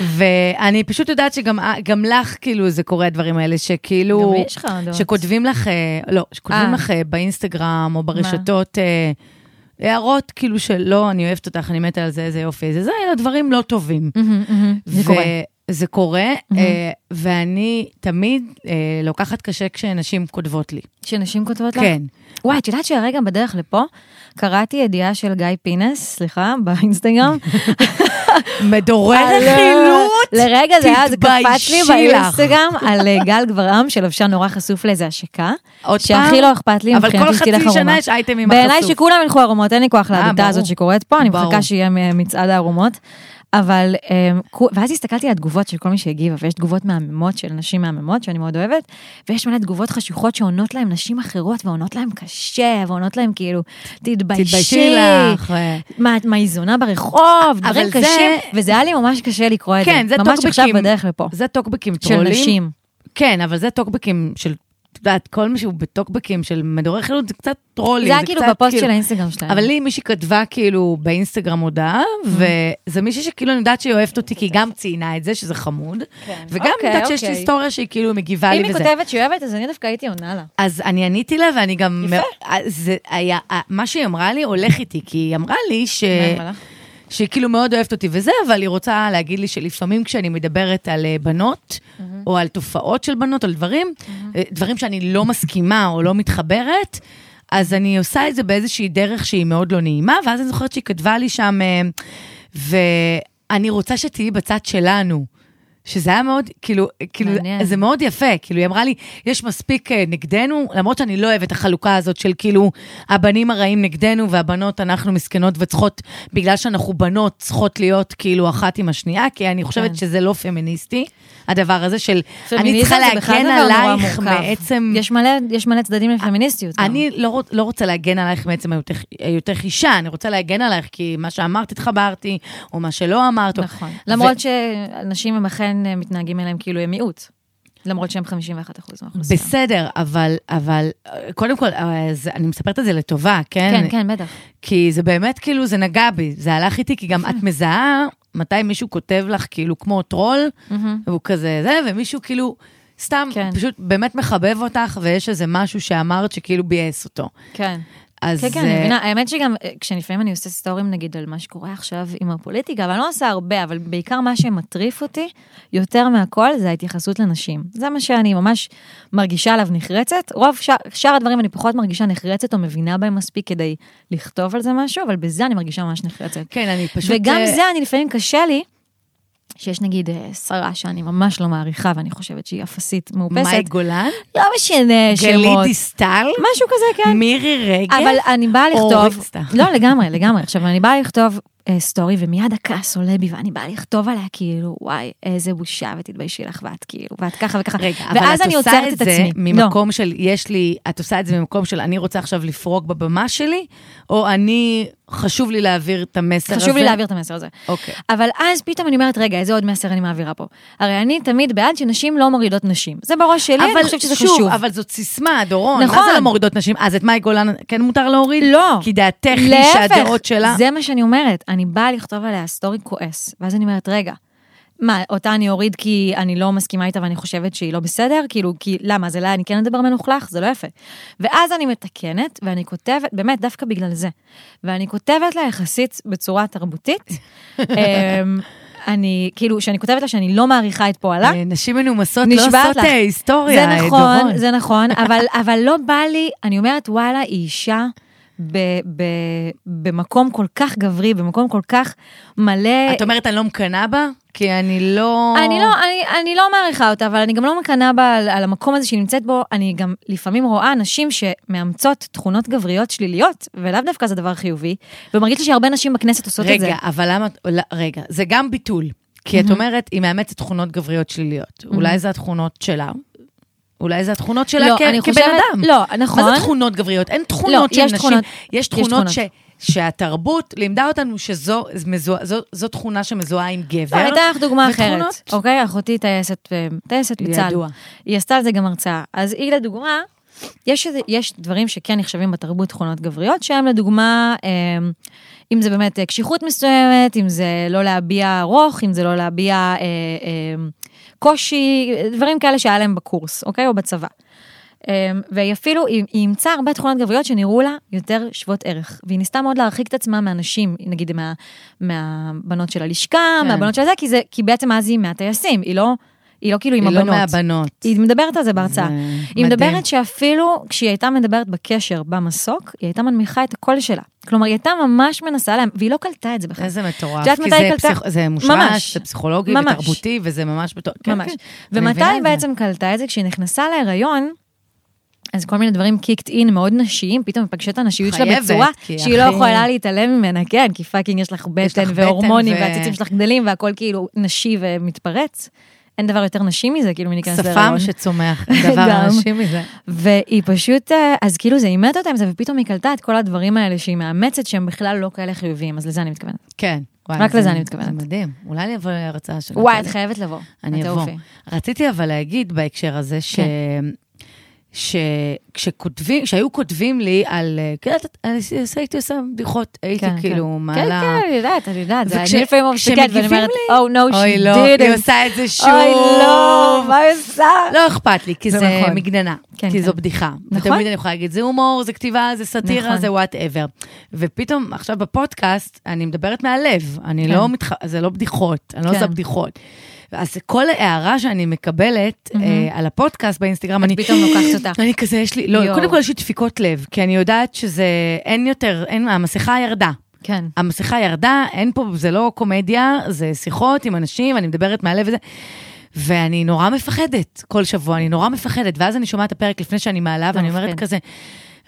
Speaker 1: ואני פשוט יודעת שגם גם לך, כאילו, זה קורה הדברים האלה, שכאילו...
Speaker 2: גם לי יש חרדות.
Speaker 1: שכותבים לך, אה, לא, שכותבים
Speaker 2: אה.
Speaker 1: לך אה, באינסטגרם או ברשתות אה, הערות, כאילו שלא, אני אוהבת אותך, אני מתה על זה, איזה יופי, איזה זה, אלא דברים לא טובים.
Speaker 2: מהמם, מהמם, זה
Speaker 1: ו-
Speaker 2: קורה.
Speaker 1: זה קורה, אה, ואני תמיד אה, לוקחת קשה כשנשים כותבות לי.
Speaker 2: שנשים כותבות לך?
Speaker 1: כן.
Speaker 2: וואי, את יודעת שהרגע בדרך לפה, קראתי ידיעה של גיא פינס, סליחה, באינסטגרם.
Speaker 1: מדורי
Speaker 2: על- לרגע זה היה, זה קפץ לי
Speaker 1: תתביישי לך.
Speaker 2: באינסטגרם על אה, גל גברעם, שלבשן נורא חשוף לאיזה השקה.
Speaker 1: עוד
Speaker 2: שהכי
Speaker 1: פעם?
Speaker 2: לא אכפת לי,
Speaker 1: אבל
Speaker 2: מבחינתי
Speaker 1: כל
Speaker 2: שתלך ערומה.
Speaker 1: חצי שנה יש אייטמים עם
Speaker 2: בעיניי
Speaker 1: החשוף. אה,
Speaker 2: שכולם ילכו ערומות, אין לי כוח להדתה
Speaker 1: ברור.
Speaker 2: הזאת שקורית פה, אני מחכה
Speaker 1: ברור.
Speaker 2: שיהיה מ- מצעד הערומות. אבל, אמ, כו- ואז הסתכלתי על התגובות של כל מי שהגיבה, ויש תגובות מהממות של נשים מהממות, שאני מאוד אוהבת, ויש מלא תגובות חשוכות שעונות להם נשים אחרות, ועונות להם קשה, ועונות להם כאילו, תתביישי.
Speaker 1: תתביישי לך. אה,
Speaker 2: מה, מה היא זונה ברחוב,
Speaker 1: אבל
Speaker 2: דברים
Speaker 1: זה-
Speaker 2: קשים, וזה היה לי ממש קשה לקרוא את זה.
Speaker 1: כן, זה
Speaker 2: ממש עכשיו
Speaker 1: טוקבקים.
Speaker 2: בדרך לפה.
Speaker 1: זה טוקבקים
Speaker 2: של
Speaker 1: טרולים.
Speaker 2: נשים.
Speaker 1: כן, אבל זה טוקבקים של, את יודעת, כל מה שהוא בטוקבקים של מדורי חילוט זה קצת טרולים.
Speaker 2: זה היה כאילו
Speaker 1: קצת
Speaker 2: בפוסט של האינסטגרם שלהם.
Speaker 1: אבל לי מישהי כתבה כאילו באינסטגרם הודעה,
Speaker 2: Mm.
Speaker 1: וזה מישהי שכאילו אני יודעת שהיא אוהבת אותי, כי היא גם ציינה את זה, שזה חמוד, וגם
Speaker 2: אוקיי,
Speaker 1: אני יודעת שיש לי
Speaker 2: אוקיי.
Speaker 1: היסטוריה שהיא כאילו מגיבה
Speaker 2: אם
Speaker 1: לי
Speaker 2: היא
Speaker 1: וזה.
Speaker 2: כותבת שהיא אוהבת, אז אני דווקא הייתי עונה לה.
Speaker 1: אז אני עניתי לה, ואני גם... יפה. זה היה, מה שהיא אמרה לי הולך איתי, כי היא אמרה לי ש...
Speaker 2: מה, מה לך?
Speaker 1: שהיא כאילו מאוד אוהבת אותי וזה, אבל היא רוצה להגיד לי שלפעמים כשאני מדברת על אה, בנות, או על תופעות של בנות, על דברים, אה, דברים שאני לא מסכימה או לא מתחברת, אז אני עושה את זה באיזושהי דרך שהיא מאוד לא נעימה, ואז אני זוכרת שהיא כתבה לי שם, אה, ואני רוצה שתהיי בצד שלנו. שזה היה מאוד, כאילו, כאילו,
Speaker 2: מעניין.
Speaker 1: זה מאוד יפה, כאילו, היא אמרה לי, יש מספיק אה, נגדנו, למרות שאני לא אוהבת את החלוקה הזאת של כאילו, הבנים הרעים נגדנו והבנות, אנחנו מסכנות וצריכות, בגלל שאנחנו בנות, צריכות להיות כאילו אחת עם השנייה, כי אני חושבת
Speaker 2: כן.
Speaker 1: שזה לא פמיניסטי, הדבר הזה של, אני
Speaker 2: פמיניזם
Speaker 1: צריכה
Speaker 2: זה בכלל
Speaker 1: להגן
Speaker 2: דבר נורא
Speaker 1: עלייך
Speaker 2: מורכב.
Speaker 1: מעצם...
Speaker 2: יש מלא, יש מלא צדדים לפמיניסטיות. גם.
Speaker 1: אני לא, רוצ- לא רוצה להגן עלייך מעצם היותך- היותך אישה, אני רוצה להגן עלייך כי מה שאמרת התחברתי, או מה שלא אמרת. או-
Speaker 2: נכון.
Speaker 1: ו-
Speaker 2: למרות שאנשים הם אכן אה, מתנהגים אליהם כאילו הם מיעוט. למרות שהם 51% מהאוכלוסייה.
Speaker 1: בסדר, אבל, אבל אה, קודם כל, אה, זה, אני מספרת את זה לטובה, כן?
Speaker 2: כן, כן, בטח.
Speaker 1: כי זה באמת כאילו, זה נגע בי, זה הלך איתי, כי גם את מזהה מתי מישהו כותב לך כאילו כמו טרול, והוא כזה זה, ומישהו כאילו סתם
Speaker 2: כן.
Speaker 1: פשוט באמת מחבב אותך, ויש איזה משהו שאמרת שכאילו ביאס אותו.
Speaker 2: כן.
Speaker 1: אז
Speaker 2: כן, כן,
Speaker 1: אה,
Speaker 2: אני מבינה. האמת שגם אה, כשלפעמים אני עושה סטורים, נגיד, על מה שקורה עכשיו עם הפוליטיקה, אבל אני לא עושה הרבה, אבל בעיקר מה שמטריף אותי יותר מהכל זה ההתייחסות לנשים. זה מה שאני ממש מרגישה עליו נחרצת. רוב שאר, שאר הדברים אני פחות מרגישה נחרצת או מבינה בהם מספיק כדי לכתוב על זה משהו, אבל בזה אני מרגישה ממש נחרצת.
Speaker 1: כן, אני פשוט...
Speaker 2: וגם
Speaker 1: אה,
Speaker 2: זה, אני לפעמים קשה לי, שיש נגיד אה, שרה שאני ממש לא מעריכה ואני חושבת שהיא אפסית מאופסת.
Speaker 1: מאי גולן?
Speaker 2: לא משנה שמות.
Speaker 1: גלית דיסטל?
Speaker 2: משהו כזה, כן.
Speaker 1: מירי רגב?
Speaker 2: אבל אני באה
Speaker 1: או
Speaker 2: לכתוב,
Speaker 1: אורית סתם.
Speaker 2: לא לגמרי, לגמרי, עכשיו אני באה לכתוב אה, סטורי, ומיד הכעס עולה בי, ואני באה לכתוב עליה, כאילו, וואי, איזה בושה, ותתביישי לך, ואת כאילו, ואת ככה וככה.
Speaker 1: רגע,
Speaker 2: ואז
Speaker 1: אבל
Speaker 2: אני
Speaker 1: את עושה
Speaker 2: עוצרת
Speaker 1: את
Speaker 2: את
Speaker 1: זה
Speaker 2: עצמי. לא,
Speaker 1: ממקום של, יש לי, את עושה את זה ממקום של, אני רוצה עכשיו לפרוק בבמה שלי, או אני, חשוב לי להעביר את המסר
Speaker 2: לא,
Speaker 1: הזה?
Speaker 2: חשוב לי להעביר את המסר הזה.
Speaker 1: אוקיי.
Speaker 2: אבל אז פתאום אני אומרת, רגע, איזה עוד מסר אני מעבירה פה? הרי אני תמיד בעד שנשים לא מורידות נשים. זה בראש שלי, אני חושבת שזה חשוב.
Speaker 1: אבל זאת סיסמה, דורון. נכון. מה
Speaker 2: נכון.
Speaker 1: זה לא מורידות נשים? אז את מאי גולן כן מותר להוריד?
Speaker 2: לא.
Speaker 1: כי דעתך היא שהדעות שלה...
Speaker 2: זה מה שאני אומרת. אני באה לכתוב עליה סטורי כועס, ואז אני אומרת, רגע, מה, אותה אני אוריד כי אני לא מסכימה איתה ואני חושבת שהיא לא בסדר? כאילו, כי למה, אז אליי אני כן אדבר מלוכלך? זה לא יפה. ואז אני מתקנת, ואני כותבת, באמת, דווקא בגלל זה. ואני כותבת לה יחסית בצורה תרבותית. אמ, אני, כאילו, שאני כותבת לה שאני לא מעריכה את פועלה.
Speaker 1: אה, נשים מנומסות לא
Speaker 2: נשבעת
Speaker 1: עושות
Speaker 2: לך.
Speaker 1: אה, היסטוריה, אה,
Speaker 2: זה
Speaker 1: דורון.
Speaker 2: נכון, זה נכון, אבל, אבל לא בא לי, אני אומרת, וואלה, היא אישה ב, ב, במקום כל כך גברי, במקום כל כך מלא...
Speaker 1: את אומרת, אני לא מקנאה בה? כי אני לא...
Speaker 2: אני לא, אני, אני לא מעריכה אותה, אבל אני גם לא מקנאה בה על, על המקום הזה שהיא נמצאת בו. אני גם לפעמים רואה נשים שמאמצות תכונות גבריות שליליות, ולאו דווקא זה דבר חיובי, ומרגיש לי שהרבה נשים בכנסת עושות את זה.
Speaker 1: רגע, אבל למה... את- לא, רגע, זה גם ביטול. כי את אומרת, היא מאמצת תכונות גבריות שליליות. אולי זה התכונות שלה? אולי זה התכונות שלה
Speaker 2: לא,
Speaker 1: כ-
Speaker 2: אני
Speaker 1: כבן
Speaker 2: חושבת-
Speaker 1: אדם.
Speaker 2: לא, נכון.
Speaker 1: מה זה תכונות גבריות? אין תכונות של
Speaker 2: יש
Speaker 1: נשים.
Speaker 2: תכונות-
Speaker 1: יש
Speaker 2: יש
Speaker 1: תכונות
Speaker 2: תכונות.
Speaker 1: ש... שהתרבות לימדה אותנו שזו מזוה- זו- זו תכונה שמזוהה עם גבר.
Speaker 2: לא, אני אתן לך דוגמה אחרת.
Speaker 1: ותכונות-
Speaker 2: אוקיי, אחותי טייסת, אה, טייסת בצה"ל.
Speaker 1: ידוע.
Speaker 2: היא עשתה על זה גם הרצאה. אז היא לדוגמה, יש, איזה- יש דברים שכן נחשבים בתרבות תכונות גבריות, שהם לדוגמה, אה, אם זה באמת אה, קשיחות מסוימת, אם זה לא להביע רוך, אם זה לא להביע אה, אה, קושי, דברים כאלה שהיה להם בקורס, אוקיי? או בצבא. אמ, והיא אפילו, היא היא אימצה הרבה תכונות גבריות שנראו לה יותר שוות ערך. והיא ניסתה מאוד להרחיק את עצמה מאנשים, נגיד מה, מהבנות של הלשכה,
Speaker 1: כן.
Speaker 2: מהבנות של זה, כי, זה, כי בעצם אז היא מהטייסים, היא לא, היא לא כאילו עם
Speaker 1: היא לא
Speaker 2: הבנות.
Speaker 1: מהבנות.
Speaker 2: היא מדברת על זה בהרצאה.
Speaker 1: זה
Speaker 2: היא
Speaker 1: מדהים.
Speaker 2: מדברת שאפילו כשהיא הייתה מדברת בקשר במסוק, היא הייתה מנמיכה את הקול שלה. כלומר, היא הייתה ממש מנסה להם, והיא לא קלטה את זה בכלל.
Speaker 1: איזה מטורף.
Speaker 2: את יודעת
Speaker 1: כי
Speaker 2: מתי
Speaker 1: זה
Speaker 2: היא קלטה?
Speaker 1: פסיכ- זה מושמש,
Speaker 2: ממש.
Speaker 1: זה פסיכולוגי
Speaker 2: ממש.
Speaker 1: ותרבותי, וזה ממש... בתור- כן,
Speaker 2: ממש.
Speaker 1: כן. אני
Speaker 2: ומתי
Speaker 1: מבינה
Speaker 2: היא
Speaker 1: את זה.
Speaker 2: בעצם קלטה את זה? כשהיא נכנסה להיריון, אז כל מיני דברים קיקט אין מאוד נשיים, פתאום היא פגשה את הנשיות שלה
Speaker 1: חייבת,
Speaker 2: בצורה
Speaker 1: כי
Speaker 2: שהיא לא
Speaker 1: הכי-
Speaker 2: יכולה להתעלם ממנה, כן, כי פאקינג יש לך
Speaker 1: יש לך
Speaker 2: בטן
Speaker 1: בטן
Speaker 2: והורמונים
Speaker 1: ו-
Speaker 2: והציצים שלך גדלים והכל כאילו נשי ומתפרץ. אין דבר יותר נשי מזה, כאילו מלהיכנס
Speaker 1: שפם
Speaker 2: להיריון.
Speaker 1: שצומח, דבר
Speaker 2: גם.
Speaker 1: אנשים מזה.
Speaker 2: והיא פשוט, אה, אז כאילו זה אימת אותה עם זה, ופתאום היא קלטה את כל הדברים האלה שהיא מאמצת שהם בכלל לא כאלה חיוביים, אז לזה אני מתכוונת.
Speaker 1: כן. וואי,
Speaker 2: רק
Speaker 1: זה-
Speaker 2: לזה אני
Speaker 1: זה
Speaker 2: מתכוונת.
Speaker 1: מדהים. אולי אני אבוא להרצאה שלך.
Speaker 2: וואי, את חייבת לבוא. את
Speaker 1: אני אבוא.
Speaker 2: תעופי.
Speaker 1: רציתי אבל להגיד בהקשר הזה, ש...
Speaker 2: כן.
Speaker 1: שכשכותבים, שהיו כותבים לי על, אה, כן, את- אני עושה- הייתי עושה בדיחות, הייתי
Speaker 2: כן,
Speaker 1: כאילו
Speaker 2: כן.
Speaker 1: מעלה...
Speaker 2: כן, כן, אני יודעת, אני יודעת. זה-
Speaker 1: וכש-
Speaker 2: אני לפעמים מסתכלת ואני
Speaker 1: כשמגיבים
Speaker 2: אומרת,
Speaker 1: לי-
Speaker 2: Oh no, she didn't.
Speaker 1: אוי לא, היא עושה את זה שוב.
Speaker 2: אוי לא, מה היא עושה?
Speaker 1: לא אכפת לי, כי
Speaker 2: זה
Speaker 1: זה
Speaker 2: נכון.
Speaker 1: מגננה,
Speaker 2: כן,
Speaker 1: כי זו
Speaker 2: כן.
Speaker 1: בדיחה.
Speaker 2: נכון.
Speaker 1: ותמיד אני יכולה להגיד, זה הומור, זה כתיבה, זה סאטירה,
Speaker 2: נכון.
Speaker 1: זה וואטאבר. ופתאום, עכשיו בפודקאסט, אני מדברת מהלב, אני
Speaker 2: כן.
Speaker 1: לא מתח... זה לא בדיחות, אני לא
Speaker 2: כן.
Speaker 1: עושה בדיחות. אז כל הערה שאני מקבלת אה, על הפודקאסט באינסטגרם, אני
Speaker 2: פתאום לוקחת אותה.
Speaker 1: אני כזה, יש לי, לא,
Speaker 2: יואו.
Speaker 1: קודם כל יש לי דפיקות לב, כי אני יודעת שזה, אין יותר, אין, המסכה ירדה.
Speaker 2: כן.
Speaker 1: המסכה ירדה, אין פה, זה לא קומדיה, זה שיחות עם אנשים, אני מדברת מהלב וזה. ואני נורא מפחדת כל שבוע, אני נורא מפחדת. ואז אני שומעת את הפרק לפני שאני מעלה, ואני אומרת
Speaker 2: מפחיד.
Speaker 1: כזה,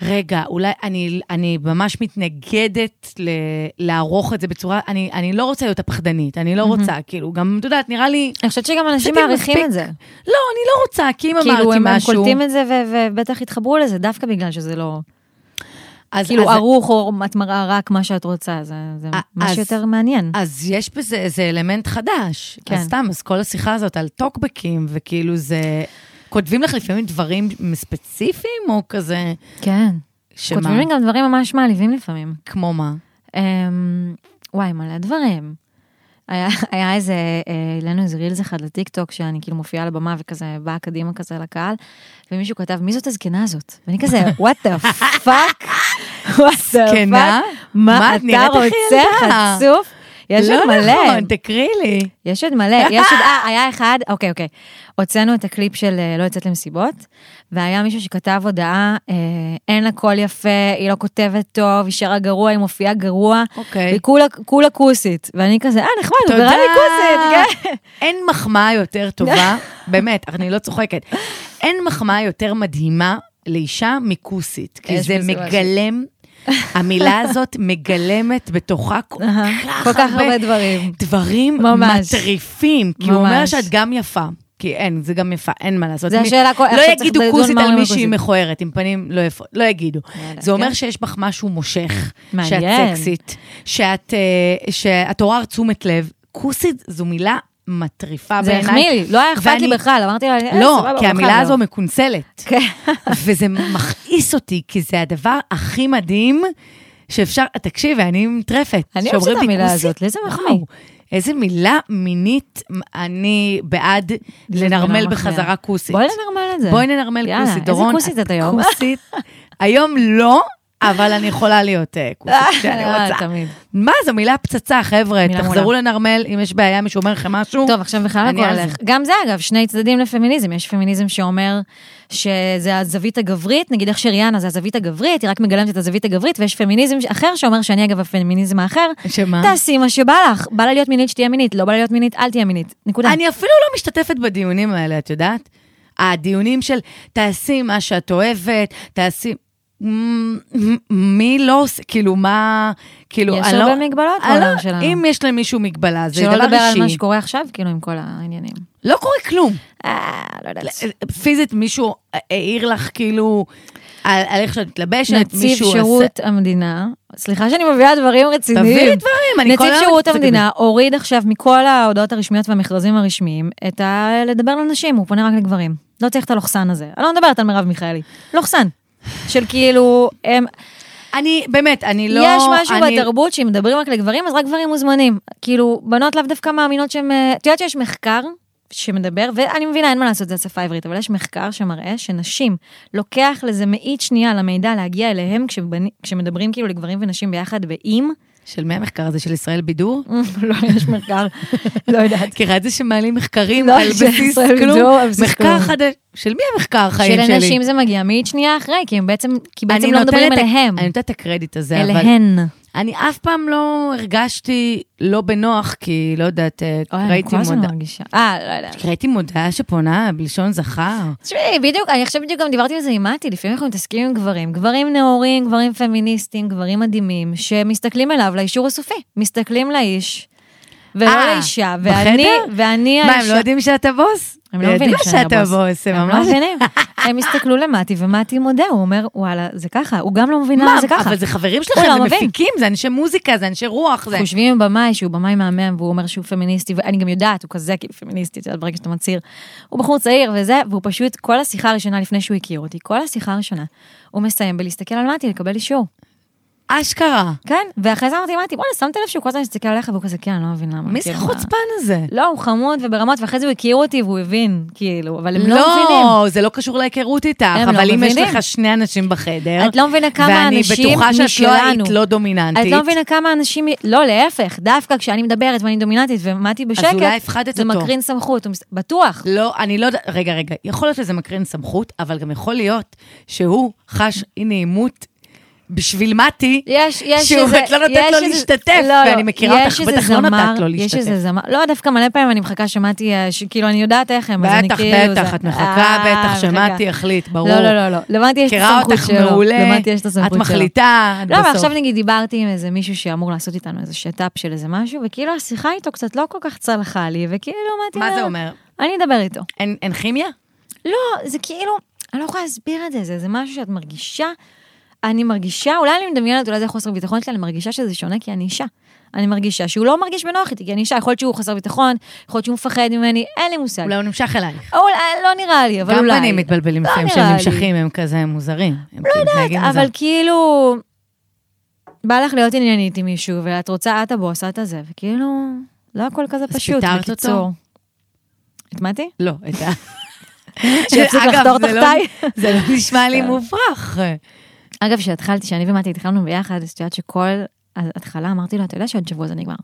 Speaker 1: רגע, אולי אני, אני ממש מתנגדת ל- לערוך את זה בצורה, אני, אני לא רוצה להיות הפחדנית, אני לא רוצה, כאילו, גם, את יודעת, נראה לי...
Speaker 2: אני חושבת שגם אנשים
Speaker 1: עשיתי
Speaker 2: מעריכים
Speaker 1: מספיק.
Speaker 2: את זה.
Speaker 1: לא, אני לא רוצה, כי אם
Speaker 2: כאילו,
Speaker 1: אמרתי
Speaker 2: הם הם
Speaker 1: משהו...
Speaker 2: קולטים את זה ו- ובטח התחברו לזה, דווקא בגלל שזה לא...
Speaker 1: אז,
Speaker 2: כאילו,
Speaker 1: אז,
Speaker 2: ערוך או את מראה רק מה שאת רוצה, זה זה
Speaker 1: אה, אז-
Speaker 2: משהו יותר מעניין.
Speaker 1: אז יש בזה איזה אלמנט חדש. כן.
Speaker 2: כן.
Speaker 1: אז סתם, אז כל השיחה הזאת על טוקבקים, וכאילו זה... כותבים לך לפעמים דברים ספציפיים, או כזה...
Speaker 2: כן.
Speaker 1: שמה?
Speaker 2: כותבים לי גם דברים ממש מעליבים לפעמים.
Speaker 1: כמו מה?
Speaker 2: אמ, וואי, מלא דברים. היה, היה איזה, אה, העלינו איזה רילס אחד לטיקטוק, שאני כאילו מופיעה על הבמה וכזה באה קדימה כזה לקהל, ומישהו כתב, מי זאת הזקנה הזאת? ואני כזה, וואט דה פאק?
Speaker 1: זקנה? מה,
Speaker 2: מה
Speaker 1: את נראית
Speaker 2: אתה
Speaker 1: הכי
Speaker 2: רוצה,
Speaker 1: ילדה."
Speaker 2: חצוף? יש עוד מלא.
Speaker 1: לא נכון, תקריא לי.
Speaker 2: יש עוד מלא, יש עוד, אה, היה אחד, אוקיי, אוקיי. הוצאנו את הקליפ של אה, לא יוצאת למסיבות, והיה מישהו שכתב הודעה, אה, אין לה קול יפה, היא לא כותבת טוב, היא שרה גרוע, היא מופיעה גרוע,
Speaker 1: אוקיי.
Speaker 2: והיא כולה- כולה כוסית. ואני כזה, אה, נחמד, הוא
Speaker 1: תודה.
Speaker 2: קרא לי כוסית, כן.
Speaker 1: אין מחמאה יותר טובה, באמת, אני לא צוחקת. אין מחמאה יותר מדהימה לאישה מכוסית, כי
Speaker 2: יש
Speaker 1: זה
Speaker 2: בזה משהו.
Speaker 1: מגלם המילה הזאת מגלמת בתוכה כל
Speaker 2: כל
Speaker 1: כך
Speaker 2: כך הרבה
Speaker 1: הרבה
Speaker 2: דברים.
Speaker 1: דברים
Speaker 2: ממש.
Speaker 1: מטריפים, כי הוא אומר
Speaker 2: ממש.
Speaker 1: שאת גם יפה. כי אין, זה גם יפה, אין מה לעשות.
Speaker 2: זה
Speaker 1: מי-
Speaker 2: השאלה, כל- עכשיו
Speaker 1: לא
Speaker 2: צריך
Speaker 1: יגידו
Speaker 2: לדון
Speaker 1: כוסית
Speaker 2: מה
Speaker 1: על
Speaker 2: אומרים
Speaker 1: מישהי
Speaker 2: כוסית.
Speaker 1: מכוערת, עם פנים לא יפות, לא יגידו.
Speaker 2: יאללה,
Speaker 1: זה אומר
Speaker 2: כן.
Speaker 1: שיש בך משהו מושך, שאת
Speaker 2: מעניין.
Speaker 1: סקסית, שאת אה, שאת עוררת תשומת לב. כוסית זו מילה מטריפה
Speaker 2: זה
Speaker 1: אה, בעיניי.
Speaker 2: החמיא לי, לא היה אכפת לי
Speaker 1: ואני-
Speaker 2: בכלל, אמרתי לה, אה,
Speaker 1: לא,
Speaker 2: סבבה,
Speaker 1: כי
Speaker 2: בכלל
Speaker 1: המילה
Speaker 2: לא.
Speaker 1: הזו מקונסלת.
Speaker 2: כן.
Speaker 1: וזה מכעיס אותי, כי זה הדבר הכי מדהים שאפשר, תקשיבי, אני מטרפת.
Speaker 2: אני אוהבת
Speaker 1: שאומרים
Speaker 2: את
Speaker 1: לי,
Speaker 2: המילה
Speaker 1: "כוסית",
Speaker 2: הזאת, לאיזה מחמיא.
Speaker 1: וואו, איזה מילה מינית, אני בעד לנרמל
Speaker 2: מילה מחמיאה.
Speaker 1: בחזרה כוסית.
Speaker 2: לא בואי ננרמל את זה.
Speaker 1: בואי ננרמל
Speaker 2: יאללה,
Speaker 1: כוסית,
Speaker 2: איזה
Speaker 1: דורון.
Speaker 2: כוסית את היום?
Speaker 1: כוסית. היום לא, אבל אני יכולה להיות אה, כוסית כשאני
Speaker 2: אה,
Speaker 1: רוצה.
Speaker 2: תמיד.
Speaker 1: מה, זו מילה פצצה, חבר'ה,
Speaker 2: מילה
Speaker 1: תחזרו
Speaker 2: מעולה.
Speaker 1: לנרמל, אם יש בעיה, מישהו אומר לכם משהו.
Speaker 2: טוב, עכשיו בכלל
Speaker 1: אני
Speaker 2: הכל
Speaker 1: על זה.
Speaker 2: הולך. גם זה אגב, שני צדדים לפמיניזם. יש פמיניזם שאומר שזה הזווית הגברית, נגיד איך שריאנה זה הזווית הגברית, היא רק מגלמת את הזווית הגברית, ויש פמיניזם אחר שאומר שאני אגב הפמיניזם האחר,
Speaker 1: שמה?
Speaker 2: תעשי מה שבא לך, בא לה להיות מינית שתהיה מינית, לא בא לה להיות מינית אל תהיה מינית. נקודה.
Speaker 1: אני אפילו לא משתתפת בדיונים האלה, את יודעת? הדיונים של תעשי מה שאת אוהבת, תעשי... מ- מ- מי לא עושה, כאילו מה, כאילו,
Speaker 2: יש
Speaker 1: אני לא-
Speaker 2: הרבה מגבלות
Speaker 1: אני לא-
Speaker 2: בעולם שלנו.
Speaker 1: אם יש למישהו מגבלה, זה דבר
Speaker 2: שלא
Speaker 1: אישי.
Speaker 2: לדבר על מה שקורה עכשיו, כאילו עם כל העניינים.
Speaker 1: לא קורה כלום.
Speaker 2: אה, לא יודעת.
Speaker 1: פיזית מישהו העיר לך כאילו על על איך שאת מתלבשת,
Speaker 2: נציב
Speaker 1: מישהו
Speaker 2: שירות המדינה, סליחה שאני מביאה דברים רציניים.
Speaker 1: תביאי לי דברים, אני כל היום
Speaker 2: נציב שירות
Speaker 1: מתעסקת
Speaker 2: המדינה הוריד עכשיו מכל ההודעות הרשמיות והמכרזים הרשמיים את ה... לדבר לנשים, הוא פונה רק לגברים. לא צריך את הלוחסן הזה. אני לא מדברת על מרב מיכאלי. לוחסן. של כאילו, הם,
Speaker 1: אני, באמת, אני לא...
Speaker 2: יש משהו
Speaker 1: אני-
Speaker 2: בתרבות שאם מדברים רק לגברים, אז רק גברים מוזמנים. כאילו, בנות לאו דווקא מאמינות שהן... אה, את יודעת שיש מחקר שמדבר, ואני מבינה, אין מה לעשות, זה השפה העברית, אבל יש מחקר שמראה שנשים, לוקח לזה מאית שנייה למידע להגיע אליהם כשבני, כשמדברים כאילו לגברים ונשים ביחד באם.
Speaker 1: של מי המחקר הזה? של ישראל בידור?
Speaker 2: לא, יש מחקר, לא יודעת.
Speaker 1: מכירה את זה שמעלים מחקרים
Speaker 2: לא,
Speaker 1: על
Speaker 2: של
Speaker 1: בסיס
Speaker 2: ישראל
Speaker 1: כלום?
Speaker 2: בידור, על בסיס
Speaker 1: מחקר
Speaker 2: כלום.
Speaker 1: חדש. של מי המחקר החיים שלי?
Speaker 2: שלנשים זה מגיע מאית שנייה אחרי, כי הם בעצם, כי בעצם
Speaker 1: אני
Speaker 2: לא
Speaker 1: נותנת
Speaker 2: מדברים
Speaker 1: את ה-
Speaker 2: אליהם.
Speaker 1: אני נותנת את הקרדיט הזה, אבל
Speaker 2: אליהן.
Speaker 1: אני אף פעם לא הרגשתי לא בנוח, כי לא יודעת, אה,
Speaker 2: אוי, אני
Speaker 1: ראיתי
Speaker 2: כל הזמן
Speaker 1: מודעה.
Speaker 2: מרגישה. אה, לא יודעת.
Speaker 1: ראיתי מודעה שפונה בלשון זכר.
Speaker 2: תשמעי, בדיוק, אני עכשיו בדיוק גם דיברתי על זה עם מתי, לפעמים אנחנו מתעסקים עם גברים. גברים נאורים, גברים פמיניסטים, גברים מדהימים, שמסתכלים אליו לאישור הסופי. מסתכלים לאיש, ולא
Speaker 1: אה,
Speaker 2: לאישה.
Speaker 1: בחדר?
Speaker 2: ואני, ואני
Speaker 1: מה, הם לא
Speaker 2: האישה.
Speaker 1: יודעים שאתה בוס?
Speaker 2: הם לא מבינים שאני
Speaker 1: שאתה
Speaker 2: הבוס.
Speaker 1: בוס. הם
Speaker 2: הם לא
Speaker 1: ממש...
Speaker 2: מבינים. הם הסתכלו למתי, ומתי מודה, הוא אומר, וואלה, זה ככה. הוא גם לא מבין
Speaker 1: מה,
Speaker 2: למה זה ככה.
Speaker 1: אבל זה חברים
Speaker 2: הוא
Speaker 1: שלכם,
Speaker 2: לא
Speaker 1: זה
Speaker 2: מבין.
Speaker 1: מפיקים, זה אנשי מוזיקה, זה אנשי רוח, זה...
Speaker 2: חושבים עם במאי שהוא במאי מהמם, והוא אומר שהוא פמיניסטי, ואני גם יודעת, הוא כזה כאילו פמיניסטי, את יודעת, ברגע שאתה מצהיר. הוא בחור צעיר וזה, והוא פשוט, כל השיחה הראשונה לפני שהוא הכיר אותי, כל השיחה הראשונה, הוא מסיים בלהסתכל על מתי, לקבל אישור.
Speaker 1: אשכרה.
Speaker 2: כן? ואחרי זה אמרתי, מתי, בואנה, שמת לב שהוא כל הזמן מסתכל עליך, והוא כזה, כן, אני לא מבין למה.
Speaker 1: מי זה
Speaker 2: כאילו,
Speaker 1: החוצפן הזה?
Speaker 2: מה- לא, הוא חמוד וברמות, ואחרי זה הוא הכיר אותי והוא הבין, כאילו, אבל הם לא מבינים.
Speaker 1: לא, זה לא קשור להיכרות איתך,
Speaker 2: הם לא
Speaker 1: אבל אם יש
Speaker 2: מבינים.
Speaker 1: לך שני אנשים בחדר,
Speaker 2: את לא מבינה כמה אנשים
Speaker 1: כן? ואני בטוחה שאת לא היית
Speaker 2: משלנו.
Speaker 1: לא
Speaker 2: את
Speaker 1: דומיננטית,
Speaker 2: לא מבינה כמה אנשים, לא, להפך, דווקא כשאני מדברת ואני דומיננטית ומתי בשקט,
Speaker 1: אולי הפחדת
Speaker 2: זה
Speaker 1: אותו.
Speaker 2: מקרין סמכות, הוא מס- בטוח.
Speaker 1: לא, אני לא יודעת, רגע, רגע, יכול להיות שזה מקרין סמכות, אבל גם יכול להיות שהוא חש אי נעימות בשביל מתי,
Speaker 2: יש, יש
Speaker 1: שהוא-
Speaker 2: איזה...
Speaker 1: את לא נותנת
Speaker 2: יש
Speaker 1: לו
Speaker 2: איזה-
Speaker 1: להשתתף, ואני מכירה
Speaker 2: יש
Speaker 1: אותך,
Speaker 2: איזה
Speaker 1: בטח לא נתת
Speaker 2: זמר-
Speaker 1: לו
Speaker 2: יש
Speaker 1: להשתתף.
Speaker 2: איזה זמר, לא, דווקא מלא פעמים אני מחכה שמעתי, אה, ש- כאילו, אני יודעת איך הם, אז אני
Speaker 1: בטח,
Speaker 2: כאילו...
Speaker 1: בטח,
Speaker 2: זה-
Speaker 1: את
Speaker 2: אה,
Speaker 1: מחכה, בטח,
Speaker 2: מחכה.
Speaker 1: שמעתי, החליט, ברור.
Speaker 2: לא, לא, לא, לא, למדתי יש את
Speaker 1: מכירה
Speaker 2: הסמכות
Speaker 1: אותך
Speaker 2: שלו.
Speaker 1: מעולה,
Speaker 2: למדתי יש את
Speaker 1: את
Speaker 2: הסמכות שלו.
Speaker 1: מחליטה, את
Speaker 2: לא, אבל
Speaker 1: בסוף.
Speaker 2: עכשיו נגיד דיברתי עם איזה מישהו שאמור לעשות איתנו איזה שת"פ של איזה משהו, וכאילו השיחה איתו קצת לא כל כך צלחה לי, וכאילו אמרתי...
Speaker 1: מה
Speaker 2: "אה,
Speaker 1: זה אומר?
Speaker 2: אני אדבר איתו.
Speaker 1: אין אין כימיה?
Speaker 2: לא, זה כאילו, אני לא יכולה להסביר את זה, זה, זה משהו שאת מרגישה. אני מרגישה, אולי אני מדמיינת, אולי זה חוסר ביטחון שלי, אני מרגישה שזה שונה כי אני אישה. אני מרגישה שהוא לא מרגיש בנוח איתי, כי אני אישה, יכול להיות שהוא חסר ביטחון, יכול להיות שהוא מפחד ממני, אין לי מושג.
Speaker 1: אולי הוא נמשך אלייך.
Speaker 2: אולי, לא נראה לי, אבל
Speaker 1: גם
Speaker 2: אולי.
Speaker 1: בנים מתבלבלים
Speaker 2: לא
Speaker 1: לפעמים שהם
Speaker 2: נראה לי.
Speaker 1: נמשכים, הם כזה מוזרים. לא יודעת,
Speaker 2: אבל כאילו, בא לך להיות עניינית עם מישהו, ואת רוצה, את הבוס, את הזה, וכאילו, לא הכל כזה
Speaker 1: אז
Speaker 2: פשוט,
Speaker 1: פיטרת אותו?
Speaker 2: בקיצור. את מתי?
Speaker 1: לא, את ה...
Speaker 2: שיפסיק
Speaker 1: אגב,
Speaker 2: לחתור
Speaker 1: זה לא-
Speaker 2: תחתיי. כן.
Speaker 1: זה לא נשמע לי מופרך.
Speaker 2: אגב, כשהתחלתי, כשאני ומתי התחלנו ביחד, אז את יודעת שכל ההתחלה אמרתי לו, אתה יודע שעוד שבוע זה נגמר.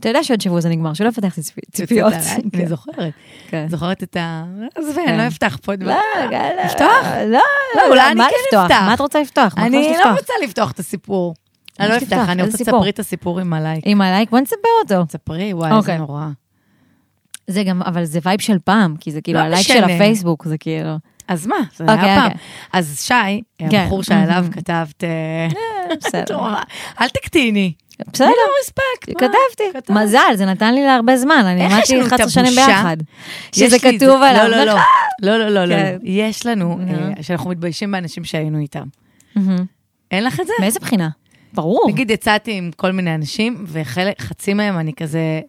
Speaker 2: אתה יודע שעוד שבוע זה נגמר, שלא פתחתי צפי- ציפיות.
Speaker 1: אני זוכרת.
Speaker 2: כן.
Speaker 1: זוכרת את ה... עזבי, אני
Speaker 2: כן.
Speaker 1: לא אפתח פה
Speaker 2: לא,
Speaker 1: דבר.
Speaker 2: גל, לא.
Speaker 1: לפתוח?
Speaker 2: לא,
Speaker 1: לא, אולי אני
Speaker 2: מה
Speaker 1: כן
Speaker 2: לפתוח?
Speaker 1: אפתח.
Speaker 2: מה את רוצה לפתוח? מה את
Speaker 1: אני
Speaker 2: רוצה
Speaker 1: לא
Speaker 2: לפתוח?
Speaker 1: רוצה לפתוח את הסיפור. אני
Speaker 2: מה
Speaker 1: לא
Speaker 2: שתפתח,
Speaker 1: אפתח, אני
Speaker 2: איזה
Speaker 1: רוצה
Speaker 2: סיפור?
Speaker 1: לספרי את הסיפור עם הלייק.
Speaker 2: עם הלייק, בוא נספר אותו.
Speaker 1: ספרי, וואי, איזה
Speaker 2: אוקיי.
Speaker 1: נורא.
Speaker 2: זה גם, אבל זה וייב של פעם, כי זה כאילו
Speaker 1: לא
Speaker 2: הלייק
Speaker 1: משנה.
Speaker 2: של הפייסבוק, זה כאילו...
Speaker 1: אז מה, זה
Speaker 2: אוקיי,
Speaker 1: היה פעם.
Speaker 2: אוקיי. כן. Mm-hmm.
Speaker 1: אז שי, הבחור שעליו כתבת... אה, את
Speaker 2: בסדר.
Speaker 1: רואה, אל תקטיני.
Speaker 2: בסדר.
Speaker 1: לא רספקט. מה?
Speaker 2: כתבתי.
Speaker 1: כתבת.
Speaker 2: מזל, זה נתן לי להרבה זמן, אני
Speaker 1: איך יש
Speaker 2: עמדתי
Speaker 1: לנו את
Speaker 2: 11 שנים
Speaker 1: הבושה?
Speaker 2: ביחד.
Speaker 1: יש
Speaker 2: שזה
Speaker 1: לי את
Speaker 2: כתוב
Speaker 1: זה.
Speaker 2: עליו.
Speaker 1: לא, לא,
Speaker 2: נכון?
Speaker 1: לא. לא, לא, לא, לא.
Speaker 2: כן.
Speaker 1: יש לנו,
Speaker 2: נו.
Speaker 1: אה, שאנחנו מתביישים באנשים שהיינו איתם.
Speaker 2: מהמם.
Speaker 1: אין לך את זה?
Speaker 2: מאיזה בחינה? ברור.
Speaker 1: נגיד, יצאתי עם כל מיני אנשים, וחצי מהם אני כזה...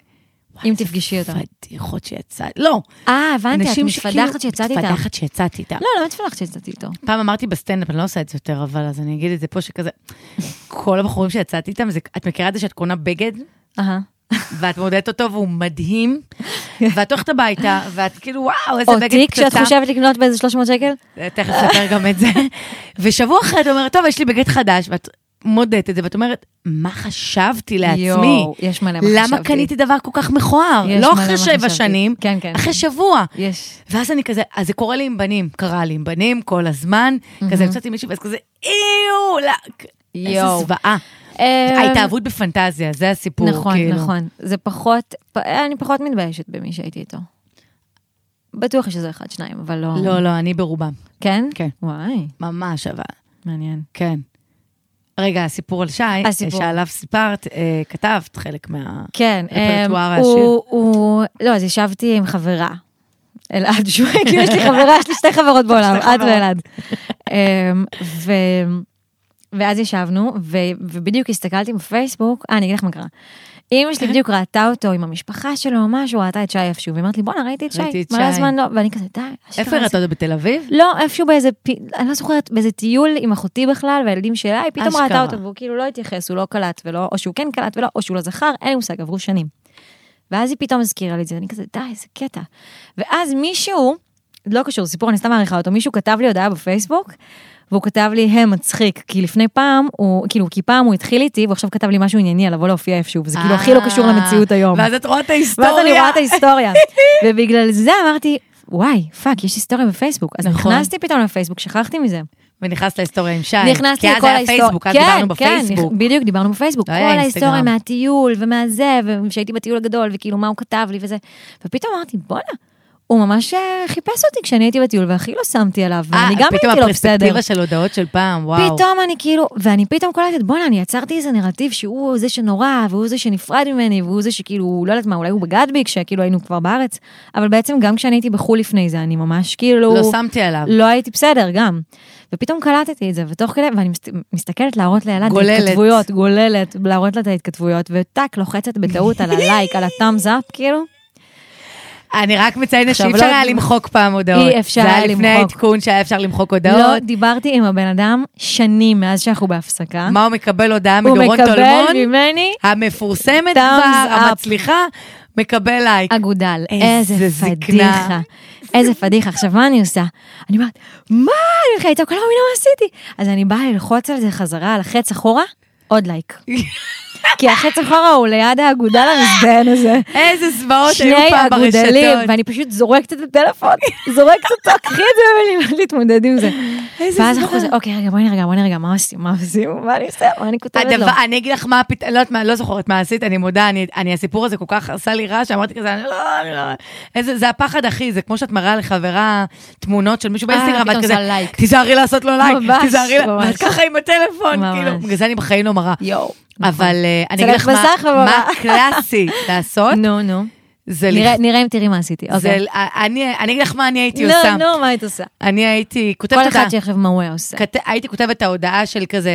Speaker 1: וואי,
Speaker 2: אם
Speaker 1: איזה
Speaker 2: תפגשי אותם.
Speaker 1: פדיחות שיצאתי. לא.
Speaker 2: אה, הבנתי, את
Speaker 1: אנשים
Speaker 2: מתפדחת שיצאת איתה.
Speaker 1: מתפדחת שיצאתי איתם.
Speaker 2: לא, לא מתפדחת שיצאתי איתו.
Speaker 1: פעם אמרתי בסטנדאפ, אני לא עושה את זה יותר, אבל אז אני אגיד את זה פה, שכזה... כל הבחורים שיצאתי איתם, זה- את מכירה את זה שאת קונה בגד?
Speaker 2: אהה.
Speaker 1: ואת מודדת אותו והוא מדהים, ואת הולכת הביתה, ואת כאילו וואו, איזה
Speaker 2: או
Speaker 1: בגד
Speaker 2: תיק שאת חושבת לקנות באיזה 300 שקל?
Speaker 1: תכף נספר גם את זה. ושבוע אחרי את אומרת, טוב, יש לי בגד חדש, ואת מודדת את זה, ואת אומרת, מה חשבתי לעצמי?
Speaker 2: יואו, יש מלא מה
Speaker 1: למה
Speaker 2: חשבתי.
Speaker 1: קניתי דבר כל כך מכוער?
Speaker 2: יש מלא
Speaker 1: לא אחרי
Speaker 2: מה
Speaker 1: שבע
Speaker 2: חשבתי.
Speaker 1: שנים,
Speaker 2: כן, כן, כן.
Speaker 1: אחרי שבוע.
Speaker 2: יש.
Speaker 1: ואז אני כזה, אז זה קורה לי עם בנים, קרה לי עם בנים כל הזמן, כזה יוצאת עם מישהי, ואז כזה, איו, לא, איזה
Speaker 2: יואו.
Speaker 1: זוועה.
Speaker 2: אה,
Speaker 1: ההתאהבות בפנטזיה, זה הסיפור,
Speaker 2: נכון,
Speaker 1: כאילו.
Speaker 2: נכון. זה פחות, פ- אה, אני פחות מתביישת במי שהייתי איתו. בטוח יש איזה אחד, שניים, אבל לא...
Speaker 1: לא, לא, אני ברובם,
Speaker 2: כן?
Speaker 1: כן.
Speaker 2: וואי,
Speaker 1: ממש אבל.
Speaker 2: מעניין.
Speaker 1: כן. רגע, הסיפור על שי,
Speaker 2: הסיפור.
Speaker 1: שעליו סיפרת, אה, כתבת חלק מה...
Speaker 2: כן,
Speaker 1: רפרטואר
Speaker 2: אמ,
Speaker 1: העשיר.
Speaker 2: הוא, הוא, לא, אז ישבתי עם חברה. אלעד, שהוא, כאילו יש לי חברה, יש לי שתי חברות בעולם,
Speaker 1: שתי
Speaker 2: את
Speaker 1: חברות.
Speaker 2: ואלעד. אמ, ו... ואז ישבנו, ו... ובדיוק הסתכלתי בפייסבוק, אה, אני אגיד לך מה קרה. אמא שלי בדיוק ראתה אותו עם המשפחה שלו או משהו, ראתה את שי איפשהו, והיא אמרת לי, בואנה, ראיתי את שי,
Speaker 1: ראיתי את
Speaker 2: מלא
Speaker 1: שי."
Speaker 2: זמן לא, ואני כזה, די, אשכרה
Speaker 1: איפה הראתה אותו בתל אביב?
Speaker 2: לא, איפשהו באיזה, פי- אני לא זוכרת, באיזה טיול עם אחותי בכלל, והילדים שלה, היא פתאום
Speaker 1: אשכרה.
Speaker 2: ראתה אותו, והוא כאילו לא התייחס, הוא לא קלט ולא, או שהוא כן קלט ולא, או שהוא לא זכר, אין לי מושג, עברו שנים. ואז היא פתאום הזכירה לי את זה, אני כזה, די, איזה קטע. ואז מישהו, לא קשור, זה סיפור, אני סתם מעריכה אותו, מישהו כתב לי הודעה בפייסבוק, והוא כתב לי, הם, מצחיק, כי לפני פעם, הוא, כאילו, כי פעם הוא התחיל איתי, והוא עכשיו כתב לי משהו ענייני על לבוא להופיע איפשהו, וזה כאילו הכי לא קשור
Speaker 1: אה,
Speaker 2: למציאות היום.
Speaker 1: ואז את רואה את ההיסטוריה.
Speaker 2: ואז אני רואה את ההיסטוריה. ובגלל זה אמרתי, וואי, פאק, יש היסטוריה בפייסבוק. אז
Speaker 1: נכון.
Speaker 2: נכנסתי פתאום לפייסבוק, שכחתי מזה.
Speaker 1: ונכנסת להיסטוריה עם שי.
Speaker 2: נכנסתי לכל
Speaker 1: כי אז היה
Speaker 2: ההיסטוריה.
Speaker 1: פייסבוק, אז דיברנו בפייסבוק.
Speaker 2: כן, בדיוק, דיברנו בפייסבוק. כל
Speaker 1: לא היה אינסטגרם.
Speaker 2: ההיסטוריה מהטיול ומהזה, ושהייתי בטיול הגדול, וכאילו מה הוא כתב לי וזה. ופתאום אמרתי, בואנה. הוא ממש אה, חיפש אותי כשאני הייתי בטיול, והכי לא שמתי עליו, ואני גם
Speaker 1: אה, פתאום
Speaker 2: הייתי לא בסדר.
Speaker 1: הפרספקטיבה של הודעות של פעם, וואו.
Speaker 2: פתאום אני כאילו, ואני פתאום קולטת, בואנה, אני יצרתי איזה נרטיב שהוא זה שנורא, והוא זה שנפרד ממני, והוא זה שכאילו, לא יודעת מה, אולי הוא בגד בי כשכאילו היינו כבר בארץ, אבל בעצם גם כשאני הייתי בחו"ל לפני זה, אני ממש כאילו...
Speaker 1: לא שמתי עליו.
Speaker 2: לא הייתי בסדר גם. ופתאום קלטתי את זה, ותוך כדי, ואני מס- מסתכלת להראות לאלעד את
Speaker 1: גוללת.
Speaker 2: ההתכתבויות, גוללת, להראות לה את ההתכתבויות, וטאק, לוחצת בטעות על הלייק, על ה-thumbs up, כאילו.
Speaker 1: אני רק מציינת
Speaker 2: עכשיו,
Speaker 1: שאי אפשר
Speaker 2: לא-
Speaker 1: היה למחוק פעם הודעות.
Speaker 2: אי אפשר
Speaker 1: זה
Speaker 2: היה
Speaker 1: היה לפני
Speaker 2: למחוק.
Speaker 1: העדכון שהיה אפשר למחוק
Speaker 2: לא
Speaker 1: הודעות.
Speaker 2: דיברתי עם הבן אדם שנים מאז שאנחנו בהפסקה.
Speaker 1: מה הוא מקבל הודעה
Speaker 2: הוא
Speaker 1: מגורון
Speaker 2: מקבל
Speaker 1: טולמון?
Speaker 2: ממני
Speaker 1: המפורסמת
Speaker 2: Thumbs
Speaker 1: כבר,
Speaker 2: up.
Speaker 1: המצליחה, מקבל לייק.
Speaker 2: אגודל,
Speaker 1: איזה
Speaker 2: איזה
Speaker 1: זקנה.
Speaker 2: פדיחה. איזה פדיחה. עכשיו, מה אני עושה? אני אומרת, מה? אני הולכת לצעוק, לא מאמינה מה עשיתי. אז אני באה ללחוץ על זה חזרה, על החץ אחורה, עוד לייק. כי החץ אחורה הוא ליד האגודל המזדיין הזה.
Speaker 1: איזה זוועות היו
Speaker 2: שני
Speaker 1: פעם
Speaker 2: אגודלים,
Speaker 1: ברשתות.
Speaker 2: ואני פשוט זורקת את הטלפון, זורקת אותו, קחי את זה ממני, לא להתמודד עם זה.
Speaker 1: איזה
Speaker 2: ואז אנחנו
Speaker 1: זוועה.
Speaker 2: כזה, אוקיי, רגע, בואי נרגע, בואי נרגע, מה עושים, מה עושים, מה אני עושה, מה אני כותבת לו?
Speaker 1: הדבר, אני אגיד לך מה הפתרון, לא יודעת מה, לא זוכרת מה עשית, אני מודה, אני, אני, הסיפור הזה כל כך עשה לי רע, שאמרתי כזה, אני לא, אני לא, איזה, זה הפחד, אחי, זה כמו שאת מראה לחברה תמונות של מישהו
Speaker 2: אה,
Speaker 1: באינסטגרם,
Speaker 2: פתאום
Speaker 1: ואת כזה,
Speaker 2: עושה לייק.
Speaker 1: תיזהרי לעשות לו לייק,
Speaker 2: ממש,
Speaker 1: תיזהרי, לה-"
Speaker 2: ממש.
Speaker 1: ואת ככה עם הטלפון,
Speaker 2: ממש. נכון.
Speaker 1: כאילו, בגלל זה אני בחיים לא מראה.
Speaker 2: יואו.
Speaker 1: אבל אה, אני אגיד
Speaker 2: צלם
Speaker 1: לך מה,
Speaker 2: מסך ומראה.
Speaker 1: מה קלאסי לעשות,
Speaker 2: לא נו, נו.
Speaker 1: זה,
Speaker 2: נראה-
Speaker 1: לכ-
Speaker 2: נראה אם תראי מה עשיתי,
Speaker 1: זה,
Speaker 2: אוקיי.
Speaker 1: אני אני אגיד לך מה אני הייתי
Speaker 2: לא,
Speaker 1: עושה,
Speaker 2: נו, מה היית עושה?
Speaker 1: אני הייתי כותבת
Speaker 2: כל אחד
Speaker 1: הודעה,
Speaker 2: שיחשב מה הוא היה עושה.
Speaker 1: כת... הייתי כותבת את ההודעה של כזה,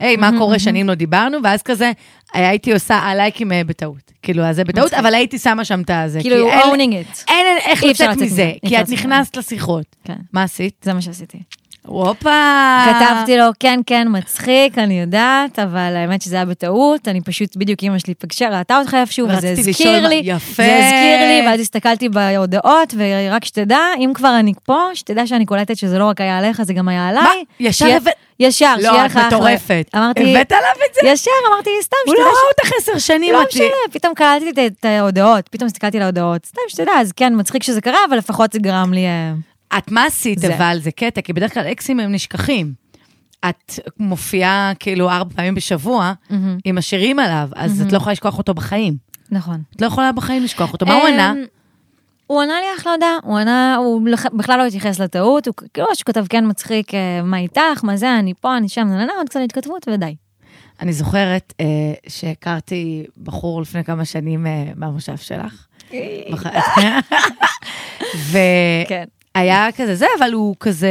Speaker 1: היי, מה קורה, שנים לא דיברנו, ואז כזה, הייתי עושה הלייקים אה, בטעות. כאילו, אז זה בטעות, אבל הייתי שמה שם את הזה.
Speaker 2: כאילו,
Speaker 1: כי
Speaker 2: you
Speaker 1: אין-
Speaker 2: owning it.
Speaker 1: אין אין איך
Speaker 2: אי אפשר
Speaker 1: לצאת
Speaker 2: לצאת מזה,
Speaker 1: מזה,
Speaker 2: אי
Speaker 1: כי
Speaker 2: אפשר
Speaker 1: את
Speaker 2: לצאת
Speaker 1: נכנסת לשיחות.
Speaker 2: כן.
Speaker 1: מה עשית?
Speaker 2: זה מה שעשיתי.
Speaker 1: הופה!
Speaker 2: כתבתי לו, כן, כן, מצחיק, אני יודעת, אבל האמת שזה היה בטעות, אני פשוט, בדיוק אימא שלי פגשה, ראתה אותך איפשהו, וזה
Speaker 1: רציתי
Speaker 2: הזכיר
Speaker 1: לשאול
Speaker 2: לי,
Speaker 1: מה- יפה.
Speaker 2: זה הזכיר לי, ואז הסתכלתי בהודעות, ורק שתדע, אם כבר אני פה, שתדע שאני קולטת שזה לא רק היה עליך, זה גם היה עליי.
Speaker 1: ישר
Speaker 2: שיהיה-
Speaker 1: הבאת-
Speaker 2: ישר, שיהיה
Speaker 1: לא, את
Speaker 2: לך אחלה.
Speaker 1: מטורפת.
Speaker 2: אמרתי,
Speaker 1: הבאת עליו את זה?
Speaker 2: ישר, אמרתי, סתם,
Speaker 1: הוא
Speaker 2: שתדע
Speaker 1: לא ראה
Speaker 2: ש-
Speaker 1: אותך עשר שנים,
Speaker 2: לא
Speaker 1: את-
Speaker 2: משנה, פתאום קלטתי את- את ההודעות, פתאום הסתכלתי על ההודעות. סתם שתדע, אז כן, מצחיק שזה קרה, אבל לפחות זה גרם לי... אה,
Speaker 1: את מה עשית,
Speaker 2: זה.
Speaker 1: אבל זה קטע, כי בדרך כלל אקסים הם נשכחים. את מופיעה כאילו ארבע פעמים בשבוע עם השירים עליו, אז את לא יכולה לשכוח אותו בחיים.
Speaker 2: נכון.
Speaker 1: את לא יכולה בחיים לשכוח אותו. מה הוא ענה?
Speaker 2: אמ, הוא ענה לי אחלה הודעה, הוא ענה, הוא לח- בכלל לא התייחס לטעות, הוא כ- כאילו שהוא כתב כן מצחיק, אה, מה איתך, מה זה, אני פה, אני שם, נהנה, עוד קצת התכתבות ודי.
Speaker 1: אני זוכרת אה, שהכרתי בחור לפני כמה שנים אה, מהמושב שלך. בח-
Speaker 2: כן.
Speaker 1: והיה כזה זה, אבל הוא כזה...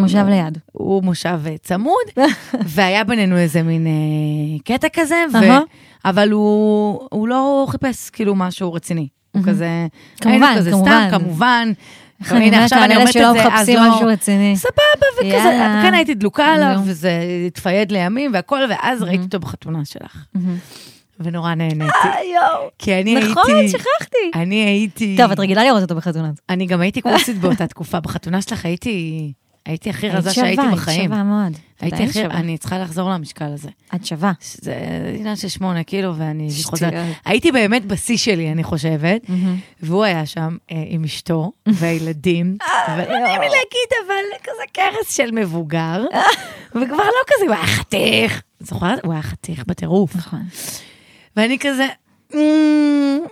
Speaker 2: מושב ליד.
Speaker 1: הוא מושב אה, צמוד, והיה בינינו איזה מין אה, קטע כזה, ו...
Speaker 2: אהה.
Speaker 1: אבל הוא, הוא לא חיפש כאילו משהו רציני. הוא כזה,
Speaker 2: כמובן,
Speaker 1: היינו כזה
Speaker 2: כמובן.
Speaker 1: סתם, כמובן.
Speaker 2: איך אני אומרת לאלה שלא מחפשים
Speaker 1: לא.
Speaker 2: משהו רציני.
Speaker 1: סבבה, וכזה,
Speaker 2: יאללה.
Speaker 1: כן הייתי דלוקה עליו,
Speaker 2: נו.
Speaker 1: וזה התפייד לימים והכל, ואז ראיתי אותו בחתונה שלך. ונורא נהניתי.
Speaker 2: יואו.
Speaker 1: כי אני הייתי...
Speaker 2: נכון, שכחתי.
Speaker 1: אני הייתי...
Speaker 2: אה, טוב, את רגילה לראות אותו בחתונות.
Speaker 1: אני גם הייתי כוסית באותה תקופה, בחתונה שלך הייתי... הייתי הכי רזה שהייתי בחיים.
Speaker 2: היית שווה מאוד.
Speaker 1: הייתי
Speaker 2: עדיין
Speaker 1: הכי...
Speaker 2: שווה.
Speaker 1: אני צריכה לחזור למשקל הזה.
Speaker 2: את שווה.
Speaker 1: זה עניין של שמונה קילו, ואני
Speaker 2: שטויות.
Speaker 1: חוזרת. הייתי באמת בשיא שלי, אני חושבת, והוא היה שם אה, עם אשתו והילדים, ולא אה, לא נעים לי להגיד, אבל כזה קרס של מבוגר, וכבר לא כזה, הוא היה חתיך. זוכרת? הוא היה חתיך בטירוף.
Speaker 2: נכון.
Speaker 1: ואני כזה, "מ,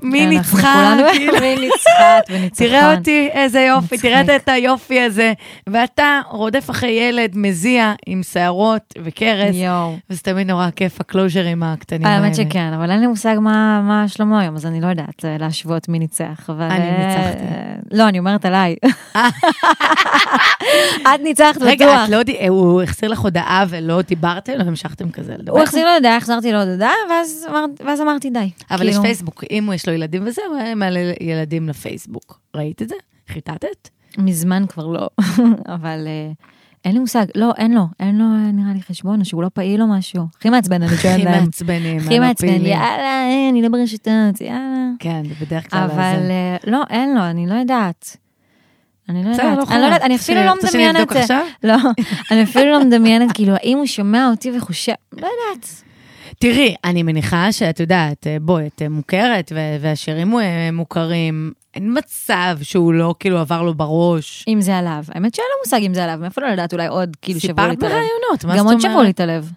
Speaker 1: מי
Speaker 2: אנחנו
Speaker 1: ניצחה?
Speaker 2: כולנו-
Speaker 1: כאילו, נכון.
Speaker 2: מי ניצחת וניצחון.
Speaker 1: תראה אותי, איזה יופי, תראה את-
Speaker 2: מצחיק.
Speaker 1: את היופי הזה. ואתה רודף אחרי ילד מזיע עם שערות וקרס,
Speaker 2: יואו.
Speaker 1: וזה תמיד נורא כיף, הקלוז'רים הקטנים האלה.
Speaker 2: האמת שכן, אבל אין לי מושג מה מה שלמה היום, אז אני לא יודעת אה, להשוות מי ניצח, אבל...
Speaker 1: אני
Speaker 2: אה,
Speaker 1: ניצחתי.
Speaker 2: אה, לא, אני אומרת עליי. את ניצחת בטוח.
Speaker 1: רגע, את לא, ד- אה, הוא החסיר לך הודעה ולא דיברתם, לא המשכתם כזה לדבר.
Speaker 2: הוא החזיר לו הודעה, החזרתי לו הודעה, ואז אמר- ואז אמרתי די.
Speaker 1: אבל יש
Speaker 2: כאילו,
Speaker 1: פייסבוק, אם הוא יש לו ילדים וזה, הוא היה מעלה ילדים לפייסבוק. ראית את זה? חיטטת?
Speaker 2: מזמן כבר לא, אבל אה, אין לי מושג, לא, אין לו, אין לו אה, נראה לי חשבון, או שהוא לא פעיל או משהו. הכי מעצבן, אני שואלת
Speaker 1: הכי
Speaker 2: להם.
Speaker 1: מעצבנים,
Speaker 2: כן, אה.
Speaker 1: אה,
Speaker 2: הכי
Speaker 1: הלא
Speaker 2: מעצבן,
Speaker 1: פעילים.
Speaker 2: יאללה, אה, אני לא ברשתות, יאללה.
Speaker 1: כן, זה בדרך כלל
Speaker 2: אבל
Speaker 1: זה.
Speaker 2: אה, לא, אין לו, אני לא יודעת. אני לא
Speaker 1: בסדר, לא
Speaker 2: יודעת, אני
Speaker 1: חייב.
Speaker 2: לא יודעת, אני
Speaker 1: רוצה
Speaker 2: אפילו
Speaker 1: שאני-
Speaker 2: לא
Speaker 1: רוצה שאני
Speaker 2: מדמיינת את
Speaker 1: אבדוק
Speaker 2: זה.
Speaker 1: עכשיו?
Speaker 2: לא, אני אפילו לא מדמיינת, כאילו, האם הוא שומע אותי וחושב, לא יודעת.
Speaker 1: תראי, אני מניחה שאת יודעת, אה, בואי, את אה, מוכרת, ו- והשירים אה, מוכרים. אין מצב שהוא לא כאילו עבר לו בראש.
Speaker 2: אם זה עליו, האמת שאין לו מושג אם זה עליו, מאיפה לא לדעת, אולי עוד, כאילו, שברו לי
Speaker 1: סיפרת
Speaker 2: את הלב.
Speaker 1: בראיונות, מה
Speaker 2: גם
Speaker 1: זאת
Speaker 2: עוד
Speaker 1: אומרת?
Speaker 2: שברו לי את הלב.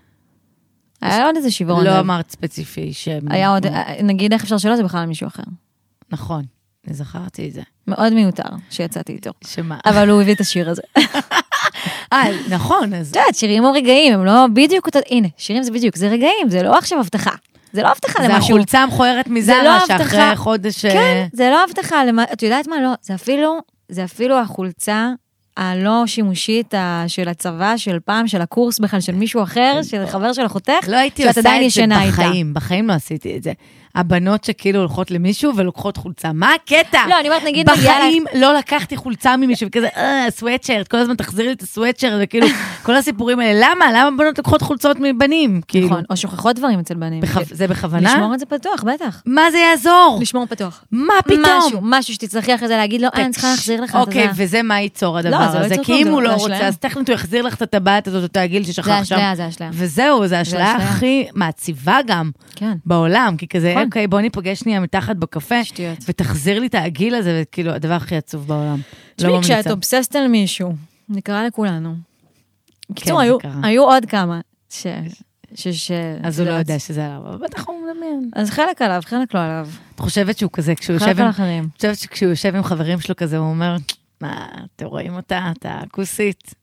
Speaker 2: היה עוד איזה שברון
Speaker 1: לא
Speaker 2: לב.
Speaker 1: אמרת ספציפי ש...
Speaker 2: היה עוד, אה, נגיד איך אפשר שלא, זה בכלל מישהו אחר.
Speaker 1: נכון, אני זכרתי את זה.
Speaker 2: מאוד מיותר שיצאתי איתו.
Speaker 1: שמה?
Speaker 2: אבל הוא הביא את השיר הזה. את
Speaker 1: אה, נכון, אז...
Speaker 2: יודעת, שירים או רגעים, הם לא בדיוק אותו... הנה, שירים זה בדיוק, זה רגעים, זה לא עכשיו הבטחה. זה לא הבטחה
Speaker 1: זה
Speaker 2: למשהו.
Speaker 1: החולצה המכוערת
Speaker 2: זה לא
Speaker 1: מזרה, שאחרי
Speaker 2: הבטחה.
Speaker 1: חודש... אה,
Speaker 2: כן, זה לא הבטחה למה... את יודעת מה? לא, זה אפילו, זה אפילו החולצה הלא שימושית ה- של הצבא, של פעם, של הקורס בכלל, של מישהו אחר, של חבר של אחותך,
Speaker 1: כן. לא הייתי
Speaker 2: שאת
Speaker 1: עושה
Speaker 2: עדיין
Speaker 1: את זה
Speaker 2: ישנה איתה.
Speaker 1: בחיים, בחיים לא עשיתי את זה. הבנות שכאילו הולכות למישהו ולוקחות חולצה, מה הקטע?
Speaker 2: לא, אני אומרת, נגיד, מגיעה לך-
Speaker 1: בחיים לא לקחתי חולצה ממישהו, וכזה, אה, סוואטשרט, כל הזמן תחזיר לי את הסוואטשרט, וכאילו, כל הסיפורים האלה, למה? למה בנות לוקחות חולצות מבנים? כאילו,
Speaker 2: נכון, או שוכחות דברים אצל בנים.
Speaker 1: בכו-
Speaker 2: כאילו,
Speaker 1: זה בכוונה?
Speaker 2: לשמור את זה פתוח, בטח.
Speaker 1: מה זה יעזור?
Speaker 2: לשמור פתוח.
Speaker 1: מה
Speaker 2: משהו,
Speaker 1: פתאום?
Speaker 2: משהו שתצטרכי אחרי זה להגיד לו, אה, אני צריכה להחזיר לך את
Speaker 1: אוקיי,
Speaker 2: הזה.
Speaker 1: וזה מה ייצור הדבר
Speaker 2: זה לא
Speaker 1: הזה?
Speaker 2: ייצור
Speaker 1: כי
Speaker 2: כלום,
Speaker 1: אם
Speaker 2: זה-
Speaker 1: הוא
Speaker 2: זה
Speaker 1: לא
Speaker 2: אשליה.
Speaker 1: רוצה, אז טכנית הוא יחזיר לך את הטבעת הזאת, אותו הגיל ששכח
Speaker 2: זה
Speaker 1: שם.
Speaker 2: אשליה, זה אשליה.
Speaker 1: וזהו, כן. זה השאלה
Speaker 2: אשליה.
Speaker 1: הכי מעציבה גם
Speaker 2: כן.
Speaker 1: בעולם, כי כזה,
Speaker 2: נכון.
Speaker 1: אוקיי, בוא ניפגש שנייה מתחת בקפה,
Speaker 2: שטויות.
Speaker 1: ותחזיר לי את העגיל הזה, וכאילו, הדבר הכי עצוב בעולם.
Speaker 2: תשמעי,
Speaker 1: לא ממליצה.
Speaker 2: כשאת אובססת על מישהו, זה קרה לכולנו. בקיצור,
Speaker 1: כן, זה
Speaker 2: היו-
Speaker 1: קרה.
Speaker 2: היו עוד כמה. ש... ש... ש...
Speaker 1: אז הוא לא יודע שזה עליו, אבל בטח הוא מדמיין.
Speaker 2: אז חלק עליו, חלק לא עליו.
Speaker 1: את חושבת שהוא כזה, כשהוא
Speaker 2: חלק
Speaker 1: יושב
Speaker 2: על
Speaker 1: עם...
Speaker 2: אחרים.
Speaker 1: את חושבת שכשהוא יושב עם חברים שלו כזה, הוא אומר, מה, אתם רואים אותה? אתה כוסית.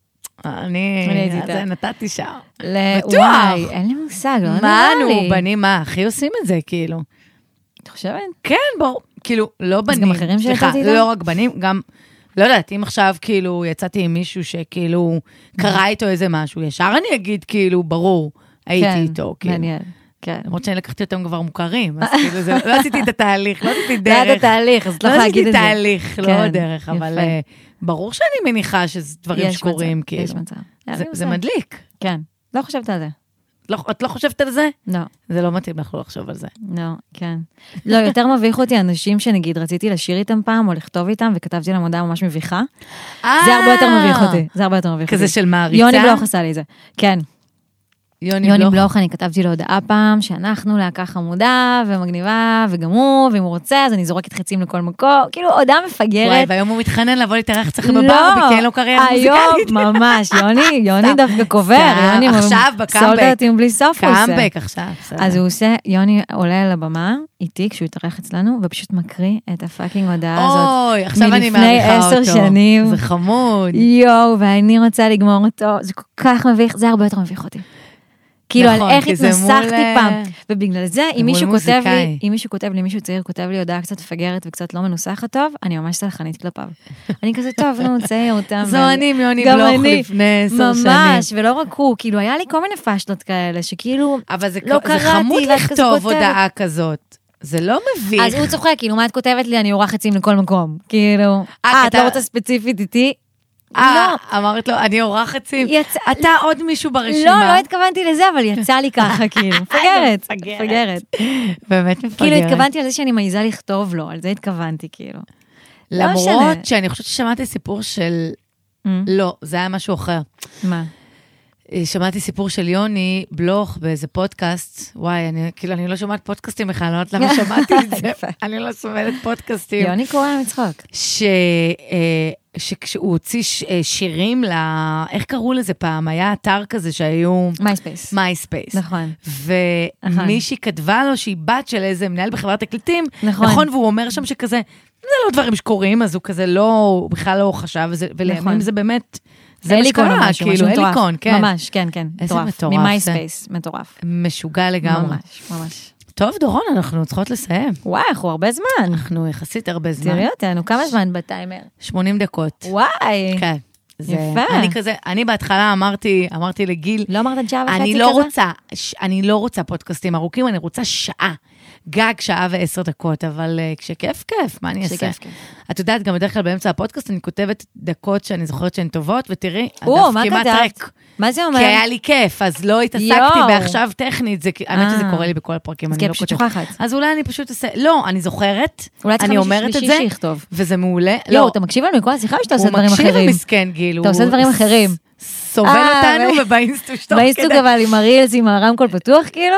Speaker 1: אני...
Speaker 2: אני הייתי
Speaker 1: אז
Speaker 2: איתה."
Speaker 1: נתתי שם.
Speaker 2: ל-
Speaker 1: בטוח.
Speaker 2: וואי, אין לי מושג, לא
Speaker 1: מה
Speaker 2: נראה לי.
Speaker 1: נו, בנים, מה, הכי עושים את זה, כאילו.
Speaker 2: את חושבת?
Speaker 1: כן, ברור. כאילו, לא בנים.
Speaker 2: גם אחרים
Speaker 1: סליחה,
Speaker 2: שיצאת איתם?
Speaker 1: לא רק בנים, גם... לא יודעת, אם עכשיו כאילו יצאתי עם מישהו שכאילו קרה איתו איזה משהו, ישר אני אגיד כאילו, ברור, הייתי
Speaker 2: כן,
Speaker 1: איתו. כאילו.
Speaker 2: מעניין, כן.
Speaker 1: למרות שאני לקחתי אותם כבר מוכרים, אז כאילו זה, לא עשיתי את התהליך, לא עשיתי
Speaker 2: לא
Speaker 1: דרך.
Speaker 2: יודעת התהליך, אז את לא יכולה להגיד את זה.
Speaker 1: לא עשיתי תהליך, לא
Speaker 2: כן,
Speaker 1: דרך, אבל
Speaker 2: יפה.
Speaker 1: אה, ברור שאני מניחה שזה דברים
Speaker 2: יש מצב,
Speaker 1: שקורים, כאילו.
Speaker 2: יש מצב. אין
Speaker 1: זה-
Speaker 2: לי
Speaker 1: זה
Speaker 2: מושג.
Speaker 1: מדליק.
Speaker 2: כן, לא חושבת על זה.
Speaker 1: לא- את לא חושבת על זה?
Speaker 2: לא.
Speaker 1: זה לא מתאים לך לא לחשוב על זה.
Speaker 2: לא, כן. לא, יותר מביך אותי אנשים שנגיד רציתי לשיר איתם פעם, או לכתוב איתם, וכתבתי להם הודעה ממש מביכה.
Speaker 1: אה!
Speaker 2: זה הרבה יותר מביך אותי, זה הרבה יותר מביך אותי.
Speaker 1: כזה של מעריצה?
Speaker 2: יוני בלוך עשה לי את זה. כן,
Speaker 1: יוני
Speaker 2: יוני
Speaker 1: בלוך.
Speaker 2: בלוך, אני כתבתי לו הודעה פעם, שאנחנו להקה חמודה ומגניבה וגם הוא, ואם הוא רוצה, אז אני זורקת חצים לכל מקום. כאילו, הודעה
Speaker 1: וואי,
Speaker 2: מפגרת.
Speaker 1: והיום הוא מתחנן לבוא להתארח אצלך
Speaker 2: לא,
Speaker 1: בברבי, כי אין לו קריירה מוזיקלית.
Speaker 2: היום, ממש, יוני, יוני
Speaker 1: סתם.
Speaker 2: דווקא קובר.
Speaker 1: סתם,
Speaker 2: יוני
Speaker 1: עכשיו, בקאמבק.
Speaker 2: סולדרטים בלי סוף הוא עושה.
Speaker 1: קאמבק עכשיו, בסדר.
Speaker 2: אז הוא עושה, יוני עולה לבמה איתי כשהוא התארח אצלנו, ופשוט מקריא את הפאקינג הודעה הזאת.
Speaker 1: אוי, עכשיו אני
Speaker 2: מלפני
Speaker 1: מעריכה אותו.
Speaker 2: עשר שנים.
Speaker 1: זה חמוד.
Speaker 2: יואו, ואני רוצה לגמור אותו, זה כל כך מביך, זה הרבה יותר מביך אותי. כאילו, על
Speaker 1: נכון,
Speaker 2: איך
Speaker 1: כי זה
Speaker 2: התנסחתי
Speaker 1: מול,
Speaker 2: פעם.
Speaker 1: אה,
Speaker 2: ובגלל זה,
Speaker 1: מול
Speaker 2: אם מישהו כותב
Speaker 1: מוזיקאי.
Speaker 2: לי, אם מישהו כותב לי, מישהו צעיר כותב לי הודעה קצת מפגרת וקצת לא מנוסחת טוב, אני ממש סלחנית כלפיו. אני כזה, טוב, נו, צעיר אותם.
Speaker 1: זו אני עם יוני
Speaker 2: גם
Speaker 1: בלוך
Speaker 2: אני.
Speaker 1: לפני עשר שנים.
Speaker 2: ממש, ולא רק הוא, כאילו, היה לי כל מיני פאשלות כאלה, שכאילו...
Speaker 1: אבל זה,
Speaker 2: לא
Speaker 1: לא זה
Speaker 2: קראתי,
Speaker 1: חמוד
Speaker 2: ואת כזה
Speaker 1: לכתוב
Speaker 2: כותבת.
Speaker 1: הודעה כזאת. זה לא מביך.
Speaker 2: אז הוא צוחק, כאילו, מה את כותבת לי? אני אורח עצים לכל מקום. כאילו,
Speaker 1: אה,
Speaker 2: אה, את
Speaker 1: כתב-
Speaker 2: לא רוצה ספציפית איתי?
Speaker 1: אה,
Speaker 2: לא.
Speaker 1: אמרת לו, אני אורחת סים.
Speaker 2: יצא-
Speaker 1: אתה עוד מישהו ברשימה.
Speaker 2: לא, לא התכוונתי לזה, אבל יצא
Speaker 1: אה,
Speaker 2: לי ככה, כאילו, מפגרת,
Speaker 1: מפגרת.
Speaker 2: מפגרת.
Speaker 1: באמת מפגרת.
Speaker 2: כאילו, התכוונתי על זה שאני מעיזה לכתוב לו, על זה התכוונתי, כאילו. לא
Speaker 1: למרות
Speaker 2: משנה. Mm.
Speaker 1: שאני חושבת ששמעתי סיפור של...
Speaker 2: מ,
Speaker 1: לא, זה היה משהו אחר.
Speaker 2: מה?
Speaker 1: אה, שמעתי סיפור של יוני בלוך באיזה פודקאסט. וואי, אני כאילו, אני לא שומעת פודקאסטים בכלל, אני לא יודעת למה שמעתי את זה.
Speaker 2: יפה.
Speaker 1: אני לא שומעת פודקאסטים.
Speaker 2: יוני קורא מצחוק.
Speaker 1: ש... אה, שכשהוא הוציא ש- אה, שירים ל... איך קראו לזה פעם? היה אתר כזה שהיו...
Speaker 2: מייספייס.
Speaker 1: מייספייס.
Speaker 2: נכון.
Speaker 1: ומישהי כתבה לו שהיא בת של איזה מנהל בחברת תקליטים,
Speaker 2: נכון.
Speaker 1: נכון, והוא אומר שם שכזה, זה לא דברים שקורים, אז הוא כזה לא, הוא בכלל לא חשב, וזה- ולימים
Speaker 2: נכון.
Speaker 1: זה באמת, זה מה
Speaker 2: אליקון או
Speaker 1: שקרה,
Speaker 2: משהו,
Speaker 1: כאילו,
Speaker 2: משהו מטורף.
Speaker 1: אליקון, כן.
Speaker 2: ממש, כן, כן.
Speaker 1: איזה מטורף זה.
Speaker 2: ממייספייס, מטורף.
Speaker 1: משוגע לגמרי.
Speaker 2: ממש, ממש.
Speaker 1: טוב, דורון, אנחנו צריכות לסיים.
Speaker 2: וואי, אנחנו הרבה זמן.
Speaker 1: אנחנו יחסית הרבה זמן.
Speaker 2: תראי אותנו, כמה זמן בטיימר?
Speaker 1: 80 דקות.
Speaker 2: וואי.
Speaker 1: כן. זה-
Speaker 2: יפה.
Speaker 1: אני כזה, אני בהתחלה אמרתי, אמרתי לגיל,
Speaker 2: לא אמרת שעה וחצי כזה?
Speaker 1: אני לא רוצה, ש- אני לא רוצה פודקאסטים ארוכים, אני רוצה שעה. גג שעה ועשר דקות, אבל אה, כשכיף, כיף, מה אני אעשה?
Speaker 2: כשכיף, כיף.
Speaker 1: את יודעת, גם בדרך כלל באמצע הפודקאסט אני כותבת דקות שאני זוכרת שהן טובות, ותראי,
Speaker 2: או,
Speaker 1: הדף
Speaker 2: מה
Speaker 1: כמעט
Speaker 2: כתבת?
Speaker 1: ריק.
Speaker 2: מה זה אומר?
Speaker 1: כי היה לי כיף, אז לא התעסקתי
Speaker 2: יואו.
Speaker 1: בעכשיו טכנית, זה כי- האמת
Speaker 2: אה.
Speaker 1: שזה קורה לי בכל הפרקים,
Speaker 2: אז
Speaker 1: אני
Speaker 2: כי
Speaker 1: לא
Speaker 2: את פשוט
Speaker 1: כותבת.
Speaker 2: שוכחת.
Speaker 1: אז אולי אני פשוט אעשה, לא, אני זוכרת,
Speaker 2: אולי צריכה
Speaker 1: אני
Speaker 2: מישהו
Speaker 1: אומרת את
Speaker 2: שלישי
Speaker 1: זה,
Speaker 2: שיכתוב.
Speaker 1: וזה מעולה.
Speaker 2: לא,
Speaker 1: לא,
Speaker 2: אתה מקשיב לנו מכל השיחה או שאתה עושה
Speaker 1: הוא
Speaker 2: דברים אחרים?
Speaker 1: מקשיב למסכן, גיל,
Speaker 2: אתה עושה
Speaker 1: הוא
Speaker 2: דברים
Speaker 1: ס-
Speaker 2: אחרים.
Speaker 1: סובל
Speaker 2: אה,
Speaker 1: אותנו
Speaker 2: ב-
Speaker 1: ובאינסטוש תוך
Speaker 2: באינסטוג
Speaker 1: כדי.
Speaker 2: אבל עם הרילס, עם הרמקול פתוח כאילו?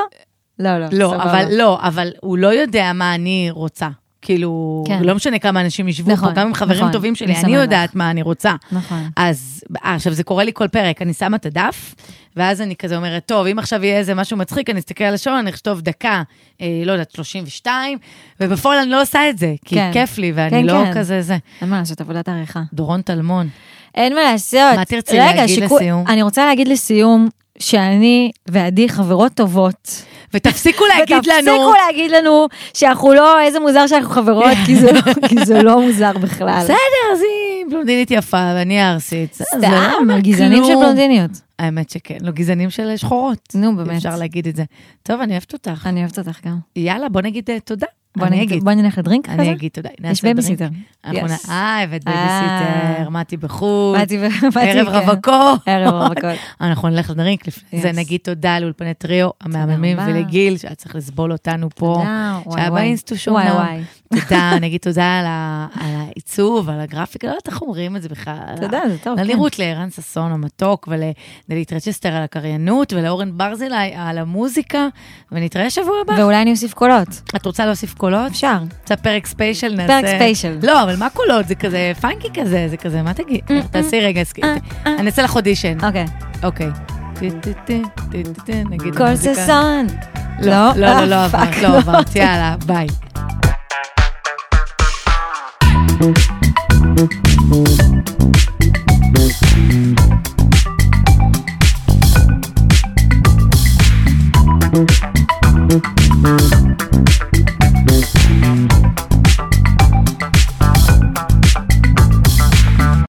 Speaker 2: לא, לא.
Speaker 1: לא,
Speaker 2: סבבה.
Speaker 1: אבל לא, אבל הוא לא יודע מה אני רוצה. כאילו,
Speaker 2: כן.
Speaker 1: לא משנה כמה אנשים ישבו
Speaker 2: נכון,
Speaker 1: פה, גם עם חברים
Speaker 2: נכון,
Speaker 1: טובים שלי,
Speaker 2: אני
Speaker 1: אני
Speaker 2: שמה
Speaker 1: יודעת מה אני רוצה.
Speaker 2: נכון.
Speaker 1: אז אה, עכשיו, זה קורה לי כל פרק, אני שמה את הדף, ואז אני כזה אומרת, טוב, אם עכשיו יהיה איזה משהו מצחיק, אני אסתכל על השעון, אני אכתוב דקה, אה, לא יודעת, 32, ובפועל אני לא עושה את זה, כי
Speaker 2: כן.
Speaker 1: כיף לי, ואני
Speaker 2: כן,
Speaker 1: לא
Speaker 2: כן.
Speaker 1: כזה זה.
Speaker 2: אין מה לעשות, עבודת עריכה.
Speaker 1: דורון טלמון,
Speaker 2: אין מה לעשות.
Speaker 1: מה תרצי
Speaker 2: רגע,
Speaker 1: להגיד
Speaker 2: שיקול-
Speaker 1: לסיום?
Speaker 2: אני רוצה להגיד לסיום, שאני ועדי חברות טובות.
Speaker 1: ותפסיקו להגיד לנו...
Speaker 2: ותפסיקו להגיד לנו שאנחנו לא, איזה מוזר שאנחנו חברות, כי זה לא- כי זה לא מוזר בכלל.
Speaker 1: בסדר, אז היא בלונדינית יפה, ואני ארסית. זה- זה לא
Speaker 2: סתם,
Speaker 1: אומר
Speaker 2: גזענים של
Speaker 1: כלום.
Speaker 2: בלונדיניות.
Speaker 1: האמת שכן, לא גזענים של שחורות.
Speaker 2: נו, באמת.
Speaker 1: אפשר להגיד את זה. טוב, אני אוהבת אותך.
Speaker 2: אני אוהבת אותך גם.
Speaker 1: יאללה, בוא נגיד אה, תודה.
Speaker 2: בוא
Speaker 1: אני
Speaker 2: נגיד-
Speaker 1: אגיד.
Speaker 2: בוא נלך לדרינק כזה?
Speaker 1: אני אגיד תודה. נעשה דרינק.
Speaker 2: בייביסיטר.
Speaker 1: אנחנו
Speaker 2: Yes.
Speaker 1: נ- אה, הבאת בייביסיטר,
Speaker 2: אה.
Speaker 1: מתי בחוץ,
Speaker 2: באתי ו- באתי,
Speaker 1: ערב
Speaker 2: כן.
Speaker 1: רווקות. נכון.
Speaker 2: ערב רווקות.
Speaker 1: אנחנו נלך לדרינק לפני
Speaker 2: Yes.
Speaker 1: זה, נגיד תודה לאולפני טריו המהממים
Speaker 2: רבה.
Speaker 1: ולגיל, שהיה צריך לסבול אותנו פה,
Speaker 2: תודה, אה, וואי,
Speaker 1: שהיה
Speaker 2: וואי.
Speaker 1: באינסטוש
Speaker 2: וואי,
Speaker 1: אומנם.
Speaker 2: וואי.
Speaker 1: תודה, נגיד תודה על ה- על העיצוב, על הגרפיקה, לא יודעת איך אומרים את זה בכלל.
Speaker 2: תודה, זה טוב, כן.
Speaker 1: ללירות לערן ששון המתוק ולדלית רצ'סטר על הקריינות ולאורן ברזילי על המוזיקה, ונתראה שבוע הבא.
Speaker 2: ואולי אני אוסיף קולות.
Speaker 1: את רוצה להוסיף קולות?
Speaker 2: אפשר.
Speaker 1: רוצה פרק ספיישל נעשה?
Speaker 2: ספיישל. אה,
Speaker 1: לא, אבל מה קולות? זה כזה פאנקי כזה, זה כזה, מה תגיד? תעשי רגע, סק- אני אעשה לך אודישן.
Speaker 2: אוקיי.
Speaker 1: אוקיי. טי, טי, טי, טי, טי, טי, נגיד
Speaker 2: כל
Speaker 1: מוזיקה.
Speaker 2: ששון.
Speaker 1: לא, לא, לא, לא
Speaker 2: אה,
Speaker 1: עברת,
Speaker 2: פאק,
Speaker 1: לא עברת, יאללה, ביי.